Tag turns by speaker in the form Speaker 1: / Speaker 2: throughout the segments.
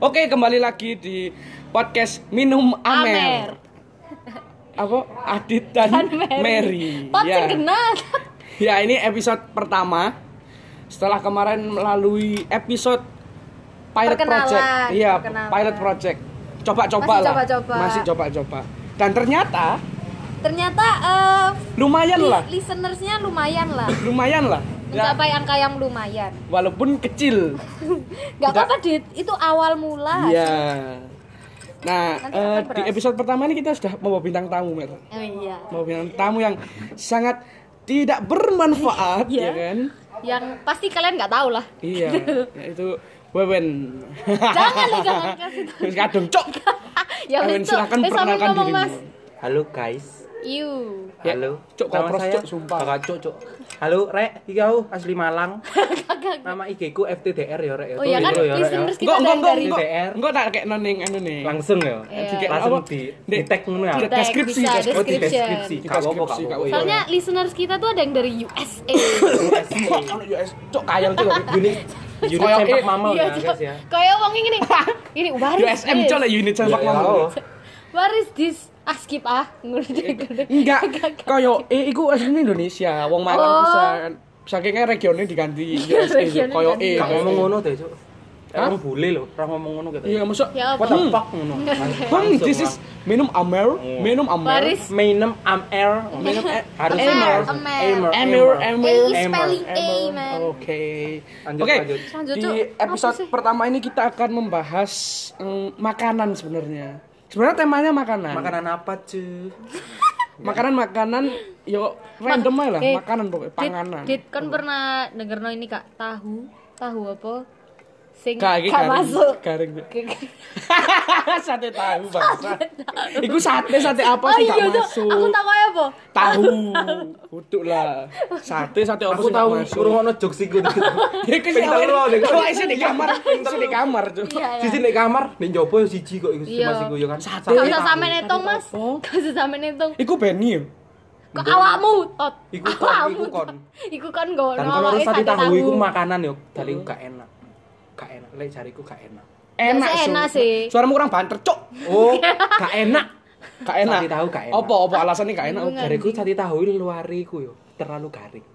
Speaker 1: Oke, kembali lagi di podcast Minum Amer. Apa? Adit dan,
Speaker 2: Dan
Speaker 1: Mary.
Speaker 2: Pot
Speaker 1: Ya.
Speaker 2: senggenat.
Speaker 1: ya, ini episode pertama. Setelah kemarin melalui episode pilot
Speaker 2: Perkenalan,
Speaker 1: project. Iya,
Speaker 2: perkenalan.
Speaker 1: pilot project. Coba-coba
Speaker 2: Masih
Speaker 1: lah.
Speaker 2: coba-coba.
Speaker 1: Masih coba-coba. Dan ternyata
Speaker 2: Ternyata eh,
Speaker 1: lumayan
Speaker 2: li-
Speaker 1: Iya lah.
Speaker 2: listenersnya lumayan lah.
Speaker 1: Lumayan lah. Ya,
Speaker 2: Mencapai angka yang lumayan.
Speaker 1: walaupun kecil. Tidak.
Speaker 2: Gak apa-apa, Dit. Itu awal mula.
Speaker 1: Iya. Nah,
Speaker 2: Ah, Nanti
Speaker 1: eh,
Speaker 2: akan
Speaker 1: di
Speaker 2: berhasil.
Speaker 1: episode pertama ini kita sudah membawa bintang tamu, Mer.
Speaker 2: Oh, iya.
Speaker 1: Membawa bintang tamu yang sangat tidak bermanfaat, ya
Speaker 2: Iya.
Speaker 1: kan?
Speaker 2: Yang pasti kalian nggak tahu lah.
Speaker 1: Iya, yaitu Wewen.
Speaker 2: jangan lu jangan kasih. tahu.
Speaker 1: Terus kadung, cok.
Speaker 2: ya
Speaker 1: Wewen,
Speaker 2: wes, Cok.
Speaker 1: silakan Eh,
Speaker 2: Wes, sampean
Speaker 1: perkenalkan
Speaker 2: ngomong,
Speaker 1: dirimu.
Speaker 2: Mas.
Speaker 3: Halo guys.
Speaker 2: Iu.
Speaker 1: Ya,
Speaker 3: Halo.
Speaker 1: Cuk, kopros, Cuk, sumpah.
Speaker 3: Kakak Cuk, Cuk. Halo, Rek. Iki aku asli Malang. Nama IG ku FTDR ya, Rek. ya.
Speaker 2: Oh, ya
Speaker 3: Tulis
Speaker 2: kan
Speaker 3: dulu ya, Rek, ya.
Speaker 2: listeners kita
Speaker 1: Enggak, enggak,
Speaker 2: dari
Speaker 1: enggak,
Speaker 2: dari
Speaker 1: enggak.
Speaker 3: DDR.
Speaker 1: Enggak tak kayak noning anu nih.
Speaker 3: Langsung ya.
Speaker 2: Iya.
Speaker 3: Di- Langsung
Speaker 1: Apa?
Speaker 3: di di
Speaker 1: Di-
Speaker 3: tag ngono ya.
Speaker 1: di-
Speaker 3: Oh,
Speaker 2: tag,
Speaker 1: deskripsi,
Speaker 2: bisa,
Speaker 1: deskripsi.
Speaker 3: di deskripsi.
Speaker 2: description.
Speaker 1: Di
Speaker 3: Gak apa-apa,
Speaker 1: deskripsi,
Speaker 3: gak
Speaker 1: gak
Speaker 3: apa-apa.
Speaker 2: Soalnya listeners kita tuh ada yang dari USA.
Speaker 1: Kok kalau US, cok kayal tuh.
Speaker 3: unit unit
Speaker 1: Kayak-
Speaker 3: sempak mamal
Speaker 2: Iya,
Speaker 3: ya,
Speaker 2: Cok.
Speaker 3: guys ya.
Speaker 2: Kayak wong ini nih. Ini waris.
Speaker 1: USM cok lah unit
Speaker 3: Iya,
Speaker 1: sepak
Speaker 3: iya,
Speaker 1: bola.
Speaker 3: oh.
Speaker 2: What is this? Ah skip ah. Ngono deh, ngono.
Speaker 1: Enggak, koyo eh iku asline Indonesia, wong Malang
Speaker 2: Oh.
Speaker 1: pisan. Sakingnya regionnya diganti USA
Speaker 2: Regionnya
Speaker 1: koyo
Speaker 2: diganti.
Speaker 1: eh.
Speaker 3: Gak
Speaker 1: koyo
Speaker 3: ngomong
Speaker 1: eh.
Speaker 3: ngono deh, Cuk.
Speaker 1: Hah?
Speaker 3: Orang bule lho, orang ngomong ngono gitu.
Speaker 1: Iya, masuk.
Speaker 2: Ya
Speaker 3: What the
Speaker 2: apa?
Speaker 3: fuck ngono.
Speaker 1: Bang, this is
Speaker 3: Langsung,
Speaker 1: minum amer,
Speaker 3: Hmm.
Speaker 1: minum amer.
Speaker 2: Waris.
Speaker 3: Mainem am air.
Speaker 1: Minum eh,
Speaker 3: Harus
Speaker 2: Amer,
Speaker 3: air.
Speaker 2: Amer.
Speaker 1: Emir, Emir,
Speaker 2: A is
Speaker 3: Emmer,
Speaker 2: spelling A,
Speaker 1: Emir.
Speaker 2: man.
Speaker 1: Oke.
Speaker 3: Lanjut,
Speaker 1: Oke.
Speaker 3: lanjut.
Speaker 2: Lanjut,
Speaker 1: Di
Speaker 2: Cuk. Apa
Speaker 1: episode
Speaker 2: sih?
Speaker 1: pertama ini kita akan membahas mm, makanan sebenarnya. Sebenarnya temanya makanan.
Speaker 3: Makanan apa, Cuk?
Speaker 1: Makanan makanan yo random aja lah,
Speaker 2: eh,
Speaker 1: makanan pokoknya panganan.
Speaker 2: Dit, dit kan pernah dengerno ini Kak, tahu, tahu apa? Sing
Speaker 1: Gak, iki kan.
Speaker 2: gak
Speaker 1: garing,
Speaker 2: masuk.
Speaker 1: Garing.
Speaker 2: Ke-
Speaker 1: sate tahu bangsa. Iku sate sate apa sih gak
Speaker 2: iya, Cuk.
Speaker 1: masuk?
Speaker 2: Oh, Aku tahu apa?
Speaker 1: Tahu. Kutuk lah. Sate sate apa
Speaker 3: Aku
Speaker 1: sih gak
Speaker 3: tahu
Speaker 1: masuk?
Speaker 3: ngrungokno jokes iku.
Speaker 1: Ya kan sih
Speaker 3: Pinter lu,
Speaker 1: awalnya-
Speaker 3: Dek.
Speaker 1: awalnya sih di kamar, sih di kamar tuh.
Speaker 2: Iya,
Speaker 3: Iya.
Speaker 2: iya.
Speaker 3: Sisi nek kamar, nek njaba ya siji kok iku
Speaker 2: Iya.
Speaker 3: mas iku ya kan.
Speaker 1: Sate.
Speaker 2: Gak usah
Speaker 1: tahu.
Speaker 2: sampe netung, Mas.
Speaker 1: Apa?
Speaker 2: Gak usah sampe netung.
Speaker 1: Iku Benny ya?
Speaker 2: Kok awakmu, Tot?
Speaker 3: Iku kon,
Speaker 2: Awakmu,
Speaker 3: iku kon.
Speaker 2: Tot. Iku kon gak
Speaker 3: Dan
Speaker 2: ono
Speaker 3: Kan kalau
Speaker 2: awake
Speaker 3: sate
Speaker 2: sate
Speaker 3: tahu iku makanan yo, dari iku gak enak. Gak enak, lek jariku gak enak.
Speaker 1: Enak,
Speaker 2: sih,
Speaker 1: Su.
Speaker 2: enak sih.
Speaker 1: Suaramu kurang banter, cok.
Speaker 3: Oh, gak enak.
Speaker 1: Gak enak.
Speaker 3: Sate tahu gak enak.
Speaker 1: Apa apa alasannya gak enak?
Speaker 2: Hubungan.
Speaker 3: Jariku sate tahu luari iku yo, terlalu garing.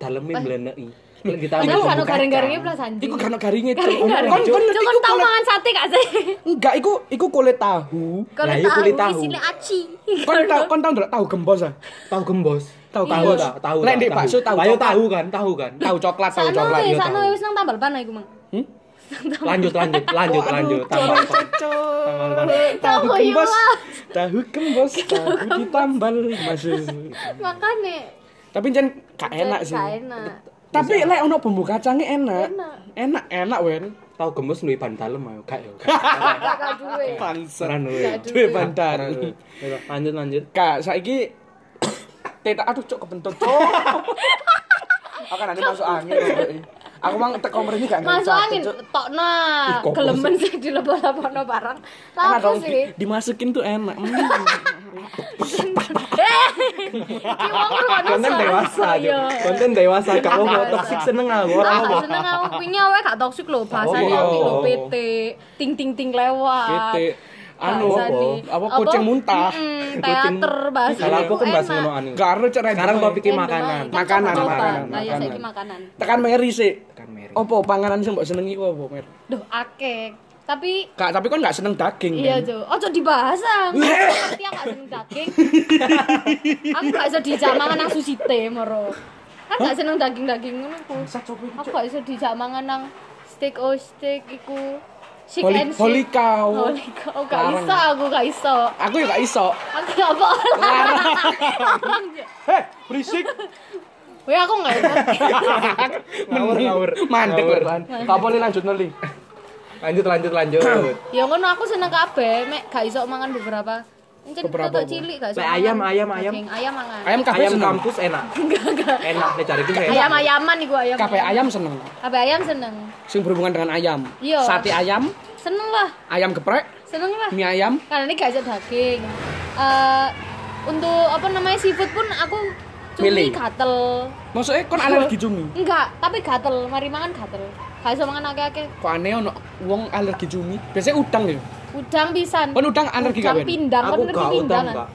Speaker 3: Dalemnya mleneki. Lek ditambah
Speaker 2: Padahal kan
Speaker 3: bumbu
Speaker 2: garing-garingnya
Speaker 3: kacang.
Speaker 2: plus anjing.
Speaker 1: Iku karena garingnya cok.
Speaker 2: Garing garing.
Speaker 1: Kon kon
Speaker 2: Cuk, kon
Speaker 1: iku
Speaker 2: tahu
Speaker 1: kulit
Speaker 2: mangan sate gak sih?
Speaker 1: enggak iku iku kulit tahu.
Speaker 2: Kalau
Speaker 3: iya, kulit
Speaker 2: tahu
Speaker 3: tahu.
Speaker 2: isinya aci.
Speaker 1: Kon tahu kon tahu ndak tahu gembos ah?
Speaker 3: Tahu gembos. Iya.
Speaker 1: Tahu
Speaker 3: tahu
Speaker 1: gembos.
Speaker 3: tak? tahu.
Speaker 1: Lek
Speaker 3: tak?
Speaker 1: ndek bakso tahu
Speaker 3: Ayo
Speaker 1: coklat.
Speaker 3: tahu kan, tahu kan.
Speaker 1: Tahu coklat, tahu
Speaker 2: Sakno
Speaker 1: coklat.
Speaker 2: wis,
Speaker 3: iya,
Speaker 2: sakno
Speaker 3: tahu.
Speaker 2: ya, wis nang tambal ban iku, Mang.
Speaker 1: Hmm?
Speaker 3: Lanjut, lanjut, lanjut, lanjut. Tambah.
Speaker 1: Cok, cok, cok. Tahu
Speaker 2: Tahu
Speaker 1: gembos.
Speaker 2: iya.
Speaker 1: Tahu gembos, tahu ditambal masih.
Speaker 2: Makane nah.
Speaker 1: Tapi jan gak enak sih.
Speaker 2: Gak enak.
Speaker 1: Tapi lek ono bumbu kacangnya enak. Enak, enak, Wen.
Speaker 3: Tahu gembos luwih ban dalem ayo, gak yo.
Speaker 2: Kakak duwe.
Speaker 1: Panser.
Speaker 3: Seran luwih.
Speaker 1: Duwe bandar.
Speaker 3: Lanjut, lanjut.
Speaker 1: Kak, saiki tetak aduh cok kebentuk cok. Akan nanti masuk angin. Cok. Aku mang teko mrene gak
Speaker 2: Masuk
Speaker 1: ngerti,
Speaker 2: angin
Speaker 1: Cok.
Speaker 2: tokno.
Speaker 3: kopos.
Speaker 2: Nah, Gelemen sih dilebok-lebokno barang.
Speaker 1: Enak
Speaker 2: Lapo
Speaker 1: dong Kan di-
Speaker 2: sih?
Speaker 1: dimasukin tuh enak. Mm.
Speaker 2: Eh, Ki wong ruwono
Speaker 3: konten
Speaker 2: soal-
Speaker 3: dewasa
Speaker 2: soal-
Speaker 3: Cuk.
Speaker 2: iya.
Speaker 3: konten dewasa gak
Speaker 2: Konten
Speaker 3: mau
Speaker 2: dewasa.
Speaker 3: toksik seneng aku ora
Speaker 2: Ah,
Speaker 3: apa
Speaker 2: gak seneng aku kuingnya awake gak toksik lho bahasane
Speaker 1: Oh,
Speaker 3: apa-apa.
Speaker 2: ati lho PT ting ting ting lewat.
Speaker 1: Bete. Anu
Speaker 2: Bahasane.
Speaker 1: apa kucing muntah.
Speaker 2: Mm, teater bahasa.
Speaker 3: salah aku kan bahas
Speaker 2: enak.
Speaker 3: ngono anu
Speaker 1: Gak ada cara
Speaker 3: sekarang
Speaker 1: Jepang.
Speaker 3: kau pikir makanan
Speaker 2: Kan
Speaker 1: Makanan,
Speaker 2: coba-coba.
Speaker 1: makanan,
Speaker 2: Lah ya
Speaker 1: makanan.
Speaker 2: saiki makanan.
Speaker 1: tekan Mary sih.
Speaker 3: Tekan Mary.
Speaker 1: Opo panganan sing mbok senengi ku opo, Mer?
Speaker 2: Duh, akeh. Tapi
Speaker 1: Kak, tapi kon gak seneng daging.
Speaker 2: Iya,
Speaker 1: kan?
Speaker 2: Jo. Ojo dibahas, ah. Ang. Ngerti aku gak seneng daging. aku gak iso dijak mangan nang sushi teh moro. Kan gak seneng daging-daging ngono ku. Aku gak iso dijak mangan nang steak oh steak iku. Chick
Speaker 1: Holy-
Speaker 2: and shake.
Speaker 1: holy cow.
Speaker 2: Holy cow. oh, Gak
Speaker 1: Larang.
Speaker 2: iso aku gak iso.
Speaker 1: Aku ya gak iso.
Speaker 2: Aku gak apa.
Speaker 3: Eh,
Speaker 1: Heh, berisik.
Speaker 2: Weh aku gak iso.
Speaker 3: ngawur ngawur
Speaker 1: Mandek
Speaker 3: Ngawur.
Speaker 1: lho. Apa boleh lanjut neli?
Speaker 3: lanjut lanjut lanjut
Speaker 2: Ya ngono aku seneng kabeh, mek gak iso mangan beberapa. Mungkin
Speaker 1: Beberapa
Speaker 2: tutuk
Speaker 1: apa?
Speaker 2: cilik gak iso.
Speaker 3: Mek
Speaker 2: mangan
Speaker 3: ayam, ayam, ayam.
Speaker 2: daging. Ayam mangan.
Speaker 1: Ayam kafe
Speaker 3: ayam
Speaker 1: seneng.
Speaker 3: kampus enak enak nih cari tuh enak
Speaker 2: Ayam-ayaman iku ayam.
Speaker 1: Kafe ayam seneng.
Speaker 2: Kabeh ayam seneng.
Speaker 1: Sing berhubungan dengan ayam.
Speaker 2: Iya.
Speaker 1: Sate ayam,
Speaker 2: Seneng lah,
Speaker 1: ayam geprek,
Speaker 2: seneng lah.
Speaker 1: mie ayam.
Speaker 2: Karena ini gak ada daging. Eh, untuk apa namanya seafood pun aku cumi
Speaker 1: Mili.
Speaker 2: gatel.
Speaker 1: Maksudnya kon alergi cumi.
Speaker 2: Enggak, tapi gatel. Mari mangan gatel. Gak iso mangan akeh-akeh.
Speaker 1: Kok aneh ono wong alergi cumi? Biasanya udang ya.
Speaker 2: Udang pisan.
Speaker 1: Kon Oh, udang alergi
Speaker 2: Udang
Speaker 1: gak Ben?
Speaker 2: pindang, kon
Speaker 3: aku
Speaker 2: ngerti
Speaker 3: gak
Speaker 2: pindang.
Speaker 3: utang gak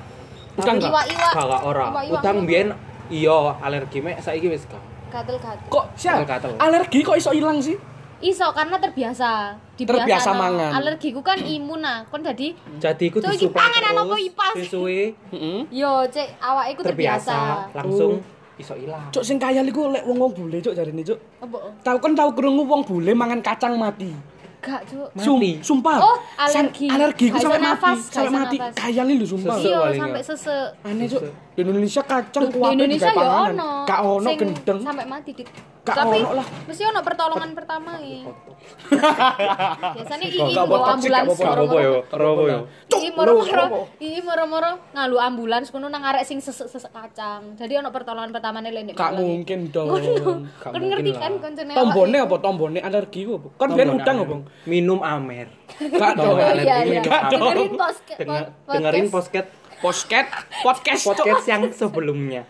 Speaker 1: Udang gak?
Speaker 2: Iwa-iwa.
Speaker 3: gak ora
Speaker 2: Iwa-iwa.
Speaker 3: utang biyen iya alergi mek saiki wis gak
Speaker 2: Gatel-gatel.
Speaker 1: Kok sial?
Speaker 3: Gatel.
Speaker 1: Alergi kok iso hilang sih?
Speaker 2: Iso karena terbiasa. Dibiasano.
Speaker 1: Terbiasa mangan.
Speaker 2: Alergiku kan imun nah. Kon dadi
Speaker 3: jadi iku
Speaker 2: Cuk, iki
Speaker 3: disuplai
Speaker 2: panganan apa ipas?
Speaker 3: terus sesuai
Speaker 1: Heeh.
Speaker 2: yo cek awak iku terbiasa.
Speaker 3: terbiasa langsung iso ilang
Speaker 1: Cuk sing kaya liku lek wong-wong bule cuk jarine cuk.
Speaker 2: Apa?
Speaker 1: Tahu kan tahu kerungu wong bule mangan kacang mati.
Speaker 2: Gak, Cuk.
Speaker 1: Sum- sumpah.
Speaker 2: Oh, alergi.
Speaker 1: Sam- alergi ku
Speaker 2: Gak
Speaker 1: sampai
Speaker 2: iso
Speaker 1: mati,
Speaker 2: nafas, gak
Speaker 1: sampai
Speaker 2: iso
Speaker 1: mati.
Speaker 2: nafas.
Speaker 1: Kaya lu sumpah.
Speaker 3: Sesek.
Speaker 2: Iya,
Speaker 3: paling
Speaker 2: sampai
Speaker 3: gak.
Speaker 2: sesek.
Speaker 1: Aneh cuk. Di Indonesia kacang
Speaker 2: Loh,
Speaker 1: kuat
Speaker 2: di Indonesia ya ono.
Speaker 1: Gak ono
Speaker 2: Sing
Speaker 1: gendeng.
Speaker 2: Sampai mati dik.
Speaker 1: Gak
Speaker 2: Tapi
Speaker 1: ono lah.
Speaker 2: mesti ono pertolongan pertama ya. Biasanya iki
Speaker 1: Gak
Speaker 2: lho
Speaker 1: apa-apa, toksik,
Speaker 2: ambulans
Speaker 1: gak apa-apa.
Speaker 2: moro-moro.
Speaker 3: robo yo
Speaker 2: Iki moro-moro, iki moro-moro ngalu ambulans kono nang arek sing sesek-sesek kacang. Jadi ono pertolongan pertamane lho nek.
Speaker 1: Gak mungkin dong.
Speaker 3: Gak
Speaker 2: Kan ngerti
Speaker 3: mungkin
Speaker 2: kan
Speaker 3: lah.
Speaker 2: koncene. awak
Speaker 1: Tombone
Speaker 2: iki.
Speaker 1: apa tombone alergi ku apa? Kan biyen udang apa? Bang?
Speaker 3: minum amer
Speaker 1: Gak dong.
Speaker 2: Oh iya
Speaker 3: Alergi
Speaker 2: iya.
Speaker 3: gak dong.
Speaker 2: Dengerin podcast.
Speaker 3: Denger- dengerin posket
Speaker 1: Posket, podcast, cuk.
Speaker 3: podcast yang sebelumnya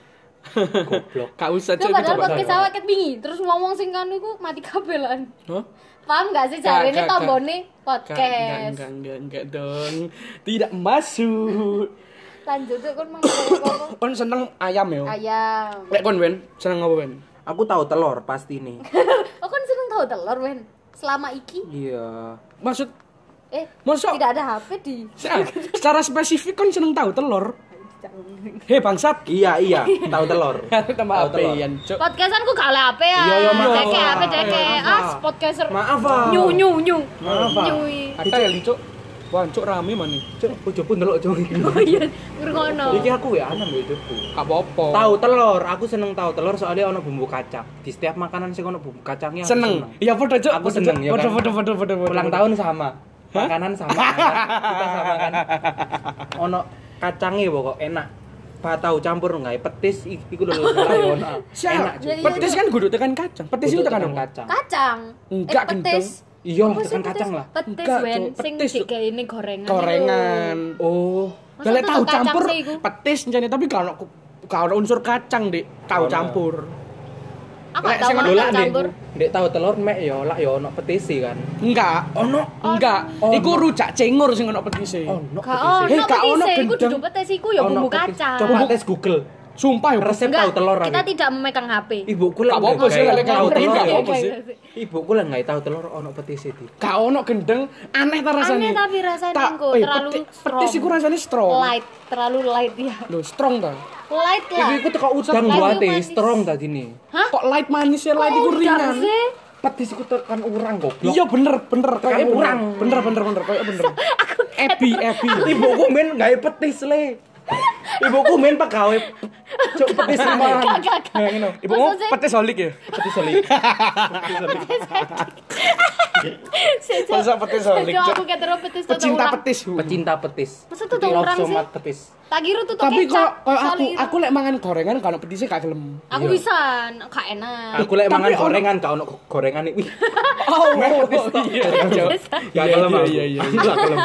Speaker 3: goblok
Speaker 1: Gak usah
Speaker 2: Itu
Speaker 1: cuk.
Speaker 2: padahal
Speaker 1: Coba.
Speaker 2: podcast awak ket bingi, terus ngomong sing kan iku mati kabelan.
Speaker 1: Hah?
Speaker 2: Paham gak sih
Speaker 1: Gak,
Speaker 2: jarene
Speaker 1: gak, gak.
Speaker 2: tombone
Speaker 1: Gak, Enggak,
Speaker 2: podcast.
Speaker 1: enggak, enggak, enggak dong. Tidak masuk.
Speaker 2: Lanjut tuh kon mau ngomong apa?
Speaker 1: Kon seneng ayam ya?
Speaker 2: Ayam.
Speaker 1: Lek kon Ben, seneng apa Ben?
Speaker 3: aku tahu telur pasti nih
Speaker 2: Oh kan seneng tahu telur men. Selama iki
Speaker 3: iya
Speaker 1: Maksud
Speaker 2: eh
Speaker 1: Masuk.
Speaker 2: tidak ada HP di.
Speaker 1: Sa- secara spesifik kon seneng tahu telur. Hei bangsat.
Speaker 3: iya iya tahu telur
Speaker 1: Tambah
Speaker 3: Tahu
Speaker 1: apa
Speaker 3: telur.
Speaker 1: Ian, Cuk?
Speaker 2: Podcastan ku gak oleh HP ya.
Speaker 3: Iya, iya, maaf.
Speaker 2: Deke HP deke.
Speaker 3: Maaf,
Speaker 2: Ah,
Speaker 3: maaf.
Speaker 2: podcaster.
Speaker 3: maaf ah
Speaker 2: Nyu nyu nyu.
Speaker 3: Maaf, Pak.
Speaker 2: Nyui.
Speaker 1: Ada ya, Cuk. Wah, Cuk rame mana?
Speaker 3: Cuk, ojo pun delok Cuk.
Speaker 2: Oh iya, ngrungono.
Speaker 3: Iki aku ya anem lho Cuk.
Speaker 1: Gak apa-apa.
Speaker 3: Tahu telur, aku seneng tahu telur soalnya ono bumbu kacang. Di setiap makanan sih ono bumbu kacangnya. aku
Speaker 1: seneng. Iya podo Cuk.
Speaker 3: Aku
Speaker 1: podo, Cuk.
Speaker 3: seneng, ya kan?
Speaker 1: Podo podo podo podo. podo,
Speaker 3: Ulang
Speaker 1: podo.
Speaker 3: tahun sama. Makanan sama. kan? Kita sama kan. Ono kacangnya pokok enak. Batau campur nggak petis i- iku lho lho, lho, ono.
Speaker 1: Siap.
Speaker 3: Enak. Cuk.
Speaker 2: Iya, iya,
Speaker 1: Petis
Speaker 2: iya.
Speaker 1: kan kudu tekan kacang. Petis itu
Speaker 3: Untuk
Speaker 1: tekan
Speaker 3: tekan
Speaker 1: apa?
Speaker 3: kacang.
Speaker 2: Kacang.
Speaker 1: Enggak,
Speaker 2: eh, petis.
Speaker 3: Iya lah
Speaker 2: Apa sih
Speaker 3: tekan
Speaker 2: petis?
Speaker 3: kacang lah.
Speaker 2: Petis
Speaker 1: Enggak,
Speaker 2: wen
Speaker 1: Cuk.
Speaker 2: sing
Speaker 1: Petis, Cuk.
Speaker 2: dikei ini
Speaker 1: Nah,
Speaker 2: gorengan.
Speaker 1: Gorengan.
Speaker 3: Oh.
Speaker 2: Masa
Speaker 1: Kalau
Speaker 2: tetep
Speaker 1: gitu. tahu
Speaker 2: kacang
Speaker 1: campur
Speaker 2: sih iku?
Speaker 1: petis njane tapi gak ono gak ono unsur kacang, Dik. Tahu
Speaker 3: Ono.
Speaker 1: campur.
Speaker 2: lho. Aku gak
Speaker 1: Lek
Speaker 2: tau
Speaker 1: sing
Speaker 2: ono
Speaker 3: Dolak deh.
Speaker 2: campur.
Speaker 3: Dek tahu telur mek yo lak yo ono petisi kan.
Speaker 1: Enggak.
Speaker 3: Ono.
Speaker 2: Oh.
Speaker 1: Enggak,
Speaker 3: Ono.
Speaker 1: iku rujak cengur sing ono petise.
Speaker 3: Ono.
Speaker 2: Gak
Speaker 3: petise.
Speaker 1: Hei,
Speaker 2: ono
Speaker 1: gak ono
Speaker 2: petis. Iku
Speaker 1: gendeng.
Speaker 2: duduk petis iku ya
Speaker 3: Ono
Speaker 2: bumbu
Speaker 3: petis.
Speaker 2: kacang.
Speaker 3: Coba tes Google.
Speaker 1: Sumpah ya.
Speaker 3: Resep
Speaker 2: Enggak,
Speaker 3: tahu telur
Speaker 2: kita
Speaker 3: aku.
Speaker 2: tidak memegang HP.
Speaker 3: Ibuku
Speaker 1: Gak
Speaker 3: lah
Speaker 1: apa-apa
Speaker 3: nggak
Speaker 1: sih,
Speaker 3: tahu
Speaker 1: lek kamu
Speaker 3: telur,
Speaker 1: gak
Speaker 3: ya.
Speaker 1: apa-apa sih.
Speaker 3: Ibuku lah nggak tahu telur ono petisi di.
Speaker 1: Gak ono gendeng, aneh ta rasane.
Speaker 2: Aneh tapi rasane
Speaker 1: Tak-
Speaker 2: engko,
Speaker 1: eh,
Speaker 2: terlalu
Speaker 1: peti-
Speaker 2: strong.
Speaker 1: Petis iku rasane strong.
Speaker 2: Light, terlalu light ya.
Speaker 1: Lho, strong ta?
Speaker 2: Light lah.
Speaker 3: Iku iku teko udang
Speaker 2: Kayu
Speaker 3: buate
Speaker 2: manis.
Speaker 3: strong tadi nih.
Speaker 2: Hah?
Speaker 1: Kok light manis ya, light
Speaker 2: Kok
Speaker 1: iku
Speaker 2: udang
Speaker 1: ringan.
Speaker 2: sih?
Speaker 3: Petis iku tekan urang goblok.
Speaker 1: Iya bener, bener kayak
Speaker 3: Tekan
Speaker 1: bener.
Speaker 3: urang.
Speaker 1: Bener bener bener kayak bener. Ebi, ebi.
Speaker 3: Ibuku men gawe petis le. Ibuku men pegawai cuk petis rumahan.
Speaker 2: Gak, gak, gak.
Speaker 3: Bayangin, oh.
Speaker 1: Ibu mau
Speaker 2: Maksudnya-
Speaker 1: petis holik ya?
Speaker 3: Petis soli.
Speaker 2: Sejo.
Speaker 1: Masa petis holik,
Speaker 2: Sejo
Speaker 1: Cuk?
Speaker 2: aku ketero petis tutuk
Speaker 1: Pecinta
Speaker 2: ulang.
Speaker 1: petis. hu.
Speaker 3: Pecinta petis.
Speaker 2: Masa tuh
Speaker 3: Love
Speaker 2: urang
Speaker 3: so
Speaker 2: sih?
Speaker 3: much petis.
Speaker 2: Tak kira tutuk
Speaker 1: Tapi
Speaker 2: kecap.
Speaker 1: kok kok aku
Speaker 2: soalnya-
Speaker 1: aku lek mangan gorengan gak ono petisnya gak gelem.
Speaker 2: aku
Speaker 3: Iya.
Speaker 2: bisa, gak enak.
Speaker 3: Aku lek
Speaker 1: Tapi
Speaker 3: mangan
Speaker 1: ono-
Speaker 3: gorengan gak ono gorengan iki. Wih,
Speaker 1: Oh,
Speaker 3: petis tok.
Speaker 1: iya.
Speaker 3: Gak
Speaker 1: Iya,
Speaker 3: gelem
Speaker 1: iya,
Speaker 3: aku.
Speaker 1: iya, iya.
Speaker 3: Aku gak gelem.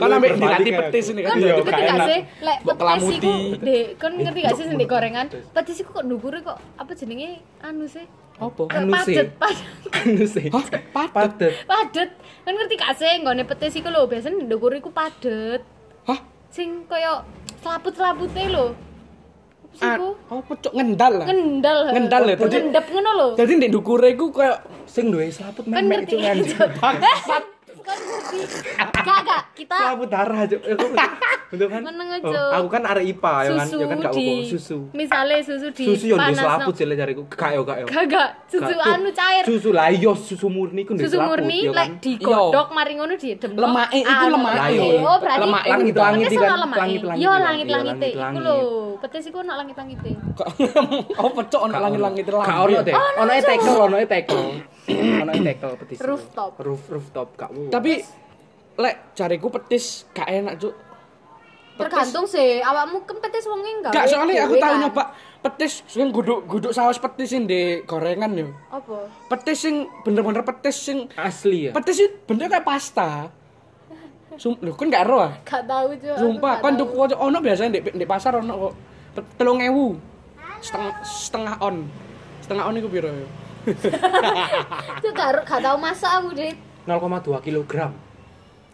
Speaker 1: Kan ambek
Speaker 3: Berbalik
Speaker 1: dilatih
Speaker 3: kayak
Speaker 1: petis
Speaker 3: aku.
Speaker 1: ini kan.
Speaker 2: Kan
Speaker 3: Iya,
Speaker 2: ngerti
Speaker 3: gak
Speaker 2: gak
Speaker 3: enak.
Speaker 2: sih? Lek
Speaker 1: Mbok
Speaker 2: petis
Speaker 1: kelamuti.
Speaker 2: iku, Dek, kan ngerti gak sih sendiri gorengan? Petis iku kok ndukure kok apa jenenge anu sih?
Speaker 1: Apa?
Speaker 2: Kayak
Speaker 3: Anu sih.
Speaker 2: Padet, padet.
Speaker 3: Anu sih.
Speaker 1: Hah, padet.
Speaker 3: Padet.
Speaker 2: padet kan ngerti gak sih nggone petis iku lho biasanya ndukur iku padet
Speaker 1: Hah?
Speaker 2: sing kaya selaput-selapute lho apa sih
Speaker 1: Ah,
Speaker 2: iku
Speaker 1: Apa cok ngendal lah.
Speaker 2: ngendal he.
Speaker 1: Ngendal ya, jadi-
Speaker 2: ngendep ngono lho
Speaker 1: Jadi ndek ndukure iku kayak
Speaker 3: Sing duwe selaput
Speaker 2: kan
Speaker 3: memek
Speaker 2: ngerti
Speaker 3: cuk kan.
Speaker 2: Bangsat. kan ngerti gak gak kita
Speaker 3: Selaput darah cuk. Aku- Betul kan?
Speaker 2: Meneng, Cuk.
Speaker 3: Oh, Aku kan arek IPA ya kan.
Speaker 2: susu
Speaker 3: Ya kan gak
Speaker 2: di
Speaker 3: apa-apa susu.
Speaker 2: misale susu di
Speaker 3: susu yang di
Speaker 2: panas,
Speaker 3: selaput
Speaker 2: no.
Speaker 3: sih lah jariku gak yo gak yo
Speaker 2: gak gak susu
Speaker 3: Gak.
Speaker 2: anu cair
Speaker 3: susu lah iya susu murni ku di
Speaker 2: susu
Speaker 3: selaput,
Speaker 2: murni
Speaker 3: ya kan? e,
Speaker 2: lek digodhok mari ngono diedemok
Speaker 1: Lemake, iku
Speaker 2: anu.
Speaker 1: lemake.
Speaker 2: oh berarti
Speaker 1: Lemake,
Speaker 2: langit
Speaker 3: langit-langit
Speaker 2: langit
Speaker 3: kan?
Speaker 2: langit
Speaker 3: Langit-langit
Speaker 2: yo
Speaker 3: kan?
Speaker 2: langit langit e.
Speaker 3: Iya,
Speaker 2: iku lho petis iku ono langit langit
Speaker 1: Kok- apa cok ono
Speaker 3: Gak
Speaker 1: langit-langit
Speaker 3: ono.
Speaker 1: langit.
Speaker 3: gak ono deh
Speaker 2: Oh, ono,
Speaker 3: ono e
Speaker 2: Cuk.
Speaker 3: tekel ono e tekel ono e tekel petis itu.
Speaker 2: Rooftop.
Speaker 3: roof rooftop gak mau
Speaker 1: Tapi lek jariku petis gak enak cuk.
Speaker 2: tergantung sih awakmu kan petis wong enggak
Speaker 1: Gak soalnya aku tahu nyoba petis sing guduk guduk saus petis sing di gorengan yo.
Speaker 2: apa
Speaker 1: Petis sing bener-bener petis sing
Speaker 3: asli ya
Speaker 1: petis sih bener kayak pasta. Sum, lho kan gak ero ah.
Speaker 2: gak tahu juga
Speaker 1: Sumpah, kan tuku ono biasanya di, di pasar ono kok. Pe- Telung ewu. setengah setengah on. Setengah on iku piro ya?
Speaker 2: Itu gak, gak tau masak aku, Dit.
Speaker 3: 0,2 kilogram.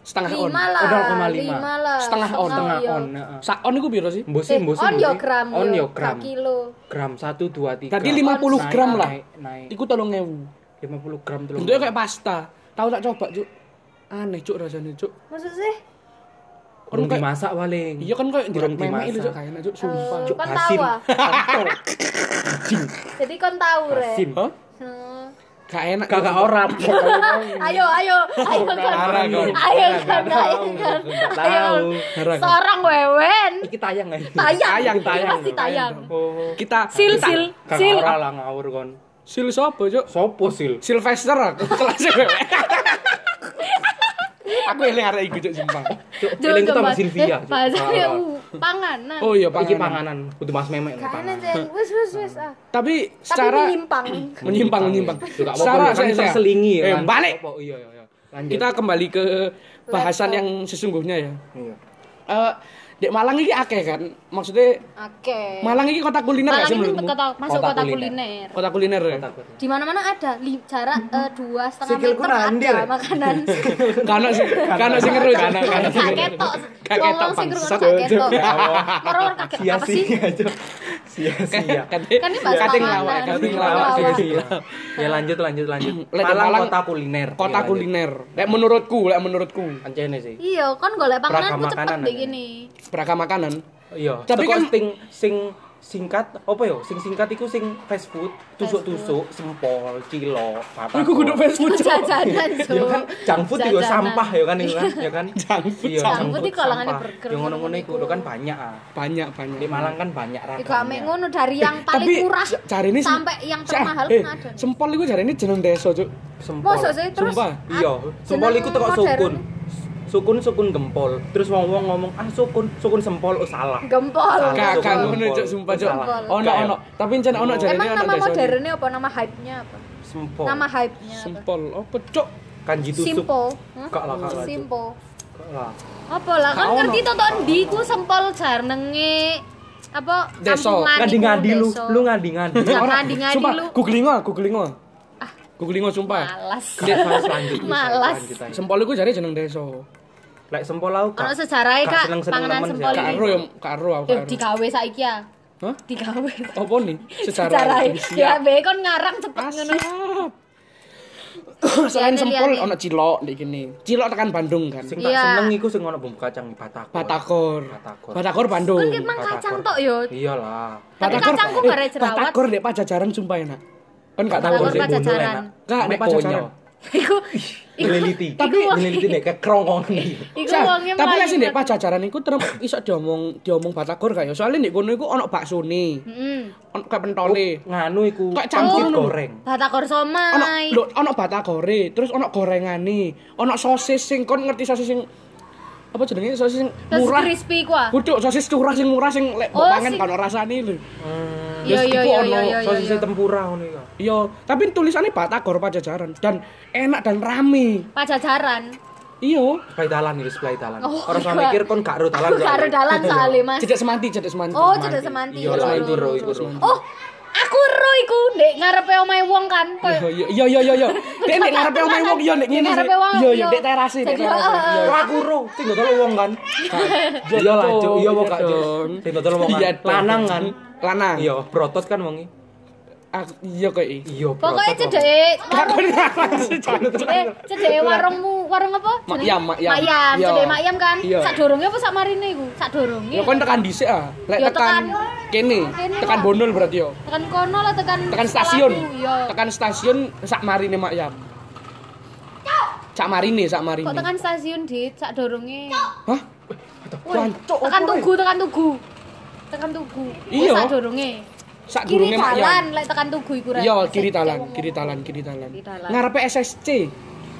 Speaker 1: Setengah on.
Speaker 2: Lima lah,
Speaker 3: Oh, 0,5.
Speaker 2: lima lah.
Speaker 1: Setengah on,
Speaker 3: Setengah
Speaker 2: iya.
Speaker 3: on. heeh.
Speaker 1: Sak on iku piro sih?
Speaker 3: Mbok
Speaker 2: Eh,
Speaker 3: sih, mbok sih,
Speaker 2: on
Speaker 3: mbok
Speaker 2: yo
Speaker 3: sih.
Speaker 2: gram,
Speaker 3: On
Speaker 2: yo,
Speaker 3: yo gram.
Speaker 2: gak kilo.
Speaker 3: Gram 1 2 3.
Speaker 1: Tadi 50
Speaker 3: Naik,
Speaker 1: gram lah.
Speaker 3: Naik, naik.
Speaker 1: Iku 3000.
Speaker 3: 50 gram telur.
Speaker 1: Bentuknya kayak pasta. Tahu tak coba, Cuk? Aneh, Cuk rasanya, Cuk.
Speaker 2: Maksud sih?
Speaker 3: kurung
Speaker 1: kayak-
Speaker 3: dimasak paling.
Speaker 1: Iya kan kayak direk
Speaker 3: Kurung
Speaker 1: memek itu, Cuk,
Speaker 3: Hmm. dimasak.
Speaker 1: kayaknya, Cuk. Sumpah,
Speaker 2: Eh,
Speaker 1: Cuk.
Speaker 2: kan
Speaker 3: asin.
Speaker 2: tahu ah.
Speaker 3: Pentol.
Speaker 2: Jadi kon tahu, Re.
Speaker 3: Asin.
Speaker 1: Hah?
Speaker 2: Hmm.
Speaker 1: Gak enak. Cuk.
Speaker 3: Kagak orang.
Speaker 2: Ah, Ayo, ayo, ayo kon.
Speaker 3: Parah,
Speaker 2: Ayo kon,
Speaker 3: kon. Nggak
Speaker 2: ayo
Speaker 3: tahu,
Speaker 2: kon.
Speaker 3: nggak
Speaker 2: Ayo.
Speaker 3: tahu. Ngarang.
Speaker 2: Seorang wewen.
Speaker 3: Iki tayang nggak ini?
Speaker 2: Tayang.
Speaker 1: Tayang,
Speaker 2: Ini
Speaker 1: tayang.
Speaker 2: Pasti tayang.
Speaker 3: Oh.
Speaker 1: Kita
Speaker 2: Sil,
Speaker 1: kita-
Speaker 2: sil,
Speaker 3: Kagak
Speaker 2: sil.
Speaker 3: ora lah ngawur kon.
Speaker 1: Sil sapa, Cuk?
Speaker 3: Sopo sil?
Speaker 1: Sylvester aku kelas Aku eling arek iku gitu, Cuk, sumpah.
Speaker 3: Cuk, Feeling kita sama
Speaker 2: Coba.
Speaker 3: Silvia.
Speaker 2: Eh,
Speaker 3: Cuk.
Speaker 2: Bahasanya
Speaker 3: Parah.
Speaker 2: uh, panganan.
Speaker 1: Oh iya
Speaker 3: Iki
Speaker 1: panganan.
Speaker 3: panganan, kudu mas memek nih,
Speaker 2: Kanan
Speaker 3: panganan.
Speaker 2: aja. Wes, wes, wes. ah.
Speaker 1: Tapi
Speaker 2: Tapi
Speaker 1: secara
Speaker 2: menyimpang.
Speaker 3: Iya,
Speaker 1: menyimpang menyimpang.
Speaker 3: Juga
Speaker 1: Secara
Speaker 3: apa-apa, kan
Speaker 1: saya- saya-
Speaker 3: terselingi ya.
Speaker 1: Eh,
Speaker 3: kan.
Speaker 1: balik.
Speaker 3: Apa-apa, Iya iya iya. Lanjut.
Speaker 1: Kita kembali ke bahasan yang sesungguhnya ya.
Speaker 3: Iya.
Speaker 1: Eh, Dek Malang ini akeh kan? Maksudnya
Speaker 2: Oke.
Speaker 1: Malang ini kota kuliner nggak
Speaker 2: Malang
Speaker 1: sih
Speaker 2: ini
Speaker 1: menurutmu?
Speaker 2: kota, masuk
Speaker 3: Kota
Speaker 2: kota
Speaker 3: kuliner.
Speaker 2: kuliner.
Speaker 1: Kota kuliner ya?
Speaker 3: Takut.
Speaker 2: Di mana-mana ada li- jarak eh, dua setengah
Speaker 3: Sikilku
Speaker 2: meter
Speaker 3: nandir.
Speaker 2: ada makanan.
Speaker 1: Karena sih, karena sih ngeru.
Speaker 3: Karena- karena
Speaker 2: Gak ketok.
Speaker 1: Gak ketok,
Speaker 2: Ngomong sing
Speaker 1: bangsat.
Speaker 2: ngono gak ketok.
Speaker 3: Ya Allah.
Speaker 2: Meror kaget apa sih?
Speaker 3: aja. Sia-sia.
Speaker 2: Kan ini bahas
Speaker 1: Kating
Speaker 2: panganan.
Speaker 1: lawak, kating
Speaker 2: Kating
Speaker 1: lawak.
Speaker 2: lawak.
Speaker 3: sia-sia. Ya lanjut lanjut lanjut.
Speaker 1: Lek
Speaker 3: Malang
Speaker 1: Malang-
Speaker 3: kota kuliner.
Speaker 1: Kota
Speaker 3: Ya, lanjut.
Speaker 1: kuliner. Lek menurutku, lek menurutku.
Speaker 3: Ancene sih.
Speaker 2: Iya, kan golek panganan
Speaker 3: Beragam
Speaker 2: ku cepet
Speaker 3: makanan
Speaker 2: deh
Speaker 3: ada.
Speaker 2: gini.
Speaker 1: Beragam makanan.
Speaker 3: Iya.
Speaker 1: Tapi
Speaker 3: Tapi kan
Speaker 1: kan-
Speaker 3: sing sing singkat apa yo? Sing singkat iku sing fast food, tusuk-tusuk, sempol, cilok, apa.
Speaker 1: Aku kudu fast food. Cok.
Speaker 2: Jajanan, Cuk.
Speaker 3: Ya kan junk food juga
Speaker 2: Jajanan.
Speaker 3: sampah ya kan itu kan, ya kan. Junk food.
Speaker 2: sampah. Junk food itu kalangannya burger,
Speaker 3: Yang ngono-ngono iku lho kan
Speaker 2: ngono-ngono.
Speaker 3: banyak ah.
Speaker 1: Banyak, banyak.
Speaker 3: Di Malang kan banyak
Speaker 2: Iku ame
Speaker 3: ragamnya.
Speaker 2: ngono dari
Speaker 3: Eh,
Speaker 2: yang paling murah
Speaker 1: cari ini
Speaker 2: sampai yang termahal pun ada.
Speaker 1: Eh, Sempol iku cari ini jeneng desa, Cuk.
Speaker 3: Sempol.
Speaker 2: Mosok sih terus
Speaker 1: Sumpah,
Speaker 2: ah,
Speaker 3: Iya, sempol
Speaker 2: jeneng
Speaker 3: iku teko
Speaker 2: modern.
Speaker 3: sukun. Sukun sukun gempol. Terus wong-wong ngomong, "Ah, sukun, sukun sempol oh salah."
Speaker 2: Gempol.
Speaker 3: Salah.
Speaker 1: Kakak
Speaker 3: Sempol.
Speaker 1: ngono, Cuk, sumpah, Cuk.
Speaker 2: Sempol.
Speaker 1: Ono
Speaker 3: Kayak-
Speaker 1: ono, tapi jan ono jare
Speaker 2: Emang
Speaker 1: ini ono
Speaker 2: nama
Speaker 1: desa.
Speaker 2: modernnya apa? Nama hype-nya apa?
Speaker 3: Sempol.
Speaker 2: Nama hype-nya apa?
Speaker 1: Sempol opo, Cuk?
Speaker 3: Kanji tusuk. Ah.
Speaker 2: Simple. Hah?
Speaker 3: Kak lah, kak lah.
Speaker 2: Simple.
Speaker 3: Kok lah.
Speaker 2: Apa lah kan
Speaker 1: Gak ono.
Speaker 2: ngerti to to ndi ku sempol jenenge apa
Speaker 1: Desa.
Speaker 2: kampungan iku,
Speaker 3: Ngadi-ngadi lu,
Speaker 2: desa.
Speaker 3: lu ngadi-ngadi.
Speaker 2: Ya,
Speaker 1: Ora,
Speaker 2: ngadi-ngadi
Speaker 1: sumpah,
Speaker 2: lu.
Speaker 1: googling ah, googling ah. Googling ah, sumpah.
Speaker 2: malas.
Speaker 3: Gak, Lanjut, lanjut,
Speaker 2: Malas.
Speaker 3: lanjut, lanjut.
Speaker 1: Sempol iku jare jeneng desa.
Speaker 3: Lek sempol aku
Speaker 2: Ono sejarahnya, Kak, panganan sempol
Speaker 1: Kak
Speaker 2: Iya.
Speaker 1: Aro ya, Kak Aro aku.
Speaker 2: Yo
Speaker 1: Kak Aro.
Speaker 2: digawe saiki ya.
Speaker 1: Hah?
Speaker 2: Digawe.
Speaker 1: Apa nih? Secara
Speaker 2: Secara ya
Speaker 1: Siap.
Speaker 2: be kon ngarang cepet ngono.
Speaker 1: Siap. Selain
Speaker 2: Liane,
Speaker 1: sempol
Speaker 2: liane.
Speaker 1: ono cilok di kene. Cilok tekan Bandung kan.
Speaker 3: Sing tak
Speaker 2: Iya.
Speaker 3: seneng iku sing ono bumbu kacang batakor.
Speaker 1: Batakor.
Speaker 3: Batakor.
Speaker 1: Batakor Bandung.
Speaker 2: Kan ki mang kacang tok yo.
Speaker 3: Iyalah.
Speaker 2: Tapi
Speaker 1: Batakor-
Speaker 2: kacangku
Speaker 1: eh,
Speaker 2: gak ada jerawat.
Speaker 1: Batakor dek pajajaran sumpah enak. Kan gak tahu
Speaker 2: Batakor
Speaker 1: sih.
Speaker 2: pajajaran.
Speaker 1: Enggak, nek pajajaran.
Speaker 2: Iku iku
Speaker 3: Meliti.
Speaker 1: Tapi-
Speaker 3: meliti nek kekrongkong iki.
Speaker 2: iku
Speaker 1: Sal,
Speaker 2: wonge
Speaker 1: tapi lek sing dek
Speaker 2: melayu.
Speaker 1: pajajaran iku terus iso diomong diomong Batakor kayak soalnya nek kono iku ono baksone,
Speaker 2: Heeh.
Speaker 1: ono kayak pentole.
Speaker 3: Eh, Nganu iku.
Speaker 1: Kayak campur
Speaker 3: kulit
Speaker 1: ngono.
Speaker 3: goreng.
Speaker 2: Batakor
Speaker 1: Ono
Speaker 2: somai.
Speaker 1: lho, ono batakore, terus ono gorengane, ono sosis sing kon ngerti sosis sing apa jenenge sosis sing
Speaker 2: Terus
Speaker 1: murah.
Speaker 2: crispy ku ah.
Speaker 1: Kudu sosis curah sing murah sing lek mbok
Speaker 2: Oh,
Speaker 1: pangan
Speaker 2: sing-
Speaker 1: kan ora rasane lho.
Speaker 3: Hmm.
Speaker 2: Yo
Speaker 1: Terus
Speaker 2: yo
Speaker 1: iku
Speaker 2: yo
Speaker 1: ono
Speaker 2: yo yo, yo.
Speaker 3: Sosis tempura ngono iku.
Speaker 1: Iya, tapi tulisannya Batagor Pajajaran dan enak dan rame.
Speaker 2: Pajajaran.
Speaker 1: Iya.
Speaker 3: Seplai dalan iki, seplai dalan.
Speaker 2: Oh,
Speaker 3: Ora usah
Speaker 2: iya.
Speaker 3: mikir kon gak ro dalan.
Speaker 2: Aku karo dalan soalé Mas.
Speaker 1: Cedek semanti, cedek semanti.
Speaker 2: Oh, cedek semanti.
Speaker 3: Iya,
Speaker 2: Lho,
Speaker 3: lah,
Speaker 2: lho,
Speaker 3: iku ro
Speaker 2: lho,
Speaker 3: iku ro.
Speaker 2: lho. Oh, aku ro iku ndek ngarepe omahe wong kan. Kayak-
Speaker 1: Iya, iya, iya, iya, iya. Dek nek ngarepe omahe wong yo nek ngene. sih.
Speaker 2: Ngarepe wong,
Speaker 1: Iya, iya,
Speaker 2: iya.
Speaker 1: dek terase, dek
Speaker 2: Jadi,
Speaker 1: terase.
Speaker 2: eh,
Speaker 1: Iya.
Speaker 3: Ora aku ro, sing dodol wong kan. Iya lah, Cuk. Iya wong gak, Cuk.
Speaker 1: dong.
Speaker 3: Sing dodol wong
Speaker 1: Iya
Speaker 3: kan.
Speaker 1: dong.
Speaker 3: Lanang kan.
Speaker 1: Lanang.
Speaker 3: Iya, brotot kan wong iki.
Speaker 1: Aku- Iya kok iki.
Speaker 3: Iya, brotot.
Speaker 2: Pokoknya
Speaker 3: wong.
Speaker 2: cedek
Speaker 1: Aku lanang sih, Cuk.
Speaker 2: Eh, cedek warungmu, warung apa? Jenenge?
Speaker 1: Makyam, makyam.
Speaker 2: Makyam,
Speaker 1: Iya.
Speaker 2: cedek makyam kan?
Speaker 1: Iya.
Speaker 2: Sak dorongnya apa sak marine iku? Sak dorongnya.
Speaker 1: Ya kon tekan dhisik ah.
Speaker 2: Iya,
Speaker 1: Lek tekan
Speaker 2: tekan.
Speaker 1: kene,
Speaker 2: Kene,
Speaker 1: tekan
Speaker 2: Pak.
Speaker 1: bondol berarti yo.
Speaker 2: tekan kono lah tekan
Speaker 1: tekan stasiun
Speaker 2: sekolahku, Iya.
Speaker 1: tekan stasiun sak marine mak yam sak marine sak marine
Speaker 2: Kok tekan stasiun, Dit? Sak dorongnya.
Speaker 1: hah
Speaker 2: Woi,
Speaker 1: Wancuk,
Speaker 2: tekan
Speaker 1: apa,
Speaker 2: tugu, tekan tugu. Tekan tugu.
Speaker 1: Iya.
Speaker 2: Wis Sak dorongnya.
Speaker 1: sak
Speaker 2: Kiri
Speaker 1: durunge mak
Speaker 2: dalan
Speaker 1: yam
Speaker 2: lek tekan tugu iku Ren.
Speaker 1: iya
Speaker 2: Sik,
Speaker 1: kiri
Speaker 2: sik,
Speaker 1: talan
Speaker 2: wong-
Speaker 1: kiri talan kiri talan
Speaker 2: Kiri talan.
Speaker 1: ngarepe SSC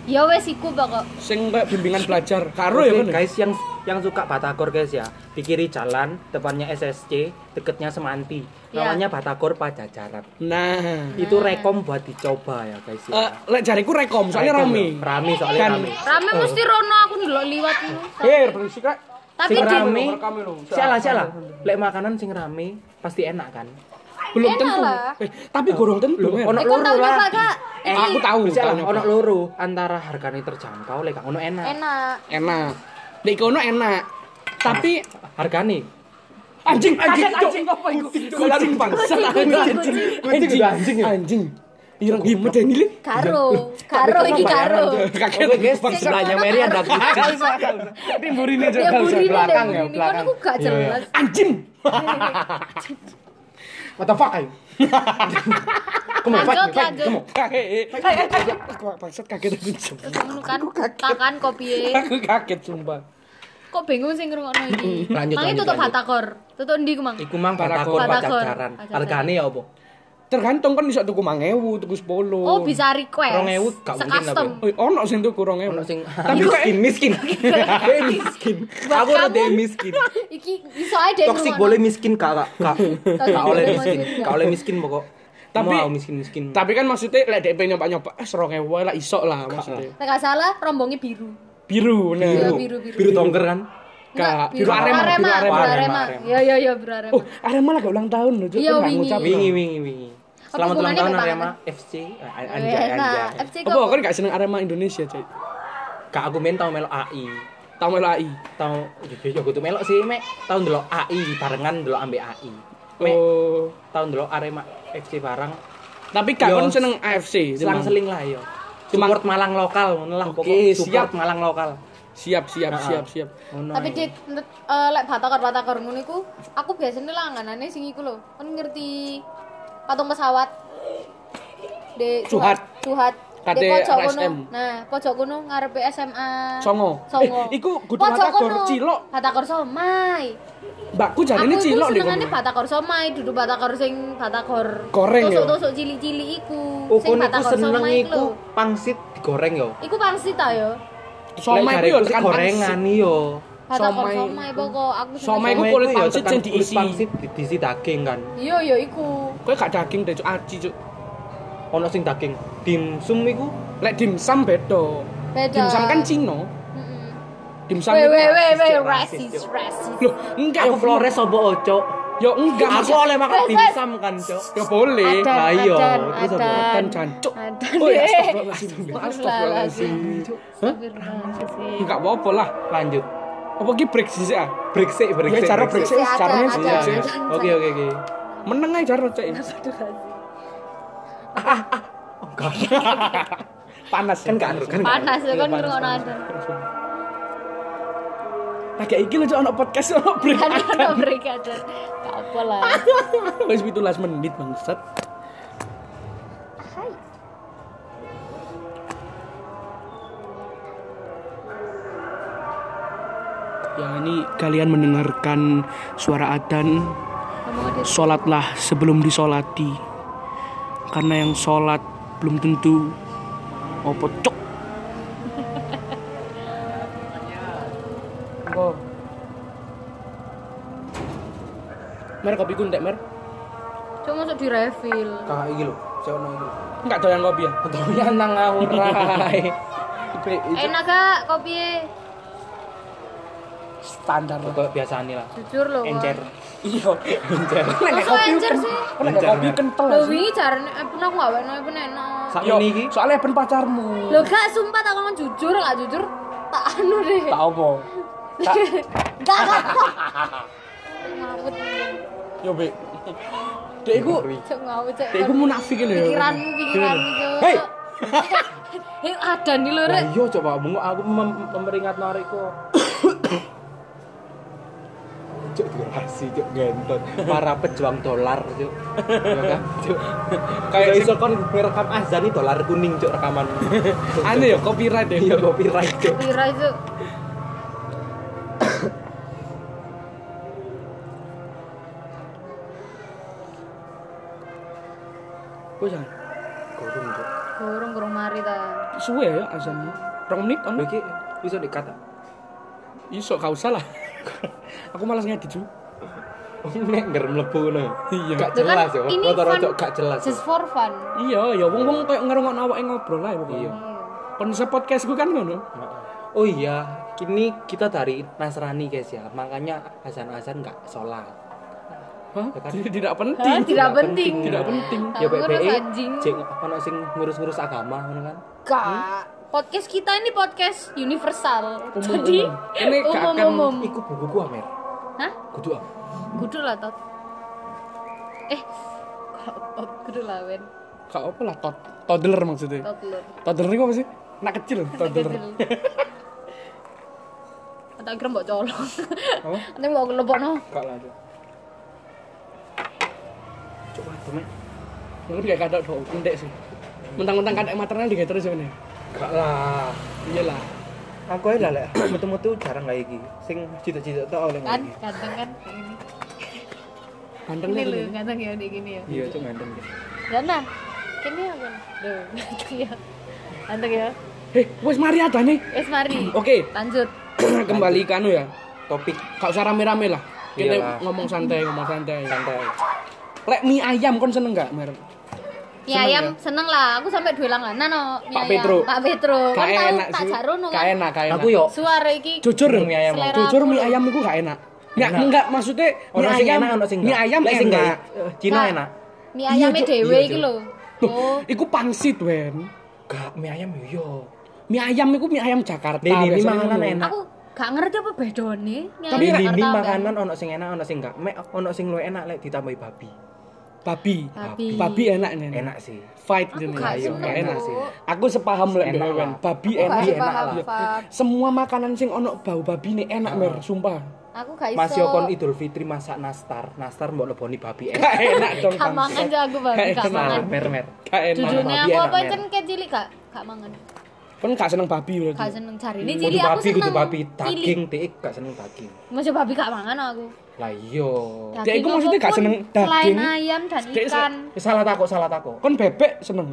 Speaker 2: Ya wis iku pokok.
Speaker 1: sing kayak bimbingan belajar karo
Speaker 3: Oke,
Speaker 1: ya kan
Speaker 3: guys yang yang suka batakor guys ya di kiri jalan depannya SSC deketnya Semanti
Speaker 2: Ya.
Speaker 3: namanya batakor pajajaran
Speaker 1: nah
Speaker 3: itu rekom buat dicoba ya guys ya
Speaker 1: Eh, lek jariku rekom soalnya
Speaker 3: Rekom,
Speaker 1: rame
Speaker 3: ya. rame soalnya
Speaker 1: Kan.
Speaker 3: rame
Speaker 2: Rame mesti rono aku ndelok liwat ngono.
Speaker 3: ya.
Speaker 1: Hei, berisik rek.
Speaker 2: Tapi
Speaker 3: sing
Speaker 2: di
Speaker 3: rame
Speaker 1: rekam, rekam, rekam.
Speaker 3: sialah sialah lek makanan sing rame pasti enak kan
Speaker 1: belum
Speaker 2: Enak
Speaker 1: tentu.
Speaker 2: lah.
Speaker 1: Eh, tapi gorong tentu.
Speaker 3: Loh,
Speaker 1: Mer.
Speaker 2: Eh,
Speaker 3: ono
Speaker 2: kok
Speaker 3: loro Ah.
Speaker 2: tahu
Speaker 3: lah.
Speaker 2: nyoba kak?
Speaker 1: Eh,
Speaker 2: Ini
Speaker 1: aku tahu.
Speaker 3: Bisa
Speaker 1: tahu
Speaker 3: lah,
Speaker 1: nyoba.
Speaker 3: ono loro antara harganya terjangkau lek gak ono enak.
Speaker 2: enak.
Speaker 1: enak. Dek kono enak. Tapi
Speaker 3: Hargane
Speaker 1: anjing
Speaker 3: Kaget,
Speaker 1: kaget
Speaker 3: anjing.
Speaker 1: anjing apa iku? Kucing bangsa
Speaker 2: Kucing, kucing,
Speaker 3: kucing.
Speaker 1: Anjing anjing ya. anjing. Ireng di medeni lek.
Speaker 2: Karo, karo iki karo.
Speaker 1: Kaget
Speaker 3: Oke guys, di
Speaker 2: Cek
Speaker 3: sebelahnya
Speaker 2: kono
Speaker 3: Mary
Speaker 2: karo.
Speaker 3: ada kucing.
Speaker 1: Ini burine
Speaker 2: Ya burine deh,
Speaker 3: belakang
Speaker 2: burine.
Speaker 3: ya,
Speaker 2: Kan
Speaker 3: belakang.
Speaker 2: aku gak
Speaker 3: Iya, iya.
Speaker 2: jelas.
Speaker 1: Anjing.
Speaker 3: What the fuck ayo? Come on, fight
Speaker 2: Lanjut,
Speaker 3: me,
Speaker 2: lanjut.
Speaker 3: fight me, come on.
Speaker 1: Kaget. Kaget. Aku bangsat kaget
Speaker 2: Terus
Speaker 1: anjing.
Speaker 2: ngono kan,
Speaker 1: Aku kaget.
Speaker 2: takan kopi
Speaker 1: Aku kaget sumpah.
Speaker 2: Kok bingung sih ngrungokno iki?
Speaker 3: Lanjut,
Speaker 2: Mangi
Speaker 3: lanjut,
Speaker 2: tutup
Speaker 3: lanjut.
Speaker 2: Batakor. Tutup ndi ku, Mang?
Speaker 3: Iku mang
Speaker 1: Batakor.
Speaker 3: batakor
Speaker 2: Batakor.
Speaker 3: pacaran. Hargane ya opo?
Speaker 1: Tergantung kan bisa tuku 1000, tuku 10.
Speaker 2: Oh, bisa request.
Speaker 3: 2000 gak mungkin lah,
Speaker 2: Sekastem.
Speaker 1: Oh, ono sing tuku 2000.
Speaker 3: Ono sing
Speaker 1: tapi kok
Speaker 3: miskin, miskin. Dia miskin.
Speaker 2: Buat
Speaker 3: Aku ora
Speaker 2: kamu.
Speaker 3: dhewe miskin.
Speaker 2: Iki iso ae deh
Speaker 3: Toksik boleh miskin kak kak kak.
Speaker 2: Toksik
Speaker 3: Kak oleh
Speaker 2: boleh
Speaker 3: miskin,
Speaker 2: miskin.
Speaker 3: kak oleh miskin pokok.
Speaker 1: Tapi-
Speaker 3: Mau miskin miskin.
Speaker 1: tapi kan maksudnya lek dhek pengen nyoba-nyoba eh 2000 wae lah iso lah
Speaker 3: Ah.
Speaker 1: maksudnya.
Speaker 2: Nek gak salah rombongnya biru.
Speaker 1: Biru nah.
Speaker 2: Iya, biru, biru.
Speaker 3: Biru tongger kan.
Speaker 1: Kak,
Speaker 2: Enggak, biru
Speaker 1: biru arema, biru
Speaker 2: arema,
Speaker 1: arema,
Speaker 2: biru
Speaker 3: arema,
Speaker 2: arema.
Speaker 3: arema.
Speaker 2: Ya ya ya biru arema.
Speaker 1: Oh, Arema lagi ulang tahun loh, Cuk.
Speaker 2: Iya,
Speaker 1: Kan nggak
Speaker 2: wingi.
Speaker 1: ngucap.
Speaker 3: Wingi wingi wingi.
Speaker 2: Apa
Speaker 3: Selamat ulang tahun
Speaker 2: hubungannya nih,
Speaker 3: Arema FC. Eh, Anjay
Speaker 2: Nah,
Speaker 3: anjay.
Speaker 2: FC
Speaker 1: Apa
Speaker 2: kok
Speaker 1: kan gak seneng Arema Indonesia, Cek?
Speaker 3: Kak aku main tau melok AI.
Speaker 1: Tau melok AI.
Speaker 3: Tau yo yo kudu melok sih mek. Tau ndelok AI barengan ndelok ambek AI. Mek
Speaker 1: Oh.
Speaker 3: tau ndelok Arema FC bareng.
Speaker 1: Tapi kak
Speaker 3: Yo,
Speaker 1: kan seneng AFC.
Speaker 3: Selang
Speaker 1: Demang.
Speaker 3: seling lah yo.
Speaker 1: Cuma-
Speaker 3: Support Malang lokal ngono lah
Speaker 1: Oke,
Speaker 3: pokok.
Speaker 1: siap.
Speaker 3: Support Malang lokal.
Speaker 1: Siap, siap,
Speaker 3: Ah,
Speaker 1: siap,
Speaker 3: ah.
Speaker 1: siap.
Speaker 3: Ngono
Speaker 2: tapi
Speaker 3: yo.
Speaker 2: dit nek eh, lek batakor-batakor ngono iku aku biasanya langganane sing iku lho. Kan ngerti patung pesawat. Dek
Speaker 1: Cuhat.
Speaker 2: Cuhat.
Speaker 1: Kate
Speaker 2: Dek pojok kono.
Speaker 1: RSM.
Speaker 2: Nah, pojok kono ngarepe SMA.
Speaker 1: Songo.
Speaker 2: Songo.
Speaker 1: Eh, iku kudu
Speaker 2: Pojok
Speaker 1: batakor,
Speaker 2: kono.
Speaker 1: cilok.
Speaker 2: Batakor somai.
Speaker 1: Mbakku jadi ini
Speaker 2: aku
Speaker 1: cilok
Speaker 2: iku
Speaker 1: deh.
Speaker 2: senengane
Speaker 1: kono.
Speaker 2: batakor somai duduk batakor sing batakor
Speaker 1: Goreng ya? Oh,
Speaker 2: tusuk-tusuk cilik-cilik iku sing
Speaker 3: Ukun iku
Speaker 2: batakor
Speaker 3: seneng
Speaker 2: somai iku
Speaker 3: iku
Speaker 2: lho.
Speaker 3: pangsit digoreng yo.
Speaker 2: iku pangsit ta yo
Speaker 1: Somai
Speaker 3: Lek
Speaker 1: ku yo kan
Speaker 3: jariku sih
Speaker 1: tekan
Speaker 3: gorengan yo.
Speaker 2: batakor
Speaker 1: Somai.
Speaker 2: somai pokok aku seneng
Speaker 1: Somai iku
Speaker 3: Somai
Speaker 1: kulit
Speaker 3: ku yo
Speaker 1: pangsit
Speaker 3: tekan
Speaker 1: yang
Speaker 3: kulit
Speaker 1: diisi.
Speaker 3: Pangsit di- diisi daging kan.
Speaker 2: iya iya iku
Speaker 1: Kowe gak daging deh, Cuk. Aci, Cuk.
Speaker 3: Ono sing daging dimsum iku
Speaker 1: Lek dimsum beda.
Speaker 2: Beda.
Speaker 1: Dimsum kan Cino.
Speaker 2: Heeh.
Speaker 1: Dimsum.
Speaker 2: Weh
Speaker 1: itu
Speaker 2: weh weh weh
Speaker 3: rasis, yo, rasis,
Speaker 2: rasis
Speaker 3: yo.
Speaker 2: rasis.
Speaker 1: Loh, enggak ya,
Speaker 3: aku Flores opo oco.
Speaker 1: Ya enggak
Speaker 3: Aku
Speaker 1: maksud-
Speaker 3: oleh makan
Speaker 2: Wes, wes.
Speaker 3: dimsum kan, Cok.
Speaker 1: Ya boleh.
Speaker 2: Adan,
Speaker 3: lah iya,
Speaker 2: adan,
Speaker 3: terus
Speaker 1: Kan
Speaker 3: apa?
Speaker 2: adan.
Speaker 1: jancuk.
Speaker 2: Adan,
Speaker 1: Oh ya,
Speaker 2: eh.
Speaker 1: astagfirullahaladzim. Astagfirullahaladzim.
Speaker 2: Astagfirullahaladzim.
Speaker 1: Hah?
Speaker 2: Astagfirullahaladzim.
Speaker 1: Enggak apa-apa lah.
Speaker 3: Lanjut.
Speaker 1: Apa ki break sih ah?
Speaker 3: Break sik, break
Speaker 1: Ya
Speaker 3: sik.
Speaker 1: cara break
Speaker 3: break sik.
Speaker 1: sih,
Speaker 2: Break sih,
Speaker 1: caranya
Speaker 2: adan,
Speaker 1: sih. break
Speaker 2: adan.
Speaker 1: sih.
Speaker 3: Iya, Oke, oke, oke.
Speaker 1: Meneng aja cara cek. Panas.
Speaker 3: Kan gak anu, kan gak anu.
Speaker 2: Panas ya kan ngrungokno adan.
Speaker 1: Agak iki lho Cok, ono podcast ono break.
Speaker 2: Adan no break Kan adan. Gak apa lah.
Speaker 1: Wis 17 menit bangsat.
Speaker 2: Hai.
Speaker 1: Ya ini kalian mendengarkan suara adzan,
Speaker 2: Ngomong adan.
Speaker 1: sholatlah sebelum disolati. Karena yang sholat belum tentu opo cok. Engko. Mer kopi ku ndek, Mer.
Speaker 2: Cuma masuk di refill.
Speaker 3: Kakak iki lho, cok ono iki.
Speaker 1: Enggak doyan kopi ya.
Speaker 3: Doyan nang ngawur. Rai.
Speaker 2: Enak gak kopinya?
Speaker 1: Standar lah.
Speaker 3: Kok biasane lah.
Speaker 2: Jujur loh.
Speaker 3: Encer.
Speaker 1: Iya.
Speaker 3: Encer.
Speaker 1: Nek
Speaker 2: Masa
Speaker 1: kopi
Speaker 2: encer
Speaker 1: kan,
Speaker 2: sih?
Speaker 1: nek kopi kental
Speaker 2: Loh
Speaker 1: sih.
Speaker 2: wingi jarane eh pun aku gak weno pun enak.
Speaker 3: Sak
Speaker 1: Yo,
Speaker 3: ngene iki.
Speaker 1: soalnya pen pacarmu.
Speaker 2: Loh gak sumpah tak ngomong jujur gak jujur tak anu deh.
Speaker 1: Tak apa. Tak
Speaker 2: Gak gak. Ngawut.
Speaker 1: yo be. Dek iku,
Speaker 2: Cuk ngawut cuk.
Speaker 1: dek iku munafik lho.
Speaker 2: Pikiranmu pikiranmu cuk.
Speaker 3: Hei!
Speaker 2: Hei gitu. Eh, ada nih lho Rek.
Speaker 3: Lah iya coba bungo aku mem- memperingat narikku. Cuk durasi, cuk gentot. Para pejuang dolar, cuk. Ya kan, cuk.
Speaker 1: Kayak
Speaker 3: Kayak
Speaker 1: sing-
Speaker 3: iso kon rekam azan iki dolar kuning, cuk rekaman.
Speaker 1: Anu ya copyright ya.
Speaker 3: Iya copyright, cuk.
Speaker 2: Pira cuk.
Speaker 1: Wis ah.
Speaker 3: Gorong, cuk.
Speaker 2: Gorong gorong mari ta.
Speaker 1: Suwe ya azan. Rong menit
Speaker 3: Lho
Speaker 1: ono.
Speaker 3: iki iso dikata.
Speaker 1: Iso gak usah lah. Aku malas ngedit ju.
Speaker 3: Nek nger mlebu ngono.
Speaker 1: Iya.
Speaker 3: Gak
Speaker 2: Itu kan
Speaker 3: jelas, cuk.
Speaker 2: ini
Speaker 3: Kotor,
Speaker 2: fun-
Speaker 3: cuk, gak
Speaker 1: ya.
Speaker 3: jelas.
Speaker 2: Just for fun.
Speaker 1: Iya, ya wong-wong koyo ngerungokno awake ngobrol lah pokoknya.
Speaker 3: Iya.
Speaker 1: Konsep podcast gue kan ngono.
Speaker 3: Oh iya, kini kita dari Nasrani guys ya, makanya azan-azan nggak sholat.
Speaker 1: Hah? Jadi tidak penting.
Speaker 2: Hah, tidak penting.
Speaker 1: Tidak penting. Hmm?
Speaker 3: Ya
Speaker 2: Aku
Speaker 3: PPI,
Speaker 2: ngerasa anjing.
Speaker 3: cek ono sing ngurus-ngurus agama ngono kan.
Speaker 2: Kak, podcast kita ini podcast universal.
Speaker 1: Umum,
Speaker 2: Jadi
Speaker 1: umum. Ini gak akan
Speaker 2: umum-umum.
Speaker 3: Iku bukuku Amer.
Speaker 2: Hah?
Speaker 3: Kudu Amer.
Speaker 2: Kudu lah, Tot. Eh, kok kok kudu lah, Wen.
Speaker 1: Kak apa lah tod toddler maksudnya.
Speaker 2: Tot lur.
Speaker 1: Toddler itu apa sih? Anak kecil toddler.
Speaker 2: Tak kira mbok colong. Nanti mbok lebokno.
Speaker 1: Kak lah. Cuk.
Speaker 3: Coba temen.
Speaker 1: Mungkin kayak kadok dong, entek sih. Mentang-mentang kadek maternal di terus ini.
Speaker 3: Gak lah.
Speaker 1: Iya lah.
Speaker 3: Aku ae lah lek metu-metu jarang kayak iki. Sing cita-cita tok oleh
Speaker 2: Kan
Speaker 3: iki.
Speaker 2: ganteng kan kayak ini.
Speaker 1: Bandeng
Speaker 2: Ini
Speaker 1: nih.
Speaker 2: lho
Speaker 1: ini.
Speaker 2: ganteng ya kayak gini ya.
Speaker 3: Iya, cuk ganteng.
Speaker 2: Dan nah, kini aku. Duh, ganteng ya. Ganteng ya.
Speaker 1: Hei, Eh, wes mari ada nih.
Speaker 2: Wes mari.
Speaker 1: Oke,
Speaker 2: Lanjut.
Speaker 1: kembali ke anu ya.
Speaker 3: Topik
Speaker 1: Kak usah rame-rame lah.
Speaker 3: Iyalah.
Speaker 1: Kita ngomong santai, ngomong santai.
Speaker 3: santai.
Speaker 1: Lek mie ayam kon seneng gak, Mer?
Speaker 2: Mie ayam seneng lah, aku sampai dua langanan no. mie
Speaker 1: Pak
Speaker 2: ayam.
Speaker 1: Petro.
Speaker 2: Pak Petro. Kan
Speaker 1: Gak
Speaker 2: tahu
Speaker 1: enak
Speaker 2: tak
Speaker 1: sih.
Speaker 2: jarono
Speaker 1: Gak
Speaker 2: kan.
Speaker 1: enak, gak enak.
Speaker 3: Aku yo
Speaker 2: Suara iki.
Speaker 1: jujur
Speaker 3: Seneng mie ayam.
Speaker 2: Selera
Speaker 1: jujur
Speaker 2: aku
Speaker 1: mie
Speaker 2: lho.
Speaker 1: ayam iku gak enak. Enggak,
Speaker 3: Enak.
Speaker 1: enggak maksudnya mie
Speaker 3: Ono sing
Speaker 1: ayam,
Speaker 3: enak, ono sing
Speaker 1: mie
Speaker 3: enggak.
Speaker 1: ayam
Speaker 3: Lek sing
Speaker 1: enak.
Speaker 3: enggak, eh, Cina
Speaker 2: Kak,
Speaker 3: enak.
Speaker 2: Mie
Speaker 1: Iya,
Speaker 2: ayamnya
Speaker 1: Cuk.
Speaker 2: dhewe
Speaker 3: Iya,
Speaker 2: iki
Speaker 3: Cuk.
Speaker 2: lho. Oh,
Speaker 1: Iku pangsit, Wen.
Speaker 3: Gak mie ayam yo, yo.
Speaker 1: Mie ayam iku mie ayam Jakarta.
Speaker 3: Nih, nih, mie
Speaker 1: biasanya
Speaker 3: makanan
Speaker 1: ngono.
Speaker 3: enak.
Speaker 2: aku gak ngerti apa bedone
Speaker 1: Tapi
Speaker 2: mie ayam
Speaker 3: Tapi
Speaker 1: enak,
Speaker 3: bimbing
Speaker 2: Jakarta,
Speaker 3: makanan ono sing enak, ono sing gak. Mek ono sing luwih enak lek ditambahi babi.
Speaker 1: Babi.
Speaker 2: Babi.
Speaker 1: Babi enak nih.
Speaker 3: Enak sih.
Speaker 1: Fight
Speaker 2: Aku
Speaker 1: jenis.
Speaker 2: gak
Speaker 1: Ayo,
Speaker 2: seneng,
Speaker 1: enak
Speaker 2: Bu.
Speaker 1: sih. Aku sepaham lek
Speaker 3: Enak
Speaker 1: dhewe, Wen.
Speaker 3: lah.
Speaker 1: Babi
Speaker 2: Aku gak
Speaker 1: enak.
Speaker 3: Babi enak
Speaker 2: paham,
Speaker 3: lah.
Speaker 2: Fak.
Speaker 1: Semua makanan sing ono bau babi nih enak, Mer, sumpah.
Speaker 2: Aku gak iso.
Speaker 3: Mas yo kon Idul Fitri masak nastar, nastar mbok leboni babi enak.
Speaker 1: Gak enak dong.
Speaker 2: Gak mangan
Speaker 1: bangsat.
Speaker 2: aja aku babi
Speaker 1: Gak
Speaker 2: gak
Speaker 1: enak.
Speaker 2: mangan.
Speaker 3: Mer mer.
Speaker 1: Gak enak.
Speaker 2: Jujurnya
Speaker 3: Babi
Speaker 2: aku
Speaker 3: enak,
Speaker 2: apa
Speaker 3: Mer.
Speaker 2: kan kayak cilik gak gak mangan.
Speaker 1: Kon gak seneng babi berarti.
Speaker 2: Gak seneng cari. Ini
Speaker 3: Kudu
Speaker 2: cilik aku
Speaker 3: babi,
Speaker 2: seneng.
Speaker 3: kudu babi
Speaker 2: Cilik.
Speaker 3: daging, dik gak seneng daging.
Speaker 2: Masih babi gak mangan aku.
Speaker 3: Lah iya.
Speaker 1: Dia iku maksudnya gak
Speaker 2: apapun
Speaker 1: seneng
Speaker 2: Selain
Speaker 1: daging.
Speaker 2: ayam dan
Speaker 1: Dia se-
Speaker 2: ikan.
Speaker 3: Salah takok, salah takok.
Speaker 1: Kon bebek seneng.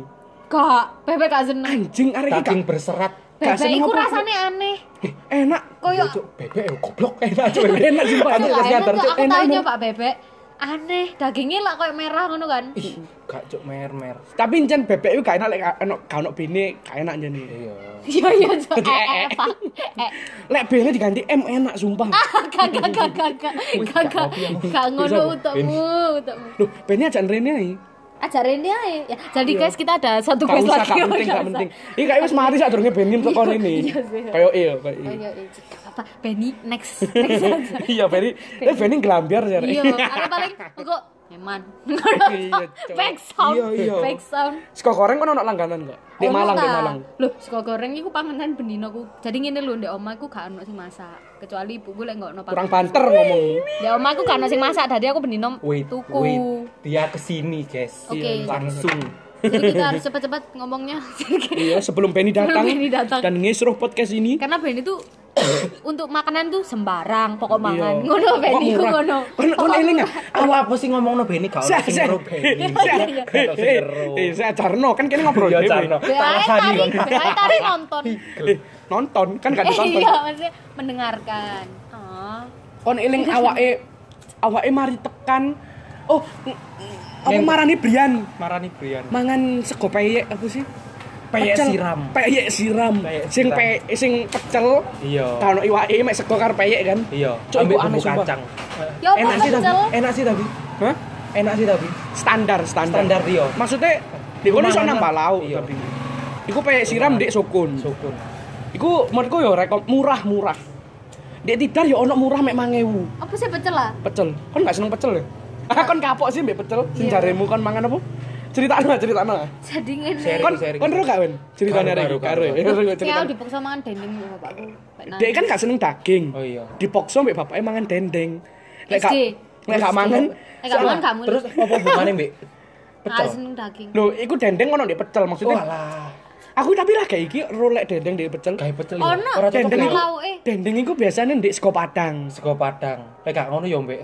Speaker 2: Gak, bebek gak seneng.
Speaker 1: Anjing arek iki
Speaker 3: Daging
Speaker 1: gak-
Speaker 3: berserat.
Speaker 1: gak
Speaker 2: Bebek
Speaker 1: seneng
Speaker 2: iku
Speaker 1: apa-
Speaker 2: rasane aneh.
Speaker 1: Eh, enak.
Speaker 2: Koyo
Speaker 3: Cuk, bebek yo goblok enak cuk.
Speaker 1: Cuk, enak sumpah. Aku
Speaker 2: Cuk, gak enak
Speaker 1: kesehatan
Speaker 2: tuh,
Speaker 1: cuk
Speaker 2: aku
Speaker 1: enak.
Speaker 2: tau
Speaker 1: enak.
Speaker 2: nyoba bebek. Aneh, dagingnya lah kayak merah ngono kan.
Speaker 3: Ih, gak cuk mer mer.
Speaker 1: Tapi encen bebek iku gak enak lek gak enak gak ono bene, gak enak jane.
Speaker 3: Iya.
Speaker 2: Iya iya, Cuk. eh eh, eh, Pak. Eh. ah,
Speaker 1: Lek bene diganti M enak sumpah.
Speaker 2: Kagak kagak kagak kagak kagak ngono utakmu utakmu.
Speaker 1: Loh, bene ajak rene ae.
Speaker 2: Ajarin dia ya. Jadi guys kita ada satu
Speaker 1: Iya. Gak
Speaker 2: guys
Speaker 1: usah,
Speaker 2: lagi. oh,
Speaker 1: gak penting, gak penting. Iki kayak wis mari sak durunge bene teko
Speaker 2: Iya,
Speaker 1: rene.
Speaker 2: iya sih.
Speaker 1: Kayak iya, kayak
Speaker 2: Oh
Speaker 1: iya.
Speaker 2: iya, iya, gak apa-apa. Benny next next aja.
Speaker 1: Iya, Beni. Eh Beni ngelambiar jare.
Speaker 2: Iya, ada paling engko eman.
Speaker 1: Iya, Cuk.
Speaker 2: Back sound.
Speaker 3: Iya, iya.
Speaker 2: Back sound.
Speaker 1: Sego goreng kono ono langganan kok. Di
Speaker 2: Ono
Speaker 1: Malang, di
Speaker 2: ta?
Speaker 1: Malang.
Speaker 2: Loh, sego goreng iku panganan bendino ku. Jadi ngene lho, ndek omah iku gak ono sing masak, kecuali ibuku lek ngono
Speaker 1: Kurang banter ngomong.
Speaker 2: Ndek omah iku gak ono sing masak, dadi aku bendino
Speaker 3: Wait,
Speaker 2: tuku.
Speaker 3: wait. Dia kesini, guys.
Speaker 2: Oke.
Speaker 3: Iya, Langsung.
Speaker 2: Jadi kita harus cepat-cepat ngomongnya.
Speaker 1: Iya, sebelum Beni datang,
Speaker 2: Sebelum Benny datang.
Speaker 1: dan ngisruh podcast ini.
Speaker 2: Karena Benny tuh untuk makanan tuh sembarang, pokok
Speaker 1: Iya.
Speaker 2: mangan. Ngono
Speaker 1: Kok
Speaker 2: Benny ku
Speaker 1: murah?
Speaker 2: ngono.
Speaker 1: Kon kon eling ya?
Speaker 3: Awak apa sih ngomongno Beni gak ono
Speaker 1: Saya-
Speaker 3: sing
Speaker 1: saya-
Speaker 3: ngeru Beni.
Speaker 1: saya-
Speaker 3: Gak ono sing
Speaker 1: eh,
Speaker 3: ngeru.
Speaker 1: eh, saya Jarno kan kene ngobrol
Speaker 3: Iya,
Speaker 1: dhewe.
Speaker 3: Jarno.
Speaker 2: Bae
Speaker 3: Tarasani,
Speaker 2: tari,
Speaker 3: kon.
Speaker 2: bae tari nonton.
Speaker 1: Eh, nonton kan gak
Speaker 2: Eh,
Speaker 1: ditonton.
Speaker 2: iya, maksudnya mendengarkan. Oh.
Speaker 1: Kon eling awake awake mari tekan. Oh, n- n- apa marani Brian?
Speaker 3: Marani Brian.
Speaker 1: Mangan sego peyek apa sih?
Speaker 3: Peyek
Speaker 1: Pecel.
Speaker 3: siram.
Speaker 1: Peyek siram.
Speaker 3: Peyek
Speaker 1: Sing
Speaker 3: siram.
Speaker 1: peyek sing pecel.
Speaker 3: Iya.
Speaker 1: Kan ono iwake mek sego karo peyek kan.
Speaker 3: Iya,
Speaker 1: Cuk,
Speaker 3: ambil
Speaker 1: iku aneh
Speaker 3: bumbu
Speaker 1: sumpah.
Speaker 3: kacang.
Speaker 2: Ya apa
Speaker 3: Enak sih tapi,
Speaker 2: pecel?
Speaker 3: enak sih tapi.
Speaker 1: Hah?
Speaker 3: Enak sih tapi.
Speaker 1: Standar, standar.
Speaker 3: Standar iya.
Speaker 1: Maksudnya di kono iso
Speaker 3: Rumahan
Speaker 1: nambah
Speaker 3: lah.
Speaker 1: lauk
Speaker 3: Iya.
Speaker 1: tapi. Iku peyek siram
Speaker 3: Rumahan.
Speaker 1: dek sukun.
Speaker 3: Syukur.
Speaker 1: Iku menurutku yo rekom murah-murah. Dek tidar yo ono murah mek 1000.
Speaker 2: Apa sih pecel lah?
Speaker 1: pecel kon gak seneng pecel ya ah kon kapok sih mbak pecel sing
Speaker 2: Iya.
Speaker 1: jaremu kon mangan apa cerita no cerita no
Speaker 2: Jadi ngene.
Speaker 3: Sharing,
Speaker 1: kon
Speaker 3: sharing.
Speaker 1: kon ro gak wen ceritanya
Speaker 3: Karo,
Speaker 1: ada
Speaker 3: karo, karo.
Speaker 1: karo ya
Speaker 2: Ya
Speaker 1: cerita
Speaker 2: aku dipaksa mangan dendeng sama bapakku. Baik nangis.
Speaker 1: dia kan gak seneng daging
Speaker 3: Oh iya.
Speaker 1: dipaksa mbak bapaknya mangan dendeng lek gak
Speaker 2: SD.
Speaker 1: lek gak mangan
Speaker 2: Eh gak mangan kamu.
Speaker 3: Terus apa hubungannya, Mbak?
Speaker 2: ah,
Speaker 3: Pecel.
Speaker 2: seneng daging.
Speaker 1: lho iku dendeng ono ndek pecel
Speaker 3: Oh
Speaker 1: maksudnya
Speaker 3: alah.
Speaker 1: aku tapi lah kayak iki rolek dendeng ndek pecel
Speaker 3: Gawe pecel. ya.
Speaker 2: Ono.
Speaker 3: Ora cocok
Speaker 1: Dendeng
Speaker 2: Dendeng eh.
Speaker 1: itu-
Speaker 3: gawe.
Speaker 2: lauke.
Speaker 1: dendeng iku biasanya ndek sego padang
Speaker 3: Sego Padang. Lek gak ngono ya, Mbak.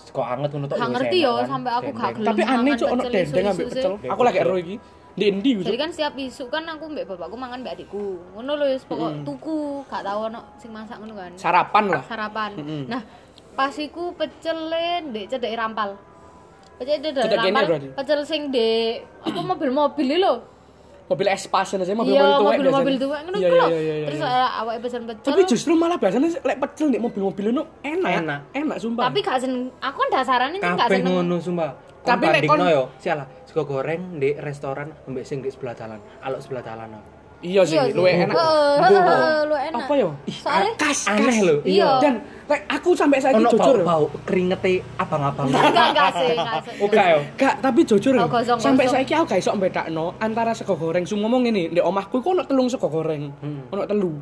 Speaker 3: Sego anget ngono tok.
Speaker 2: Gak
Speaker 3: ya
Speaker 2: ngerti
Speaker 3: enak
Speaker 2: yo
Speaker 3: kan.
Speaker 2: sampai aku gak
Speaker 3: Dendeng.
Speaker 2: gelem.
Speaker 1: tapi aneh
Speaker 2: mangan
Speaker 1: cuk ono
Speaker 2: pecel
Speaker 1: dendeng
Speaker 2: isu-isu
Speaker 1: ambek
Speaker 2: sih.
Speaker 1: pecel aku lagi ro iki ndek endi
Speaker 2: Jadi kan setiap isu kan aku mbek bapakku mangan mbek adikku. Ngono lho wis pokok tuku, gak tau ono sing masak ngono kan.
Speaker 1: sarapan lah
Speaker 2: Sarapan.
Speaker 1: Mm-mm.
Speaker 2: Nah, pas iku pecele ndek cedek rampal. Pecel cedek
Speaker 1: Cedek kene
Speaker 2: rampal.
Speaker 1: berarti?
Speaker 2: Pecel sing ndek apa mobil-mobil iki lho.
Speaker 1: mobil espasen aja mobil
Speaker 2: Iya,
Speaker 1: mobil tua
Speaker 2: mobil-mobil tua ngono
Speaker 1: iya
Speaker 2: iku
Speaker 1: iya
Speaker 2: lho.
Speaker 1: iya, iya
Speaker 2: Terus
Speaker 1: iya.
Speaker 2: eh, awake pesen-pecel.
Speaker 1: tapi justru malah biasanya sih, lek pecel nih mobil-mobil itu enak
Speaker 3: Enak.
Speaker 1: enak sumpah
Speaker 2: Tapi gak seneng. Aku kan dasarane sih gak
Speaker 3: kabeh
Speaker 2: seneng.
Speaker 3: ngono sumpah
Speaker 1: Tapi
Speaker 3: tapi
Speaker 1: nek
Speaker 3: nek kon
Speaker 1: kon-
Speaker 3: yo sialah sego goreng di restoran mbek sing di sebelah jalan alok sebelah jalan no.
Speaker 1: iya sih luwe enak
Speaker 2: Heeh,
Speaker 1: Mbok.
Speaker 2: heeh, luwe enak.
Speaker 1: apa ya
Speaker 3: Ih,
Speaker 2: Soalnya-
Speaker 1: kas
Speaker 3: aneh
Speaker 1: kas.
Speaker 3: lho.
Speaker 2: Iya.
Speaker 1: dan lek aku sampai saya
Speaker 3: ono
Speaker 1: jujur
Speaker 3: bau
Speaker 1: ya.
Speaker 3: bau keringete abang-abang
Speaker 2: Enggak enggak sih, enggak sih.
Speaker 3: oke yo
Speaker 1: Gak, tapi jujur ya,
Speaker 2: Oh, gosong,
Speaker 1: sampai
Speaker 2: gosong.
Speaker 1: saya aku gak iso bedakno antara sego goreng. Sum ngomong ini, di omahku kok ono telung sego goreng.
Speaker 3: Hmm.
Speaker 1: Ono telu.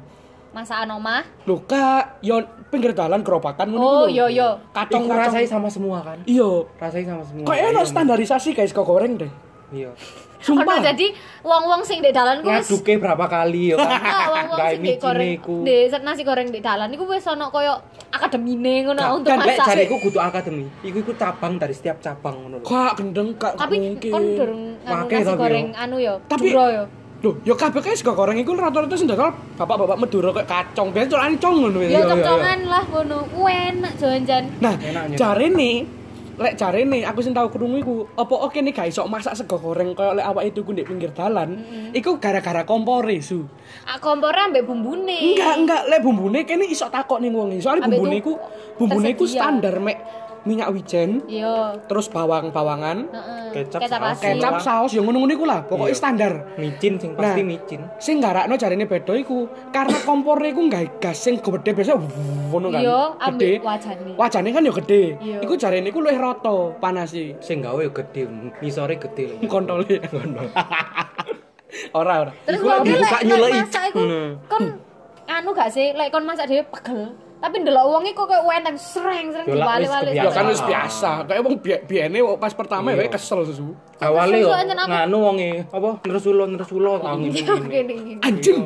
Speaker 2: Masakan omah.
Speaker 1: Lho, Kak, yo pinggir dalan keropakan
Speaker 2: Oh,
Speaker 1: lho.
Speaker 2: yo, yo.
Speaker 1: Kacang
Speaker 3: Iku
Speaker 1: rasai.
Speaker 3: rasai sama iya, semua kan
Speaker 1: Iya.
Speaker 3: rasai sama semua
Speaker 1: Kok ono standarisasi guys sego goreng deh.
Speaker 3: iya
Speaker 2: Ono
Speaker 1: Sumpah.
Speaker 2: jadi wong-wong sing di dalan ku wis
Speaker 3: ngaduke berapa kali yo kan
Speaker 2: Ah, wong-wong
Speaker 3: Gawe
Speaker 2: sing di goreng
Speaker 3: micineku.
Speaker 2: di nasi goreng di dalan iku wis ono koyo akademine
Speaker 3: Nah,
Speaker 2: ngono untuk
Speaker 3: kan lek
Speaker 2: masak.
Speaker 3: jariku kudu akademi iku iku cabang dari setiap cabang ngono lho
Speaker 1: Kak gendeng Kak.
Speaker 2: Tapi
Speaker 1: mungkin.
Speaker 2: kon durung nganu
Speaker 3: Wake
Speaker 2: nasi
Speaker 3: tapi
Speaker 2: goreng
Speaker 3: yo.
Speaker 2: anu yo,
Speaker 1: Tapi-
Speaker 2: duro yo.
Speaker 1: Lho, yo kabeh guys sego goreng iku rata-rata sing dodol bapak-bapak Madura kayak kacang. Biyen colane cong ngono
Speaker 2: Ya
Speaker 1: ya.
Speaker 3: iya,
Speaker 2: congcongan lah ngono. Ku Enak jangan-jangan.
Speaker 1: Nah,
Speaker 3: Enaknya.
Speaker 1: cari nih lek cari nih aku sing tau krungu iku apa oke nih guys sok masak sego goreng koyo lek awake itu ndek pinggir dalan iku gara-gara kompore su
Speaker 2: Ah, kompore ambek bumbune.
Speaker 1: enggak enggak lek bumbune kene iso takok ning wong e. soalnya
Speaker 2: Ambek
Speaker 1: bumbune
Speaker 2: itu
Speaker 1: iku bumbune iku
Speaker 2: tersedia.
Speaker 1: standar mek minyak wijen
Speaker 2: Iya.
Speaker 1: terus bawang-bawangan
Speaker 2: Heeh.
Speaker 3: Kecap,
Speaker 2: Kecap
Speaker 3: saus,
Speaker 2: asin.
Speaker 1: kecap saus yang ngono-ngono iku lah pokoknya
Speaker 3: Iya.
Speaker 1: standar
Speaker 3: micin sing pasti
Speaker 1: Nah.
Speaker 3: micin
Speaker 1: sing garakno jarine beda iku karena kompore iku nggak gas sing gede biasa wuh, ngono kan
Speaker 2: Iya,
Speaker 1: gede
Speaker 2: ambek wajane.
Speaker 1: wajane kan yo gede
Speaker 2: Iya.
Speaker 1: iku jarine iku luwih rata panasi
Speaker 3: sing gawe yo gede ngisore gede lho
Speaker 1: kontole ora ora
Speaker 2: Terus
Speaker 3: Iku
Speaker 2: kok
Speaker 3: lagi buka
Speaker 2: lek
Speaker 3: nyuleki.
Speaker 2: lek masak iku
Speaker 3: Ngono.
Speaker 2: kon anu gak sih lek kon masak dhewe pegel. Tapi ndelok wonge kok koyo enteng sreng-sreng
Speaker 3: Yo lah, wis
Speaker 2: diwali-wali.
Speaker 1: ya kan
Speaker 3: Biasa.
Speaker 1: wis biasa kayak wong bi- biene wong pas pertama ya
Speaker 3: Iya.
Speaker 1: kesel susu
Speaker 3: awale yo
Speaker 2: Terus aku-
Speaker 3: nganu wonge apa nersulo nersulo angin
Speaker 2: Iya,
Speaker 3: ngene.
Speaker 2: gini, gini.
Speaker 1: anjing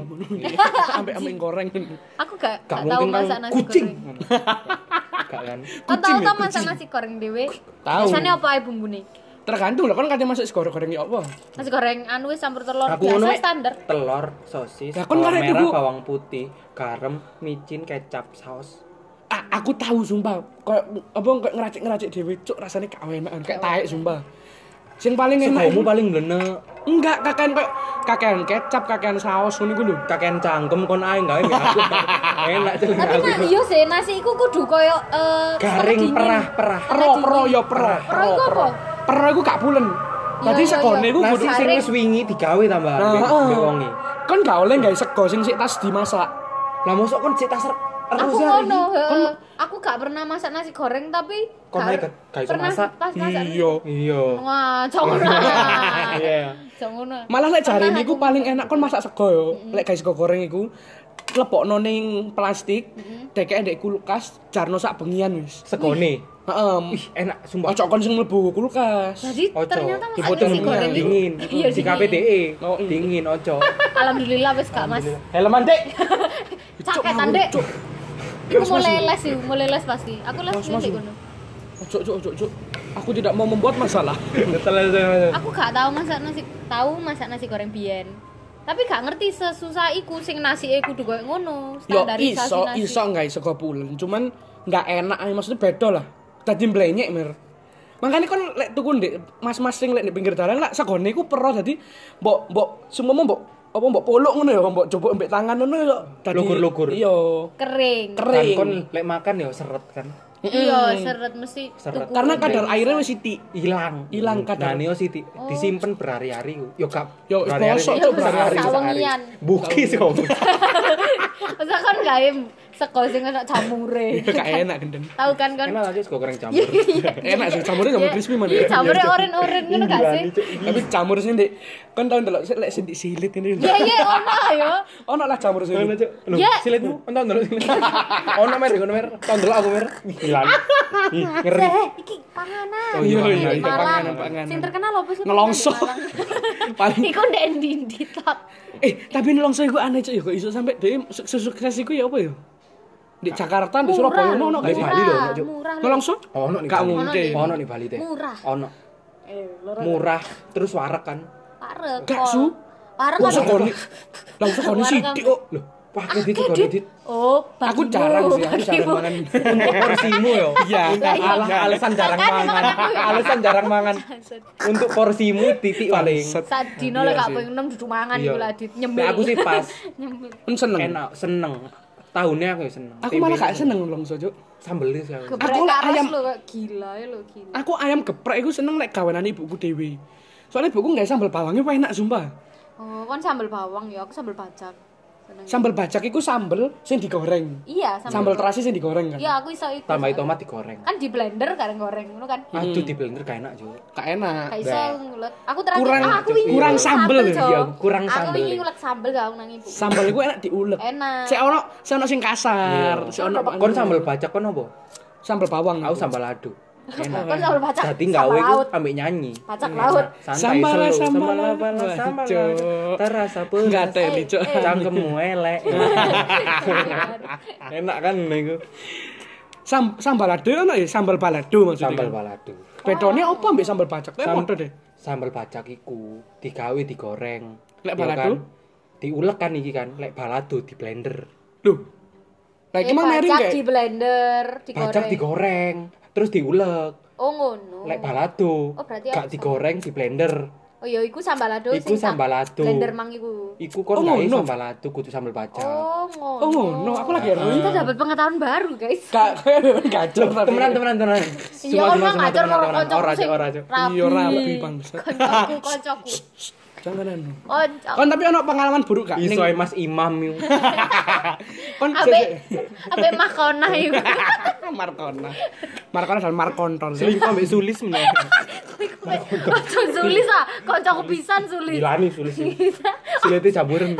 Speaker 1: sampai aming goreng
Speaker 2: Aku gak gak
Speaker 3: gak
Speaker 2: tau
Speaker 3: mungkin kan
Speaker 2: masak nasi
Speaker 3: kucing
Speaker 2: goreng.
Speaker 3: gak kan
Speaker 2: Kon
Speaker 1: Kucing
Speaker 2: tau
Speaker 1: ya,
Speaker 2: tau masak nasi goreng dhewe?
Speaker 1: Tahu.
Speaker 2: Biasane apa ae bumbune?
Speaker 1: tergantung lah kan kadang masuk sego goreng ya apa
Speaker 2: Nasi goreng anu wis campur telur
Speaker 3: aku ngono
Speaker 2: biasa
Speaker 3: wek,
Speaker 2: standar.
Speaker 3: telur sosis
Speaker 1: Lah, kon
Speaker 3: bawang
Speaker 1: karek
Speaker 3: merah
Speaker 1: tuku.
Speaker 3: bawang putih garam micin kecap saus
Speaker 1: A- aku tahu sumpah kayak apa kayak ngeracik-ngeracik dhewe cuk rasane gak enakan kayak taek sumpah sing paling enak
Speaker 3: segomu paling glene
Speaker 1: enggak kakean kayak kakean kecap kakean saus ngono iku lho
Speaker 3: kakean cangkem kon ae gawe ya aku enak celeng
Speaker 2: Tapi
Speaker 3: aku
Speaker 2: nah iya sih nasi iku kudu koyo eh,
Speaker 3: garing
Speaker 2: setengah dingin.
Speaker 3: perah perah
Speaker 1: pro pro ya pro
Speaker 2: Pro iku apa?
Speaker 1: pro iku gak pulen dadi
Speaker 2: Iya, iya,
Speaker 1: segone
Speaker 2: iya.
Speaker 1: iku
Speaker 3: nasi
Speaker 1: kudu
Speaker 3: sing
Speaker 2: garing.
Speaker 3: wis wingi digawe tambah
Speaker 1: Nah,
Speaker 3: ambek
Speaker 1: heeh.
Speaker 3: ambek wonge
Speaker 1: kan e. gak oleh gak sego sing sik tas dimasak
Speaker 3: lah mosok kon cek tas
Speaker 2: Aku
Speaker 3: Rosa iki.
Speaker 2: ngono,
Speaker 3: Kon-
Speaker 2: heeh. aku gak pernah masak nasi goreng tapi
Speaker 3: Kon ae
Speaker 2: gak-
Speaker 3: gak iso
Speaker 2: pernah
Speaker 3: masak.
Speaker 2: Pas masak.
Speaker 1: iya
Speaker 3: iya
Speaker 2: Wah, jangan
Speaker 3: iya
Speaker 2: Jangan
Speaker 1: Malah lek jare
Speaker 2: Pernah
Speaker 1: niku
Speaker 2: aku
Speaker 1: paling enak kon masak sego yo. Lek guys sego goreng iku lepokno ning plastik, dekek ndek kulkas, jarno sak bengian wis.
Speaker 3: segone
Speaker 1: Heeh.
Speaker 3: ih enak sumpah
Speaker 1: Ojo kon sing mlebu kulkas.
Speaker 2: Jadi
Speaker 3: Ojo,
Speaker 2: ternyata masak
Speaker 3: dipotong
Speaker 2: nasi
Speaker 1: minyak,
Speaker 2: goreng itu-
Speaker 3: dingin, ya?
Speaker 2: Iya,
Speaker 3: di
Speaker 2: dingin.
Speaker 3: KPDE,
Speaker 1: Oh, iya.
Speaker 3: dingin ojo.
Speaker 2: Alhamdulillah wis gak Mas.
Speaker 1: Helman Dek.
Speaker 2: Caketan Dek.
Speaker 1: Cuk.
Speaker 2: Iku
Speaker 1: Mas,
Speaker 2: mulai
Speaker 1: Mas.
Speaker 2: les sih, mulai les pasti. Aku les
Speaker 1: Mas,
Speaker 2: nih
Speaker 1: Mas.
Speaker 2: Dek, kono.
Speaker 1: Ojo ojo ojo ojo. Aku tidak mau membuat masalah.
Speaker 3: Eh.
Speaker 2: Aku gak tahu masak nasi, tahu masak nasi goreng biyen. Tapi gak ngerti sesusah iku sing nasi e kudu koyo ngono,
Speaker 1: Yo
Speaker 2: standarisasi
Speaker 1: iso
Speaker 2: nasi.
Speaker 1: iso guys sego pulen, cuman nggak enak ae maksudnya beda lah. Dadi mblenyek mir. Makanya kon lek tuku ndek mas-mas sing lek di pinggir dalan lak segone iku pero dadi mbok mbok semomo mbok apa mbok polok ngono ya mbok coba mbek tangan ngono ya dadi
Speaker 3: Lugur-lugur.
Speaker 1: Iya.
Speaker 2: Kering.
Speaker 3: Kan kon
Speaker 1: Kering.
Speaker 3: lek makan ya seret kan.
Speaker 2: Iya, seret mesti
Speaker 3: Seret.
Speaker 2: tuku.
Speaker 1: Karena kadar airnya wis sithik.
Speaker 3: Hilang.
Speaker 1: Hilang kadar.
Speaker 3: Nah, neo sih di-
Speaker 2: Oh.
Speaker 3: disimpen berhari-hari. Yo gak
Speaker 1: Yo, bosok,
Speaker 2: Cuk,
Speaker 3: sehari.
Speaker 2: sawengian.
Speaker 3: Buki sih kamu.
Speaker 2: Masa kan gawe sego sing ana jamure.
Speaker 1: Gak enak Eh, gendeng.
Speaker 2: Tahu kan kon?
Speaker 3: Enak aja sego goreng campur.
Speaker 1: Enak sih campurnya campur
Speaker 2: Iya,
Speaker 1: crispy man.
Speaker 2: iya, Jamure oren-oren ngono gak sih?
Speaker 1: Tapi campur sih ndek kon tau ndelok sik lek sing disilit ini.
Speaker 2: Ya ya ono yo.
Speaker 1: Ono lah campur sih.
Speaker 3: Ono, Cuk. Loh,
Speaker 2: Ya.
Speaker 3: silitmu, entar ndelok silit. Ono mer, ono mer. Tau ndelok aku mer. Ih, Hilang. Ih, Ngeri.
Speaker 2: Eh, iki panganan.
Speaker 3: Oh, iya,
Speaker 2: Iki
Speaker 3: iya,
Speaker 2: di
Speaker 3: iya,
Speaker 2: Malang.
Speaker 1: panganan, panganan.
Speaker 2: Sing terkenal opo sih?
Speaker 1: Nelongso.
Speaker 2: panganan di Malang?
Speaker 1: Paling
Speaker 2: Iku ndek ndi-ndi tok.
Speaker 1: Eh, tapi nelongso iku aneh cuk, ya kok iso sampe dhewe se- sesukses iku ya apa ya? Di Jakarta, di Surabaya ono ono gak sih?
Speaker 3: Murah. Bali lho,
Speaker 2: murah,
Speaker 3: Nek, Cuk.
Speaker 2: murah.
Speaker 1: Nelongso?
Speaker 3: Oh, Ono nih
Speaker 1: Gak
Speaker 3: Bali.
Speaker 1: mungkin.
Speaker 3: Ono nih Bali teh.
Speaker 2: Murah.
Speaker 3: Ono.
Speaker 2: Eh, loro.
Speaker 3: Murah terus warek kan.
Speaker 2: Parek.
Speaker 1: Gak, Su. Oh,
Speaker 2: Parek
Speaker 1: Wong
Speaker 2: kan.
Speaker 1: sekoni. Lah sekoni
Speaker 2: Warung
Speaker 1: sithik kok.
Speaker 3: Loh,
Speaker 1: Pakai dit,
Speaker 2: Akeh,
Speaker 1: kok
Speaker 2: Dit.
Speaker 1: dit.
Speaker 2: Oh,
Speaker 1: Aku
Speaker 2: bagimu,
Speaker 1: jarang sih, aku jarang
Speaker 2: bagimu.
Speaker 1: mangan.
Speaker 3: Untuk porsimu yo.
Speaker 1: Iya.
Speaker 3: Untuk alah- alasan jarang
Speaker 2: Makan,
Speaker 3: mangan.
Speaker 2: makan aku ya.
Speaker 3: Alasan jarang mangan. Untuk porsimu titik paling.
Speaker 1: Bangsat.
Speaker 2: Saat dino
Speaker 3: Iya
Speaker 2: lek gak
Speaker 1: sih.
Speaker 2: pengen duduk mangan
Speaker 3: Iya.
Speaker 2: iku lah Dit, nyemil.
Speaker 3: Nah, aku sih pas
Speaker 2: nyemil.
Speaker 1: Kan seneng.
Speaker 3: enak, seneng. Tahunnya aku ya seneng.
Speaker 1: Aku malah gak
Speaker 3: Tempe
Speaker 1: seneng longso, Cuk.
Speaker 3: Sambelnya sih aku.
Speaker 2: Geprek
Speaker 1: Aku lah
Speaker 2: karas
Speaker 1: ayam.
Speaker 2: lho, kok. gila ya lho gila.
Speaker 1: Aku ayam geprek iku seneng lek gawenan ibuku dhewe. Soalnya ibuku gak sambal bawangnya wah enak sumpah.
Speaker 2: Oh, kan sambal bawang ya, aku sambal bacak. Seneng.
Speaker 1: Sambal bacak iku sambel sing digoreng.
Speaker 2: Iya,
Speaker 1: Sambal terasi sing digoreng kan.
Speaker 2: Iya, aku iso itu.
Speaker 3: Tambahin
Speaker 2: soalnya.
Speaker 3: tomat digoreng.
Speaker 2: Kan di blender kan goreng ngono kan.
Speaker 3: Aduh di blender gak enak juga.
Speaker 1: Gak enak.
Speaker 2: Gak iso
Speaker 3: Bleh.
Speaker 2: ngulet. Aku terakhir
Speaker 1: Kurang-
Speaker 2: ah, aku wingi
Speaker 1: kurang
Speaker 2: ngulet
Speaker 1: sambel ya,
Speaker 2: Jo.
Speaker 3: iya, kurang
Speaker 2: Aku
Speaker 3: sambel.
Speaker 2: wingi ngulet sambel gak aku nang ibu.
Speaker 1: Sambal iku enak diulek.
Speaker 2: Enak.
Speaker 1: Sik ono, sik ono sing kasar,
Speaker 3: Iya.
Speaker 1: sik ono
Speaker 3: Kon sambal bacak kon apa?
Speaker 1: sambal bawang.
Speaker 3: Aku sambal ladu. Enak.
Speaker 2: Kan sambal bacak.
Speaker 3: Jadi
Speaker 2: sambal
Speaker 3: gawe ku
Speaker 2: laut.
Speaker 3: ambek nyanyi. Hmm.
Speaker 2: Bacak laut.
Speaker 3: Santai
Speaker 1: Sambal,
Speaker 3: slow,
Speaker 1: sambal,
Speaker 3: sambal, sambal,
Speaker 1: waduh.
Speaker 3: sambal, terasa pedas.
Speaker 1: Enggak teli,
Speaker 2: Eh,
Speaker 1: Cuk.
Speaker 2: eh.
Speaker 3: Cangkemmu elek. Enak kan niku.
Speaker 1: Sam- sambal lado ono ya, sambal balado maksudnya.
Speaker 3: Sambal balado.
Speaker 1: Bedone opo ambek sambal bacak? Kayak
Speaker 3: Sam-
Speaker 1: podo deh.
Speaker 3: Sambal bacak iku digawe digoreng.
Speaker 1: Lek
Speaker 3: Ya
Speaker 1: balado?
Speaker 3: kan? Diulek kan iki kan, lek balado di blender.
Speaker 1: Loh. Lah iki
Speaker 2: Eh,
Speaker 1: mah miring
Speaker 2: bacak
Speaker 1: kayak
Speaker 2: di blender,
Speaker 3: Bacak
Speaker 2: digoreng.
Speaker 3: digoreng, terus diulek.
Speaker 2: Oh ngono.
Speaker 3: Lek balado,
Speaker 2: Oh, berarti
Speaker 3: gak
Speaker 2: aku
Speaker 3: digoreng di blender.
Speaker 2: Oh iya, iku sambal lado
Speaker 3: Iku
Speaker 2: sing
Speaker 3: sambal lado.
Speaker 2: Blender mang iku.
Speaker 3: Iku
Speaker 1: Oh,
Speaker 3: kon gawe
Speaker 1: ngono.
Speaker 3: sambal lado kudu sambal bacak.
Speaker 2: Oh ngono.
Speaker 1: Oh ngono, aku
Speaker 3: Eh.
Speaker 1: lagi heran.
Speaker 2: Kita dapat pengetahuan baru, guys.
Speaker 1: Gak gacor tapi.
Speaker 3: Temenan, temenan, temenan.
Speaker 2: Iya,
Speaker 3: Semua,
Speaker 2: orang
Speaker 3: semua,
Speaker 2: ngajar
Speaker 3: semua,
Speaker 2: karo
Speaker 3: temenan, temenan.
Speaker 2: kancaku
Speaker 3: Ora,
Speaker 2: sing
Speaker 3: Cuk, ora, Cuk.
Speaker 2: rapi.
Speaker 1: Iya, rapi, bangsat.
Speaker 2: Kancaku, kancaku.
Speaker 1: Jangan anu.
Speaker 2: Kancaku.
Speaker 1: Kon tapi ono pengalaman buruk gak?
Speaker 3: Iso ae Mas Imam yo.
Speaker 1: kon
Speaker 2: Abe, abe makonah iku.
Speaker 1: Markona. Markona dan Markonton.
Speaker 3: Selingkuh ambek sulis meneh.
Speaker 2: Ojo sulis ah, kancaku pisan sulis.
Speaker 3: Dilani sulis. e Silete jamburan.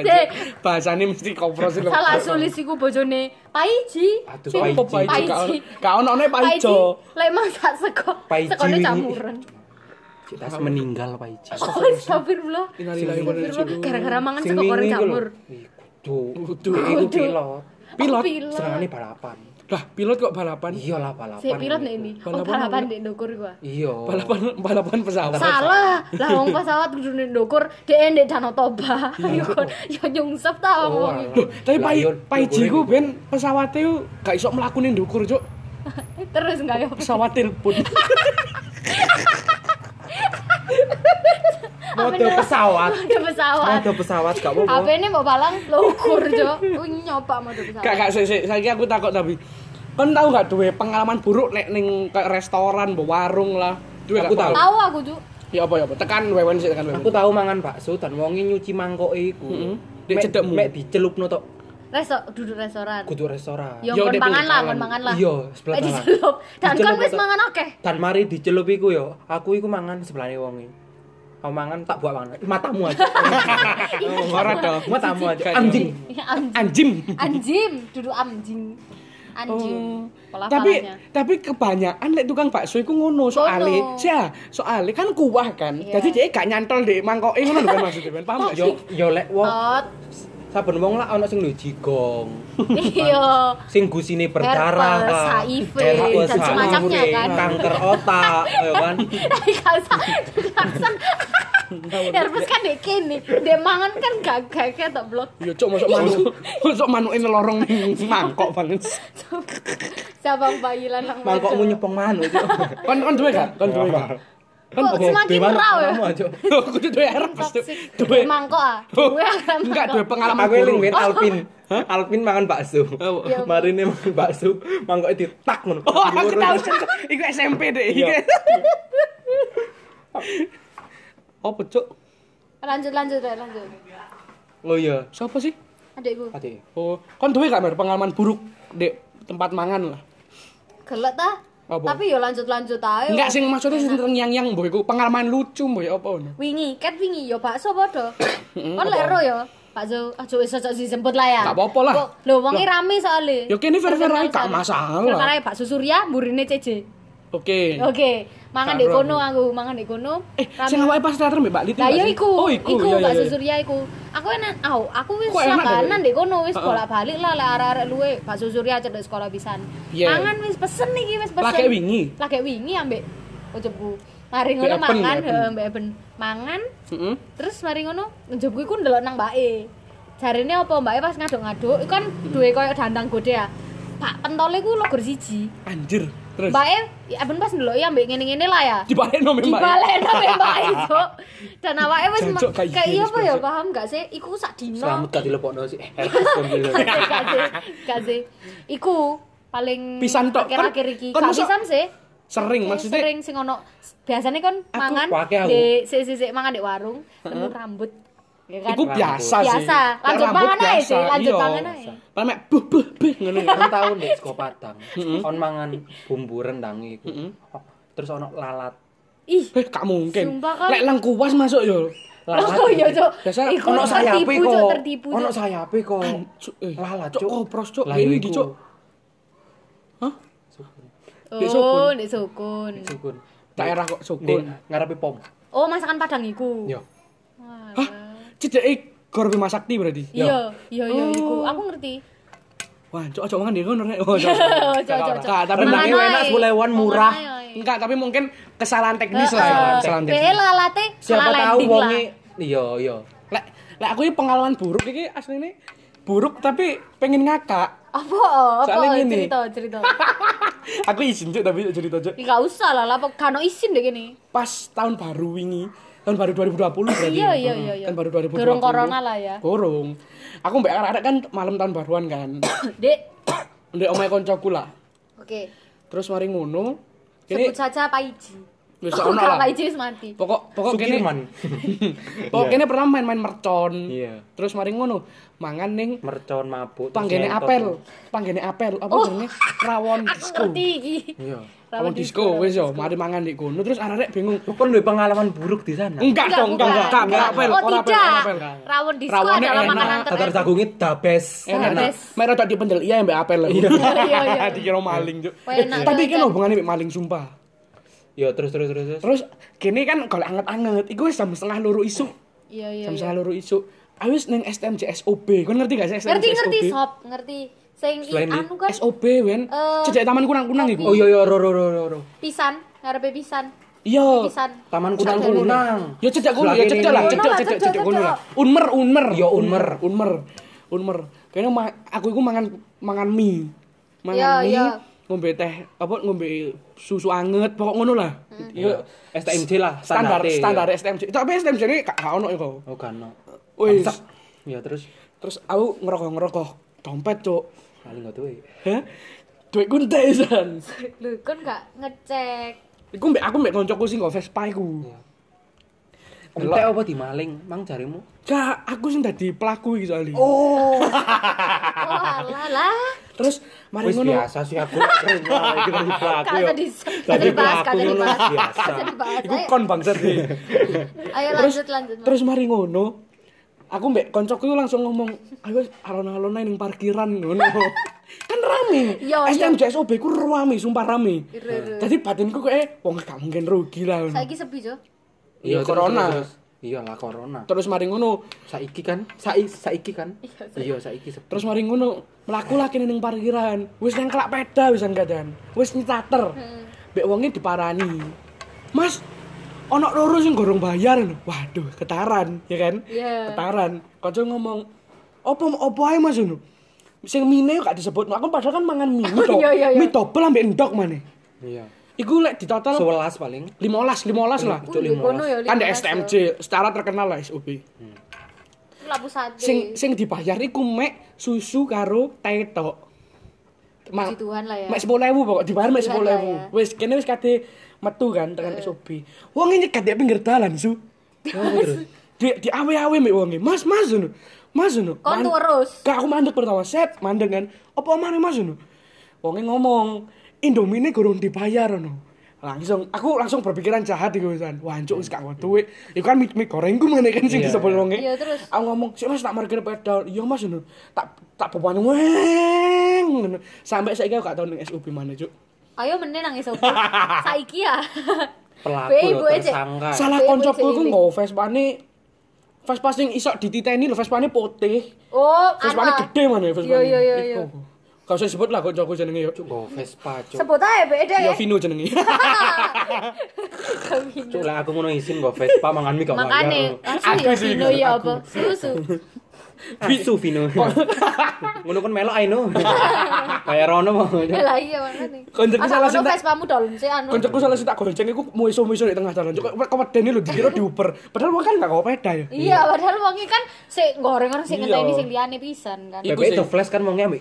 Speaker 2: Dek.
Speaker 1: Bahasane mesti kopro sih. lho.
Speaker 2: Salah sulis iku bojone Paiji.
Speaker 3: Aduh,
Speaker 2: Sing-
Speaker 1: Apa Pak Ijo?
Speaker 2: Pak Ijo.
Speaker 1: Gak ono ne Pak
Speaker 2: Paiji.
Speaker 1: Ijo.
Speaker 2: Lek mang sak sego,
Speaker 3: Paiji
Speaker 2: sekone
Speaker 3: wingi.
Speaker 2: jamuran.
Speaker 3: Cita meninggal Pak Iji.
Speaker 2: Oh, astagfirullah.
Speaker 1: Innalillahi wa inna ilaihi
Speaker 2: Astagfirullah,
Speaker 1: raji'un.
Speaker 2: gara-gara mangan
Speaker 3: Sing
Speaker 2: sego goreng
Speaker 3: wingi iku lho.
Speaker 2: jamur.
Speaker 3: Ih, Kudu.
Speaker 1: Kudu.
Speaker 3: Iku pilot.
Speaker 1: Pilot.
Speaker 2: Oh, pilot.
Speaker 3: Senengane balapan.
Speaker 1: Lah, pilot kok balapan?
Speaker 3: Iyalah balapan.
Speaker 2: Si pilot nek
Speaker 3: iku.
Speaker 2: ini. Oh,
Speaker 1: Balapan,
Speaker 2: balapan di ndukur gua.
Speaker 3: Iya.
Speaker 1: Balapan balapan pesawat.
Speaker 2: ah. Salah, lah wong pesawat kudu ning ndukur, dhek ndek Danau Toba. Yo kon yo nyungsep ta
Speaker 3: Oh,
Speaker 2: wong.
Speaker 1: Loh, tapi
Speaker 3: Lah,
Speaker 1: Pak
Speaker 3: iya,
Speaker 1: Pak Iji
Speaker 3: ndukur
Speaker 1: ku
Speaker 3: iku.
Speaker 1: ben pesawate ku gak iso mlakune ndukur, Cuk.
Speaker 2: Terus enggak yo.
Speaker 1: Pesawat telepon.
Speaker 3: Mode pesawat.
Speaker 2: Ada pesawat.
Speaker 3: Mode pesawat gak
Speaker 2: HP
Speaker 3: apa-apa.
Speaker 2: ini mau balang lo ukur jo, Wih, nyoba mau pesawat.
Speaker 1: Gak gak sik sik saiki aku takut tapi kon tahu gak duwe pengalaman buruk nek ning kayak restoran, mbok warung lah. Duwe
Speaker 3: Aku tahu.
Speaker 2: Tahu aku tuh.
Speaker 1: Ya apa ya apa. Tekan wewen sik tekan wewen.
Speaker 3: Aku tahu mangan bakso dan wonge nyuci mangkoke
Speaker 1: Mm-mm.
Speaker 3: iku.
Speaker 1: Dek
Speaker 3: Mek-
Speaker 1: cedekmu.
Speaker 3: Mek dicelupno tok
Speaker 2: Resto duduk restoran.
Speaker 3: kudu restoran.
Speaker 2: Yo
Speaker 1: Yo,
Speaker 2: kon
Speaker 1: dek,
Speaker 2: mangan lah,
Speaker 1: kawan.
Speaker 2: kon mangan lah.
Speaker 3: Iya, sebelah
Speaker 2: Lek
Speaker 3: tangan.
Speaker 2: dicelup. Dan
Speaker 3: Dicelup
Speaker 2: kon wis
Speaker 3: atau-
Speaker 2: mangan akeh.
Speaker 3: Dan mari dicelup iku yo. Aku iku mangan sebelahne wonge. Aku mangan tak buat mangan. Matamu aja.
Speaker 1: Ora dong.
Speaker 3: Matamu aja.
Speaker 1: Gak
Speaker 3: Anjing.
Speaker 2: Anjing.
Speaker 1: Anjim.
Speaker 2: Iya, Anjing, duduk anjing.
Speaker 3: Oh.
Speaker 2: Anjing. Pola
Speaker 1: Oh. tapi
Speaker 2: falannya.
Speaker 1: tapi kebanyakan lek tukang bakso iku ngono soale
Speaker 2: Ngono.
Speaker 1: ya soale kan kuah kan
Speaker 2: Iya.
Speaker 1: jadi dia gak nyantol di mangkoke ngono lho kan maksudnya kan paham gak
Speaker 3: Yo yo lek wong
Speaker 2: Tot.
Speaker 3: saben wong lah ana sing lho jigong.
Speaker 2: Iya.
Speaker 3: Sing gusine berdarah.
Speaker 2: Herpes,
Speaker 3: lah.
Speaker 2: HIV,
Speaker 3: Herpes,
Speaker 2: dan semacamnya,
Speaker 3: HIV,
Speaker 2: kan.
Speaker 3: Kanker otak, ya kan.
Speaker 2: Tapi gak usah. Gak usah. Herpes kan dek kene. Dek mangan kan gak gak kayak tok blok.
Speaker 1: Yo cok masuk manuk. Masuk manuke nelorong ning mangkok banget.
Speaker 2: Siapa bayi lanang
Speaker 3: Mangkokmu
Speaker 2: wedok.
Speaker 3: nyepong manuk. Cuk.
Speaker 1: Kon kon duwe gak? Kon duwe gak?
Speaker 3: Kan
Speaker 2: Kok semakin
Speaker 3: Dewa,
Speaker 2: merau ya?
Speaker 3: matamu aja.
Speaker 1: Aku tuh duwe herpes tuh.
Speaker 2: Toxic.
Speaker 1: Duwe
Speaker 2: Duwe mangkok ah.
Speaker 1: Oh,
Speaker 2: Duwe akan
Speaker 1: Enggak duwe
Speaker 2: mangkok.
Speaker 1: pengalaman
Speaker 3: Aku eling
Speaker 1: buruk.
Speaker 3: wit Alpin. Alpin mangan bakso.
Speaker 1: Oh.
Speaker 2: Ya.
Speaker 3: Mari ini mangan bakso, mangkok ditak ngono.
Speaker 1: Oh, aku tahu Cok. Iku SMP deh.
Speaker 3: Iya.
Speaker 1: Apa cok?
Speaker 2: Lanjut lanjut Rek, lanjut.
Speaker 3: Oh iya.
Speaker 1: Siapa sih?
Speaker 2: Adikku.
Speaker 3: Ati.
Speaker 1: Oh, kon duwe gak Mer pengalaman buruk di tempat mangan lah.
Speaker 2: Gelek ta?
Speaker 1: Apa?
Speaker 2: Tapi yo lanjut-lanjut ae.
Speaker 1: Enggak sing maksudnya sing yang-yang mbok iku pengalaman lucu mbok ya apa ngono.
Speaker 2: Wingi, ket wingi yo bakso padha. Kon lek ero yo. Bakso aja wis cocok dijemput lah ya.
Speaker 1: Gak apa-apa lah.
Speaker 2: Lho wonge rame soalé.
Speaker 1: Ya kene fair-fair ae, gak
Speaker 2: Terkenal
Speaker 1: masalah.
Speaker 2: soalé. Fair-fair ae bakso Surya mburine CJ.
Speaker 1: Oke.
Speaker 2: Oke, mangan
Speaker 1: Gak
Speaker 2: di
Speaker 1: ero
Speaker 2: kono aku, mangan di kono.
Speaker 1: Eh,
Speaker 2: Rame.
Speaker 1: sing awake pas teater mbak Liti.
Speaker 2: Lah
Speaker 1: gak
Speaker 2: yo
Speaker 1: sih?
Speaker 2: iku,
Speaker 1: Oh,
Speaker 2: iku
Speaker 1: Iya, iya,
Speaker 2: bakso
Speaker 1: iya.
Speaker 2: Surya iku. Aku enak, au, aku wis
Speaker 1: Kok enak
Speaker 2: langganan
Speaker 1: ya?
Speaker 2: dek kono wis
Speaker 1: Heeh.
Speaker 2: bolak-balik lah lek arek-arek luwe bakso Surya cedek sekolah pisan.
Speaker 1: Iya.
Speaker 2: Mangan wis pesen iki wis pesen.
Speaker 1: Lah, kayak wingi.
Speaker 2: Lah kayak wingi ambek ojebku. mari ngono
Speaker 1: Mbak Eben,
Speaker 2: mangan
Speaker 1: Mbak Eben.
Speaker 2: heeh, Mbak Eben mangan
Speaker 1: Heeh.
Speaker 2: terus mari ngono njebku iku ndelok nang mbake jarine apa mbake pas ngaduk-ngaduk iku kan duwe koyo dandang gode ya Pak pentole ku logor siji
Speaker 1: Anjir. Terus
Speaker 2: Mbak E, ya ben pas ndelok ya mbek ngene-ngene lah ya.
Speaker 1: dibalekno mbak.
Speaker 2: Dibalekno mbek Mbak E, Cuk. Dan awake wis
Speaker 1: Jan,
Speaker 2: ma-
Speaker 1: Cuk, kayak
Speaker 2: kayak
Speaker 1: gini,
Speaker 2: iya apa ya
Speaker 1: Cuk.
Speaker 2: paham gak sih? Iku sak dino.
Speaker 3: Selamat gak dilepokno sih. Herpes pemilu.
Speaker 2: Gak sih, gak sih. Iku paling
Speaker 1: Pisan tok. Kon-
Speaker 2: akhir-akhir iki.
Speaker 1: kon
Speaker 2: Gak
Speaker 1: mosok-
Speaker 2: pisan sih.
Speaker 1: Sering
Speaker 2: Eh,
Speaker 1: Hmm, maksudnya
Speaker 2: sering sing ono biasanya kon
Speaker 1: Aku
Speaker 2: mangan
Speaker 3: pakai aku.
Speaker 2: di sik-sik mangan di warung, nemu rambut. Ya kan?
Speaker 1: Iku biasa, sih.
Speaker 2: Biasa. Lanjut
Speaker 1: Rambut
Speaker 2: tangan aja
Speaker 1: biasa,
Speaker 2: sih, lanjut
Speaker 1: iya.
Speaker 2: tangan aja.
Speaker 1: Paling mek buh buh buh ngono.
Speaker 3: Kan tau ndek sego Padang. Kon mangan bumbu rendang iku. Oh, Terus ono lalat.
Speaker 2: Ih,
Speaker 1: Eh, gak mungkin.
Speaker 2: Sumpah, kan.
Speaker 1: Lek lengkuas masuk yo.
Speaker 3: Lalat.
Speaker 2: Oh iya, Cuk.
Speaker 1: Biasa
Speaker 2: Iku
Speaker 3: Ono sayape
Speaker 2: tertipu,
Speaker 3: kok.
Speaker 2: Cuk, tertipu.
Speaker 3: Ono
Speaker 2: Cuk.
Speaker 3: sayape kok.
Speaker 1: Cuk, eh.
Speaker 3: Lalat,
Speaker 1: Cuk,
Speaker 3: Cuk.
Speaker 1: kopros, Cuk.
Speaker 3: Lah,
Speaker 1: Ini,
Speaker 3: iku.
Speaker 1: Cuk. Hah? Dek
Speaker 2: Oh,
Speaker 1: Sukun.
Speaker 2: di sukun.
Speaker 3: Sukun.
Speaker 1: Daerah kok
Speaker 3: Ndek
Speaker 1: sukun.
Speaker 3: ngarepe pom.
Speaker 2: Oh, masakan Padang iku.
Speaker 3: Yo.
Speaker 2: Wah.
Speaker 1: Hah? Cedek Gor Bima Sakti berarti.
Speaker 2: Iya, iya iya
Speaker 1: Oh.
Speaker 2: iku. Aku ngerti.
Speaker 1: Wah, cok cok mangan di kono rek. Oh, cok.
Speaker 2: Cok, cok, cok.
Speaker 1: Nah, tapi
Speaker 2: Mangan
Speaker 1: bagi enak
Speaker 2: wae.
Speaker 3: sepuluhan murah.
Speaker 2: Mangan wae.
Speaker 1: Enggak, tapi mungkin kesalahan teknis
Speaker 2: iya. Heeh.
Speaker 1: lah. Kesalahan
Speaker 2: Behe
Speaker 1: teknis.
Speaker 2: lalate
Speaker 3: Siapa
Speaker 2: salah
Speaker 3: tahu
Speaker 2: landing lah.
Speaker 3: wonge. Iya, iya.
Speaker 1: Lek lek aku ini pengalaman buruk iki asline buruk tapi pengen ngakak.
Speaker 2: Apa? Apa
Speaker 1: Soalnya gini.
Speaker 2: cerita cerita.
Speaker 1: aku izin cok tapi cerita cok.
Speaker 2: Enggak usah lah, lah kan isin deh gini.
Speaker 1: Pas tahun baru wingi, tahun baru 2020 berarti. ya,
Speaker 2: Iya iya iya iya.
Speaker 1: Tahun baru 2020.
Speaker 2: Durung corona lah ya.
Speaker 1: Gorong. Aku mbak arek-arek kan malam tahun baruan kan.
Speaker 2: Dek.
Speaker 1: Ndek omahe koncoku lah.
Speaker 2: Oke.
Speaker 1: Terus mari ngono. Kene
Speaker 2: Sebut saja Pak Iji.
Speaker 1: wis
Speaker 2: Oh,
Speaker 1: ono
Speaker 2: enggak,
Speaker 1: lah.
Speaker 2: Pak Iji wis mati.
Speaker 1: Pokok pokok kene
Speaker 3: Sukirman.
Speaker 1: Pokoknya kene pernah main-main mercon.
Speaker 3: Iya.
Speaker 1: Terus mari ngono, mangan ning
Speaker 3: Mercon mabuk. terus
Speaker 1: panggene
Speaker 3: ngentot.
Speaker 1: apel, panggene apel, apa jenenge? Rawon
Speaker 2: Oh. Aku
Speaker 1: disco.
Speaker 2: ngerti iki.
Speaker 3: Iya.
Speaker 1: Rawon disco wis yo, mari mangan di kono terus arek bingung.
Speaker 3: Lu kan duwe pengalaman buruk di sana.
Speaker 1: Enggak dong, enggak enggak, enggak, enggak, apel,
Speaker 2: Oh
Speaker 1: ora apel,
Speaker 2: tidak.
Speaker 1: ora apel.
Speaker 2: Rawon disco
Speaker 1: Rawonnya
Speaker 2: adalah
Speaker 1: enak.
Speaker 2: makanan
Speaker 3: Tatar
Speaker 2: terenak.
Speaker 3: jagungnya the best.
Speaker 1: Enak.
Speaker 2: Enak.
Speaker 1: Merah tadi pendel iya mbak apel lho.
Speaker 2: Iya iya.
Speaker 1: Dikira maling, Cuk.
Speaker 2: Wah,
Speaker 1: Eh,
Speaker 2: enak,
Speaker 1: Tapi
Speaker 2: Cuk.
Speaker 1: iki lho hubungane mbek maling sumpah.
Speaker 3: Yo terus terus terus terus.
Speaker 1: Terus kene kan kalau anget-anget, iku wis jam setengah loro isuk.
Speaker 2: Iya iya.
Speaker 1: Jam
Speaker 2: iya.
Speaker 1: setengah loro isuk. Aku wis ning STM JSOB. Kau ngerti gak sih STM
Speaker 2: Ngerti ngerti
Speaker 1: JSOB?
Speaker 2: sob, ngerti. Sing i-
Speaker 3: Selain di-
Speaker 2: anu kan
Speaker 1: SOB, wen.
Speaker 2: Eh,
Speaker 1: Cedek taman kunang-kunang iku.
Speaker 3: Oh iya iya ro ro ro ro, ro.
Speaker 2: pisan, ngarepe pisan.
Speaker 1: Iya.
Speaker 2: Pisan.
Speaker 3: Taman kunang kunang.
Speaker 1: Ya cedak kono, ya cedak lah, cedak cedak cedak kono lah. Unmer, unmer.
Speaker 3: Ya, unmer.
Speaker 1: unmer. Unmer. Kayaknya ma- aku iku mangan mangan mie.
Speaker 2: Ya,
Speaker 1: Mangan
Speaker 2: ya.
Speaker 1: mie, ngombe teh, apa ngombe susu anget, pokok ngono lah.
Speaker 2: Hmm.
Speaker 3: Iya. STMJ lah
Speaker 1: Standar
Speaker 3: standarte,
Speaker 1: standar
Speaker 3: iya.
Speaker 1: STMJ. Tapi STMJ ini gak gak ono iku.
Speaker 3: Oh kan. no.
Speaker 1: Wis.
Speaker 3: Bangsat. Ya terus
Speaker 1: Terus aku ngerokok-ngerokok dompet, Cuk.
Speaker 3: kali nggak tuh. eh.
Speaker 1: Hah? Duit ku ndesan.
Speaker 2: Lho, kan gak ngecek.
Speaker 1: Iku mbek aku mbek koncoku sing nggo Vespa iku.
Speaker 3: Entek apa di maling? Mang jarimu.
Speaker 1: Gak, aku sing dadi pelaku iki soalnya.
Speaker 3: Oh,
Speaker 2: Oh, alah lah.
Speaker 1: Terus mari
Speaker 3: wis
Speaker 1: ngono.
Speaker 3: biasa sih aku. Kita
Speaker 2: Kak
Speaker 3: dibelaku yo.
Speaker 2: tadi tadi dibahas, kak tadi
Speaker 3: ngono
Speaker 2: dibahas.
Speaker 3: biasa.
Speaker 2: Tadi dibahas.
Speaker 1: Iku
Speaker 2: Ayo,
Speaker 1: kon bangsat iki.
Speaker 2: Ayo lanjut lanjut.
Speaker 1: Terus mari ngono. Aku mbek koncoku itu langsung ngomong, "Ayo alon-alon ae ning parkiran ngono." kan rame.
Speaker 2: Iya, iya.
Speaker 1: STM JSOB ku rame, sumpah rame.
Speaker 2: Iru, iru.
Speaker 1: Jadi batinku kok eh wong gak mungkin rugi lah. ngono.
Speaker 2: Saiki sepi, Jo.
Speaker 1: Iya,
Speaker 3: Iya terus,
Speaker 1: corona.
Speaker 3: terus, terus. Iya lah corona.
Speaker 1: Terus mari ngono,
Speaker 3: Saiki kan? Sai saiki kan? Iya, saiki. sepi.
Speaker 1: terus mari ngono, mlaku lah kene ning parkiran. Wis nang kelak peda wis anggadan. Wis nyitater.
Speaker 2: Hmm.
Speaker 1: Mbek wonge diparani. Mas, ono loro sing gorong bayar. lho." Waduh, getaran, ya kan?
Speaker 2: Iya.
Speaker 1: Getaran. Kanca ngomong, "Opo opo ae Mas ngono?" Sing mine gak disebut. Aku padahal kan mangan mie
Speaker 2: Oh,
Speaker 1: tok.
Speaker 2: iya, iya, iya.
Speaker 1: Mie dobel ambek endok maneh.
Speaker 3: Iya.
Speaker 1: Iku lek ditotal
Speaker 3: 11 paling.
Speaker 1: 15, 15 lah.
Speaker 2: Uh, di kono ya.
Speaker 1: Kan di
Speaker 2: lima belas, Jo.
Speaker 1: STMJ, secara terkenal lah SOB.
Speaker 2: Iku Lapu sate.
Speaker 1: sing sing dibayar iku mek susu karo teh tok. Ma-
Speaker 2: Puji Tuhan lah ya.
Speaker 1: Mek 10.000 pokok dibayar mek
Speaker 2: Puji
Speaker 1: 10.000.
Speaker 2: Tuhan lah ya.
Speaker 1: Wis kene wis kate metu kan tekan SOB. Wong ini nyegat di pinggir dalan, Su. Di di awe-awe mek wong e. Mas, Mas ngono. Mas ngono.
Speaker 2: Kon
Speaker 1: Man-
Speaker 2: terus.
Speaker 1: Gak aku mandek pertama set, mandek kan. Apa mana Mas ngono? Wong e ngomong, Indomine gorong dibayar ngono. Langsung aku langsung berpikiran jahat iku wisan. Wancuk wis gak nggo duit. Iku kan mie, mie gorengku meneh kan sing
Speaker 3: Iya,
Speaker 1: disebut
Speaker 3: iya.
Speaker 1: wong e.
Speaker 2: Iya, terus?
Speaker 1: Aku ngomong, "Sik Mas tak markir pedal." "Iya Mas." Ngono. Tak tak bobani weng. ngono. Sampai saiki aku gak tau ning SUB mana, Cuk.
Speaker 2: Ayo meneh nang esok. Saiki ya.
Speaker 3: Pelaku
Speaker 2: Be,
Speaker 3: loh,
Speaker 2: ibu aja.
Speaker 3: tersangka.
Speaker 1: Salah
Speaker 2: Iya,
Speaker 1: koncoku
Speaker 2: iya,
Speaker 1: iku
Speaker 2: iya.
Speaker 1: nggo Vespane Vespa sing iso dititeni lho, Vespane putih.
Speaker 2: Oh,
Speaker 1: Vespane
Speaker 2: ana.
Speaker 1: gede mana ya Vespane.
Speaker 2: Iya iya iya, iya.
Speaker 1: Iku. Kau usah sebut lah koncoku jenenge yo.
Speaker 3: Go Vespa, cuk.
Speaker 2: Sebut aja beda
Speaker 1: Yo Iya,
Speaker 2: ya.
Speaker 3: Iya,
Speaker 1: Vino jenenge.
Speaker 3: Cuk, lah aku ngono isin go Vespa mangan mie gak
Speaker 2: Makane
Speaker 3: bayar.
Speaker 2: langsung
Speaker 1: Aku
Speaker 2: ya
Speaker 1: sih,
Speaker 2: Vino ya apa? Susu.
Speaker 3: Asu Vino. Ngono kan melok ae no. Bayar ono mau.
Speaker 2: Ya lah iya makane.
Speaker 1: Koncoku
Speaker 2: Aku
Speaker 1: Kan salah
Speaker 2: ono
Speaker 1: sentak.
Speaker 2: Vespamu dolon sih anu.
Speaker 1: Koncoku salah sentak gonceng iku muiso-muiso di tengah jalan. Cuk, kok wedeni lho dikira diuper. Padahal wong kan gak kau peda ya.
Speaker 2: Iya, padahal wongi kan sik gorengan sik
Speaker 1: Iya.
Speaker 2: ngenteni sing liyane pisan kan.
Speaker 1: Iya.
Speaker 3: Bebek
Speaker 1: sih.
Speaker 3: itu flash kan mau ngambil.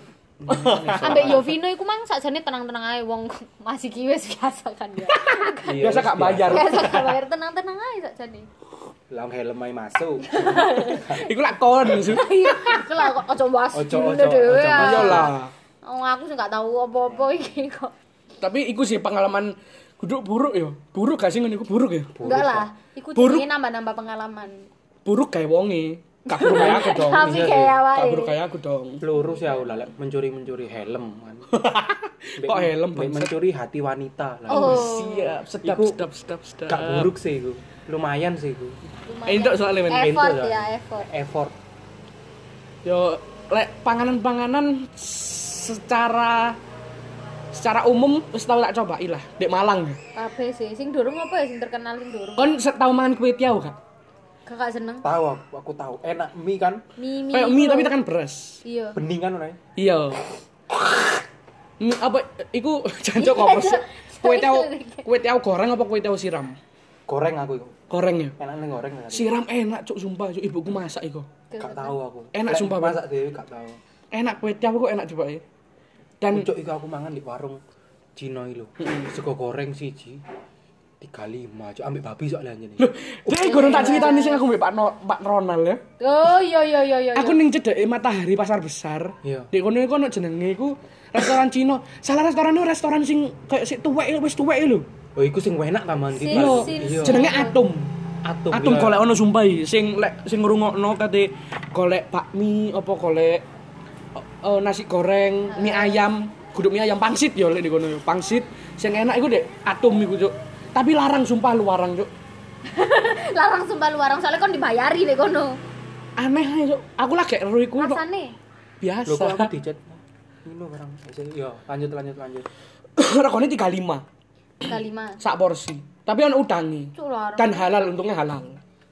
Speaker 2: Ambek Yovino iku mang sakjane tenang-tenang ae wong masih kiwis biasa kan ya.
Speaker 1: Iya.
Speaker 3: Iya,
Speaker 1: Biasa gak bayar.
Speaker 2: Biasa gak bayar tenang-tenang ae sakjane.
Speaker 3: Lah helm ae masuk.
Speaker 1: Iku lak kon. Su.
Speaker 2: Iya, aku lah kok ojo was
Speaker 3: Ojo,
Speaker 2: dulu
Speaker 3: ojo,
Speaker 2: dhewe.
Speaker 3: ojo,
Speaker 1: Iya
Speaker 2: ah.
Speaker 1: lah.
Speaker 2: Oh, aku sih gak tahu apa-apa iki kok.
Speaker 1: Tapi iku sih pengalaman duduk buruk yo. Buruk gak sih ngono iku buruk ya.
Speaker 2: Enggak lah, iku
Speaker 1: Buruk.
Speaker 2: jenenge nambah-nambah pengalaman.
Speaker 1: Buruk kayak wonge. Gak buruk kayak aku dong.
Speaker 2: Tapi
Speaker 3: iya sih.
Speaker 2: kayak
Speaker 1: Gak
Speaker 2: awake.
Speaker 1: buruk kayak aku dong.
Speaker 3: Peluru sih aku lah lek mencuri-mencuri helm kan.
Speaker 1: Kok helm,
Speaker 3: Lek
Speaker 1: bangsat?
Speaker 3: mencuri hati wanita lah.
Speaker 2: Oh.
Speaker 1: Siap, sedap,
Speaker 3: Iku-
Speaker 1: sedap, sedap, sedap.
Speaker 3: Gak buruk sih iku. Lumayan sih iku.
Speaker 2: Lumayan.
Speaker 1: Entuk soalnya men.
Speaker 3: Eh.
Speaker 2: effort
Speaker 3: Entuk,
Speaker 2: ya,
Speaker 3: kan?
Speaker 2: effort.
Speaker 3: Effort.
Speaker 1: Yo lek panganan-panganan secara secara umum wis tau tak cobai lah dek Malang.
Speaker 2: Kabeh sih, sing durung apa ya sing terkenal sing durung.
Speaker 1: Kon se- tau mangan kue tiaw kak?
Speaker 2: Kakak seneng.
Speaker 3: Tahu aku, aku tahu. Enak mie kan.
Speaker 2: Mimi.
Speaker 1: Kayak mie tapi tekan beras.
Speaker 2: Iya.
Speaker 3: Bening kan orangnya.
Speaker 1: Iya. Mie apa iku jancok kok
Speaker 2: Iya,
Speaker 1: Kue tiaw kue tiaw goreng apa kue tiaw siram?
Speaker 3: Goreng aku iku.
Speaker 1: Goreng ya.
Speaker 3: Enak nih goreng kan.
Speaker 1: Siram enak cuk sumpah cuk ibuku masak iku.
Speaker 3: Gak tahu aku.
Speaker 1: Enak,
Speaker 3: Lek
Speaker 1: sumpah,
Speaker 3: Masak dhewe gak tahu.
Speaker 1: Enak kue tiaw kok enak coba ya. Dan
Speaker 3: Pucuk iku aku mangan di warung Cino lho. Sego goreng siji. 35 cuk ambek babi soalnya anjene.
Speaker 1: Loh, Dek, gorong tak ceritani sing aku mbek Pak, no, Pak Ronald ya.
Speaker 2: Oh, iya iya iya iya.
Speaker 1: Aku ning cedeke Matahari Pasar Besar.
Speaker 3: Iya.
Speaker 1: Di kono iku ono jenenge iku restoran Cina. Salah restoran itu restoran sing kayak sik tuwek wis tuwek lho.
Speaker 3: Oh iku sing enak kaman
Speaker 2: Si-
Speaker 3: iki.
Speaker 1: Iya.
Speaker 2: Sin-
Speaker 3: Iya.
Speaker 1: Jenenge Atom.
Speaker 3: Atom.
Speaker 1: Atom
Speaker 3: iya.
Speaker 1: golek ono sumpah iki. sing lek sing ngrungokno kate golek bakmi apa golek eh, nasi goreng, mie ayam, guduk mie ayam pangsit ya lek di kono yo. Pangsit sing enak iku Dek Atom iku, Cuk. Tapi larang sumpah lu warang, Cuk.
Speaker 2: Larang sumpah luarang soalnya kon dibayari nek kono.
Speaker 1: Aneh ae, Cuk. Aku lagi ero iku Cuk.
Speaker 2: Rasane.
Speaker 1: biasa.
Speaker 3: Lho kok aku dicet. Ini barang. Iya, lanjut lanjut lanjut.
Speaker 1: Regane 35
Speaker 2: Kalima.
Speaker 1: sak porsi. Tapi ono udangi.
Speaker 2: Cuk larang.
Speaker 1: Dan halal untungnya halal.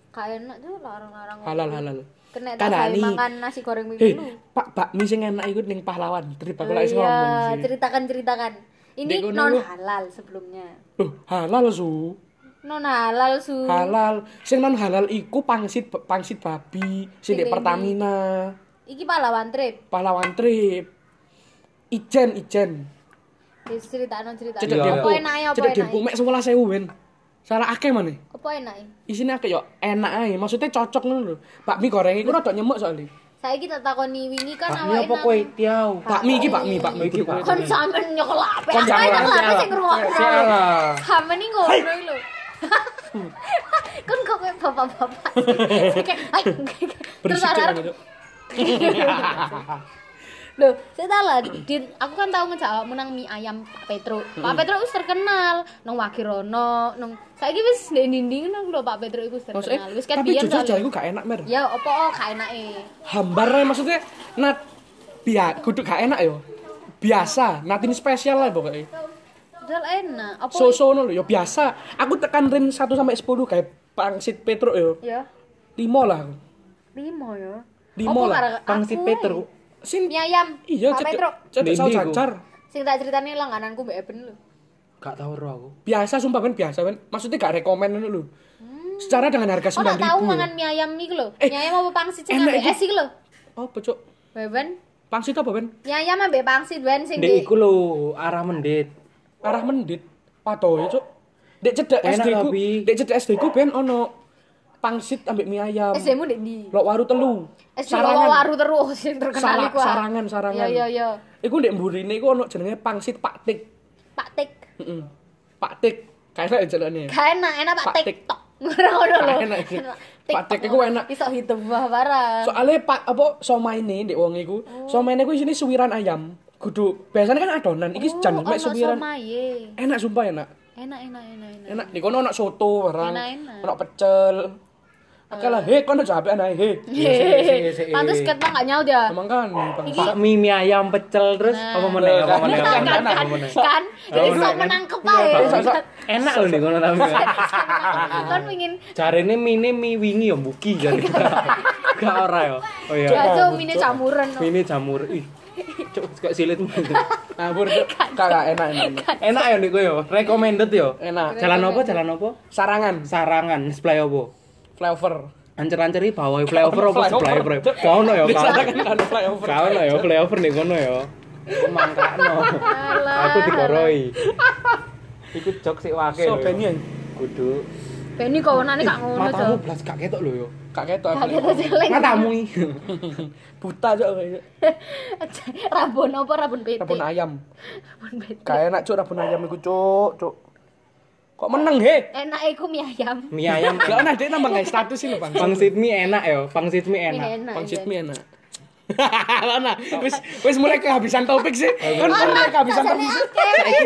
Speaker 2: Gak enak tuh larang-larang.
Speaker 1: Halal halal.
Speaker 2: Kena tak
Speaker 1: Kandani.
Speaker 2: bayar makan nasi goreng mie
Speaker 1: Eh,
Speaker 2: dulu.
Speaker 1: Pak bakmi sing enak iku ning pahlawan. Trip aku lagi
Speaker 2: Iya,
Speaker 1: ngomong sih.
Speaker 2: ceritakan-ceritakan.
Speaker 1: Dek
Speaker 2: Ini
Speaker 1: kono
Speaker 2: non
Speaker 1: lu.
Speaker 2: halal sebelumnya.
Speaker 1: Loh, halal su.
Speaker 2: Non halal su.
Speaker 1: Halal. Sing non halal iku pangsit pangsit babi, sing di
Speaker 2: Sing
Speaker 1: Pertamina,
Speaker 2: Iki pahlawan trip.
Speaker 1: pahlawan trip. Ijen, ijen.
Speaker 2: Wis ceritakno cerita.
Speaker 1: Cedek
Speaker 3: Iya,
Speaker 1: dempo.
Speaker 2: Apa enake apa
Speaker 1: Cedek dempo mek
Speaker 2: enake?
Speaker 1: 11.000 ben. Salah akeh maneh.
Speaker 2: Apa enake?
Speaker 1: Isine akeh yo enak ae. Maksudnya cocok ngono lho. Bakmi goreng iku rada nyemuk soalnya.
Speaker 2: Saiki tak takoni wingi kan awake
Speaker 3: Bakmi apa kowe tiaw?
Speaker 1: Bakmi iki bakmi, bakmi.
Speaker 3: Iki bakmi.
Speaker 2: Kon sampean nyokolape.
Speaker 1: Iya. Kon
Speaker 2: Aku
Speaker 1: sampean
Speaker 2: enak lape sing ngrungokno.
Speaker 3: Salah.
Speaker 2: Sampean iki ngono iki lho. Kon kok kayak bapak-bapak. sih. Kayak, "Hai." Terus Nah,
Speaker 1: Berisik gitu.
Speaker 2: arek
Speaker 1: Cuk.
Speaker 2: Loh, saya tahu lah, Din, aku kan tahu ngejak awakmu nang mie ayam Pak Petro. Pak
Speaker 1: Hmm.
Speaker 2: Petro wis terkenal nang Wagirono, nang saiki wis ndek-ndek nang lho Pak Petro iku wis
Speaker 1: Maksudnya,
Speaker 2: terkenal. Wis kan
Speaker 1: eh, tapi
Speaker 2: biyen
Speaker 1: jujur aja
Speaker 2: soalnya.
Speaker 1: iku gak enak mer.
Speaker 2: Ya opo oh, gak enake.
Speaker 1: Hambar ae, maksudnya nat biar kudu gak enak yo. Biasa, natin spesial lah pokoknya.
Speaker 2: Padahal enak. Apa
Speaker 1: Soso no yo biasa. Aku tekan rin 1 sampai 10 kayak pangsit Petro yo.
Speaker 2: ya?
Speaker 1: 5 lah. aku.
Speaker 2: Limo ya.
Speaker 1: Limo
Speaker 2: Apa
Speaker 1: lah,
Speaker 2: gara-
Speaker 3: Pangsit
Speaker 2: aku,
Speaker 3: Peter.
Speaker 2: eh.
Speaker 1: Sin
Speaker 2: Mie ayam.
Speaker 1: iya
Speaker 2: Pak
Speaker 1: cedek
Speaker 2: Petro.
Speaker 1: cedek saus
Speaker 3: Ini, Bu.
Speaker 1: cacar.
Speaker 2: Sing tak ceritane langgananku Mbak Eben lho.
Speaker 3: Gak tahu ro aku.
Speaker 1: Biasa sumpah ben biasa ben. Maksudnya gak rekomen ngono lho. Secara dengan harga
Speaker 2: Hmm. Kok gak tahu
Speaker 1: 9000.
Speaker 2: mangan mie ayam iki lho?
Speaker 1: Eh,
Speaker 2: Mie ayam apa pangsit sing
Speaker 1: enak
Speaker 2: ambek
Speaker 1: itu.
Speaker 2: es iki lho?
Speaker 1: Apa cuk?
Speaker 2: Beben.
Speaker 1: Pangsit apa ben?
Speaker 2: Mie ayam ambek pangsit ben sing
Speaker 3: Ndek
Speaker 2: di
Speaker 3: iku lho arah mendit.
Speaker 1: arah mendit patoe cuk dek cedek
Speaker 3: Enak,
Speaker 1: SD ku
Speaker 3: Abi.
Speaker 1: dek cedek SD ku ben ono pangsit ambek mie ayam
Speaker 2: SD-mu ndek ndi?
Speaker 1: lok waru telu
Speaker 2: Es
Speaker 1: sarangan
Speaker 2: sarangan. waru terus yang terkenal
Speaker 1: Sara-
Speaker 2: iku. ah.
Speaker 1: sarangan, sarangan.
Speaker 2: Iya iya iya.
Speaker 1: iku dek mburine iku ono jenenge pangsit Pak Tik
Speaker 2: Pak Tik.
Speaker 1: heeh Pak Tik kayaknya jenenge
Speaker 2: Gak enak, enak Pak
Speaker 1: Pak
Speaker 2: Tik.
Speaker 1: Tik.
Speaker 2: Tok. Ora ngono lho.
Speaker 1: Gak enak iki. Pak Tik
Speaker 2: Tok.
Speaker 1: iku enak.
Speaker 2: Iso hidup wah barang.
Speaker 1: soalnya pak apa somaine dek wong iku
Speaker 2: Oh.
Speaker 1: somaine ku isine suwiran ayam kudu biasanya kan adonan iki
Speaker 2: Oh,
Speaker 1: jan mek
Speaker 2: ono
Speaker 1: suwiran
Speaker 2: somaye.
Speaker 1: enak sumpah enak
Speaker 2: Enak enak enak enak.
Speaker 1: enak di kono ono soto barang
Speaker 2: Enak, enak.
Speaker 1: ono pecel Oke lah, hei, kon aja apean ae, hei.
Speaker 3: Iya, Hehehe.
Speaker 2: Pantes ket mah gak nyaut ya.
Speaker 1: Emang kan, Bang.
Speaker 2: Iya, Iki
Speaker 3: Pak mie mie ayam pecel terus
Speaker 2: Nah.
Speaker 3: apa meneh apa meneh.
Speaker 2: kan
Speaker 3: apa
Speaker 2: kan kan
Speaker 3: meneh, apa meneh.
Speaker 2: kan jadi
Speaker 3: Enak,
Speaker 2: sok
Speaker 3: kan?
Speaker 2: menangkep ae.
Speaker 1: sok-sok.
Speaker 3: Enak loh nih ngono tapi.
Speaker 2: Kan pengin
Speaker 3: Jarene mie mie wingi ya mbuki jare. Gak ora ya. Oh iya.
Speaker 2: aja mine campuran. no.
Speaker 3: Mie jamur ih. Cuk kok silit.
Speaker 1: Ngabur, Cuk. kagak enak enak.
Speaker 3: Enak ya nih yo. Recommended yo.
Speaker 1: Enak.
Speaker 3: Jalan apa? Jalan apa?
Speaker 1: Sarangan,
Speaker 3: Sarangan, sebelah apa?
Speaker 1: flavor.
Speaker 3: Ancer-ancer iki bawa flyover apa
Speaker 1: Flyover.
Speaker 3: sebelah bro? Gak ono ya, Kak.
Speaker 1: Sarangan kan flavor.
Speaker 3: Gak ono ya flyover ning kono ya. Mangkakno.
Speaker 2: Alah.
Speaker 3: Aku dikoroi. Iku jok sik wake
Speaker 1: So
Speaker 3: lho.
Speaker 1: Benny yang
Speaker 3: kudu
Speaker 2: Beni kawanane gak ngono to.
Speaker 3: matamu blas gak ketok lho yo.
Speaker 1: kak ketok.
Speaker 2: Kaget aja jelek.
Speaker 3: Matamu i.
Speaker 1: Buta Cuk. kayak gitu.
Speaker 2: Rabon apa rabon PT?
Speaker 1: Rabun ayam.
Speaker 2: Rabon PT.
Speaker 1: Gak enak Cuk rabun ayam iku Cuk, Cuk. Kok meneng, hei?
Speaker 2: Enak iku mie ayam.
Speaker 3: Mie ayam.
Speaker 1: Lah ana dhek nambah guys status ini, Bang.
Speaker 3: Pangsit mie enak yo, pangsit mie
Speaker 2: Mie
Speaker 3: enak.
Speaker 2: enak.
Speaker 1: Pangsit
Speaker 2: iya.
Speaker 1: mie enak. Lah nah, wis wis mulai kehabisan topik sih. Kan mulai kehabisan topik. sih.
Speaker 2: Saiki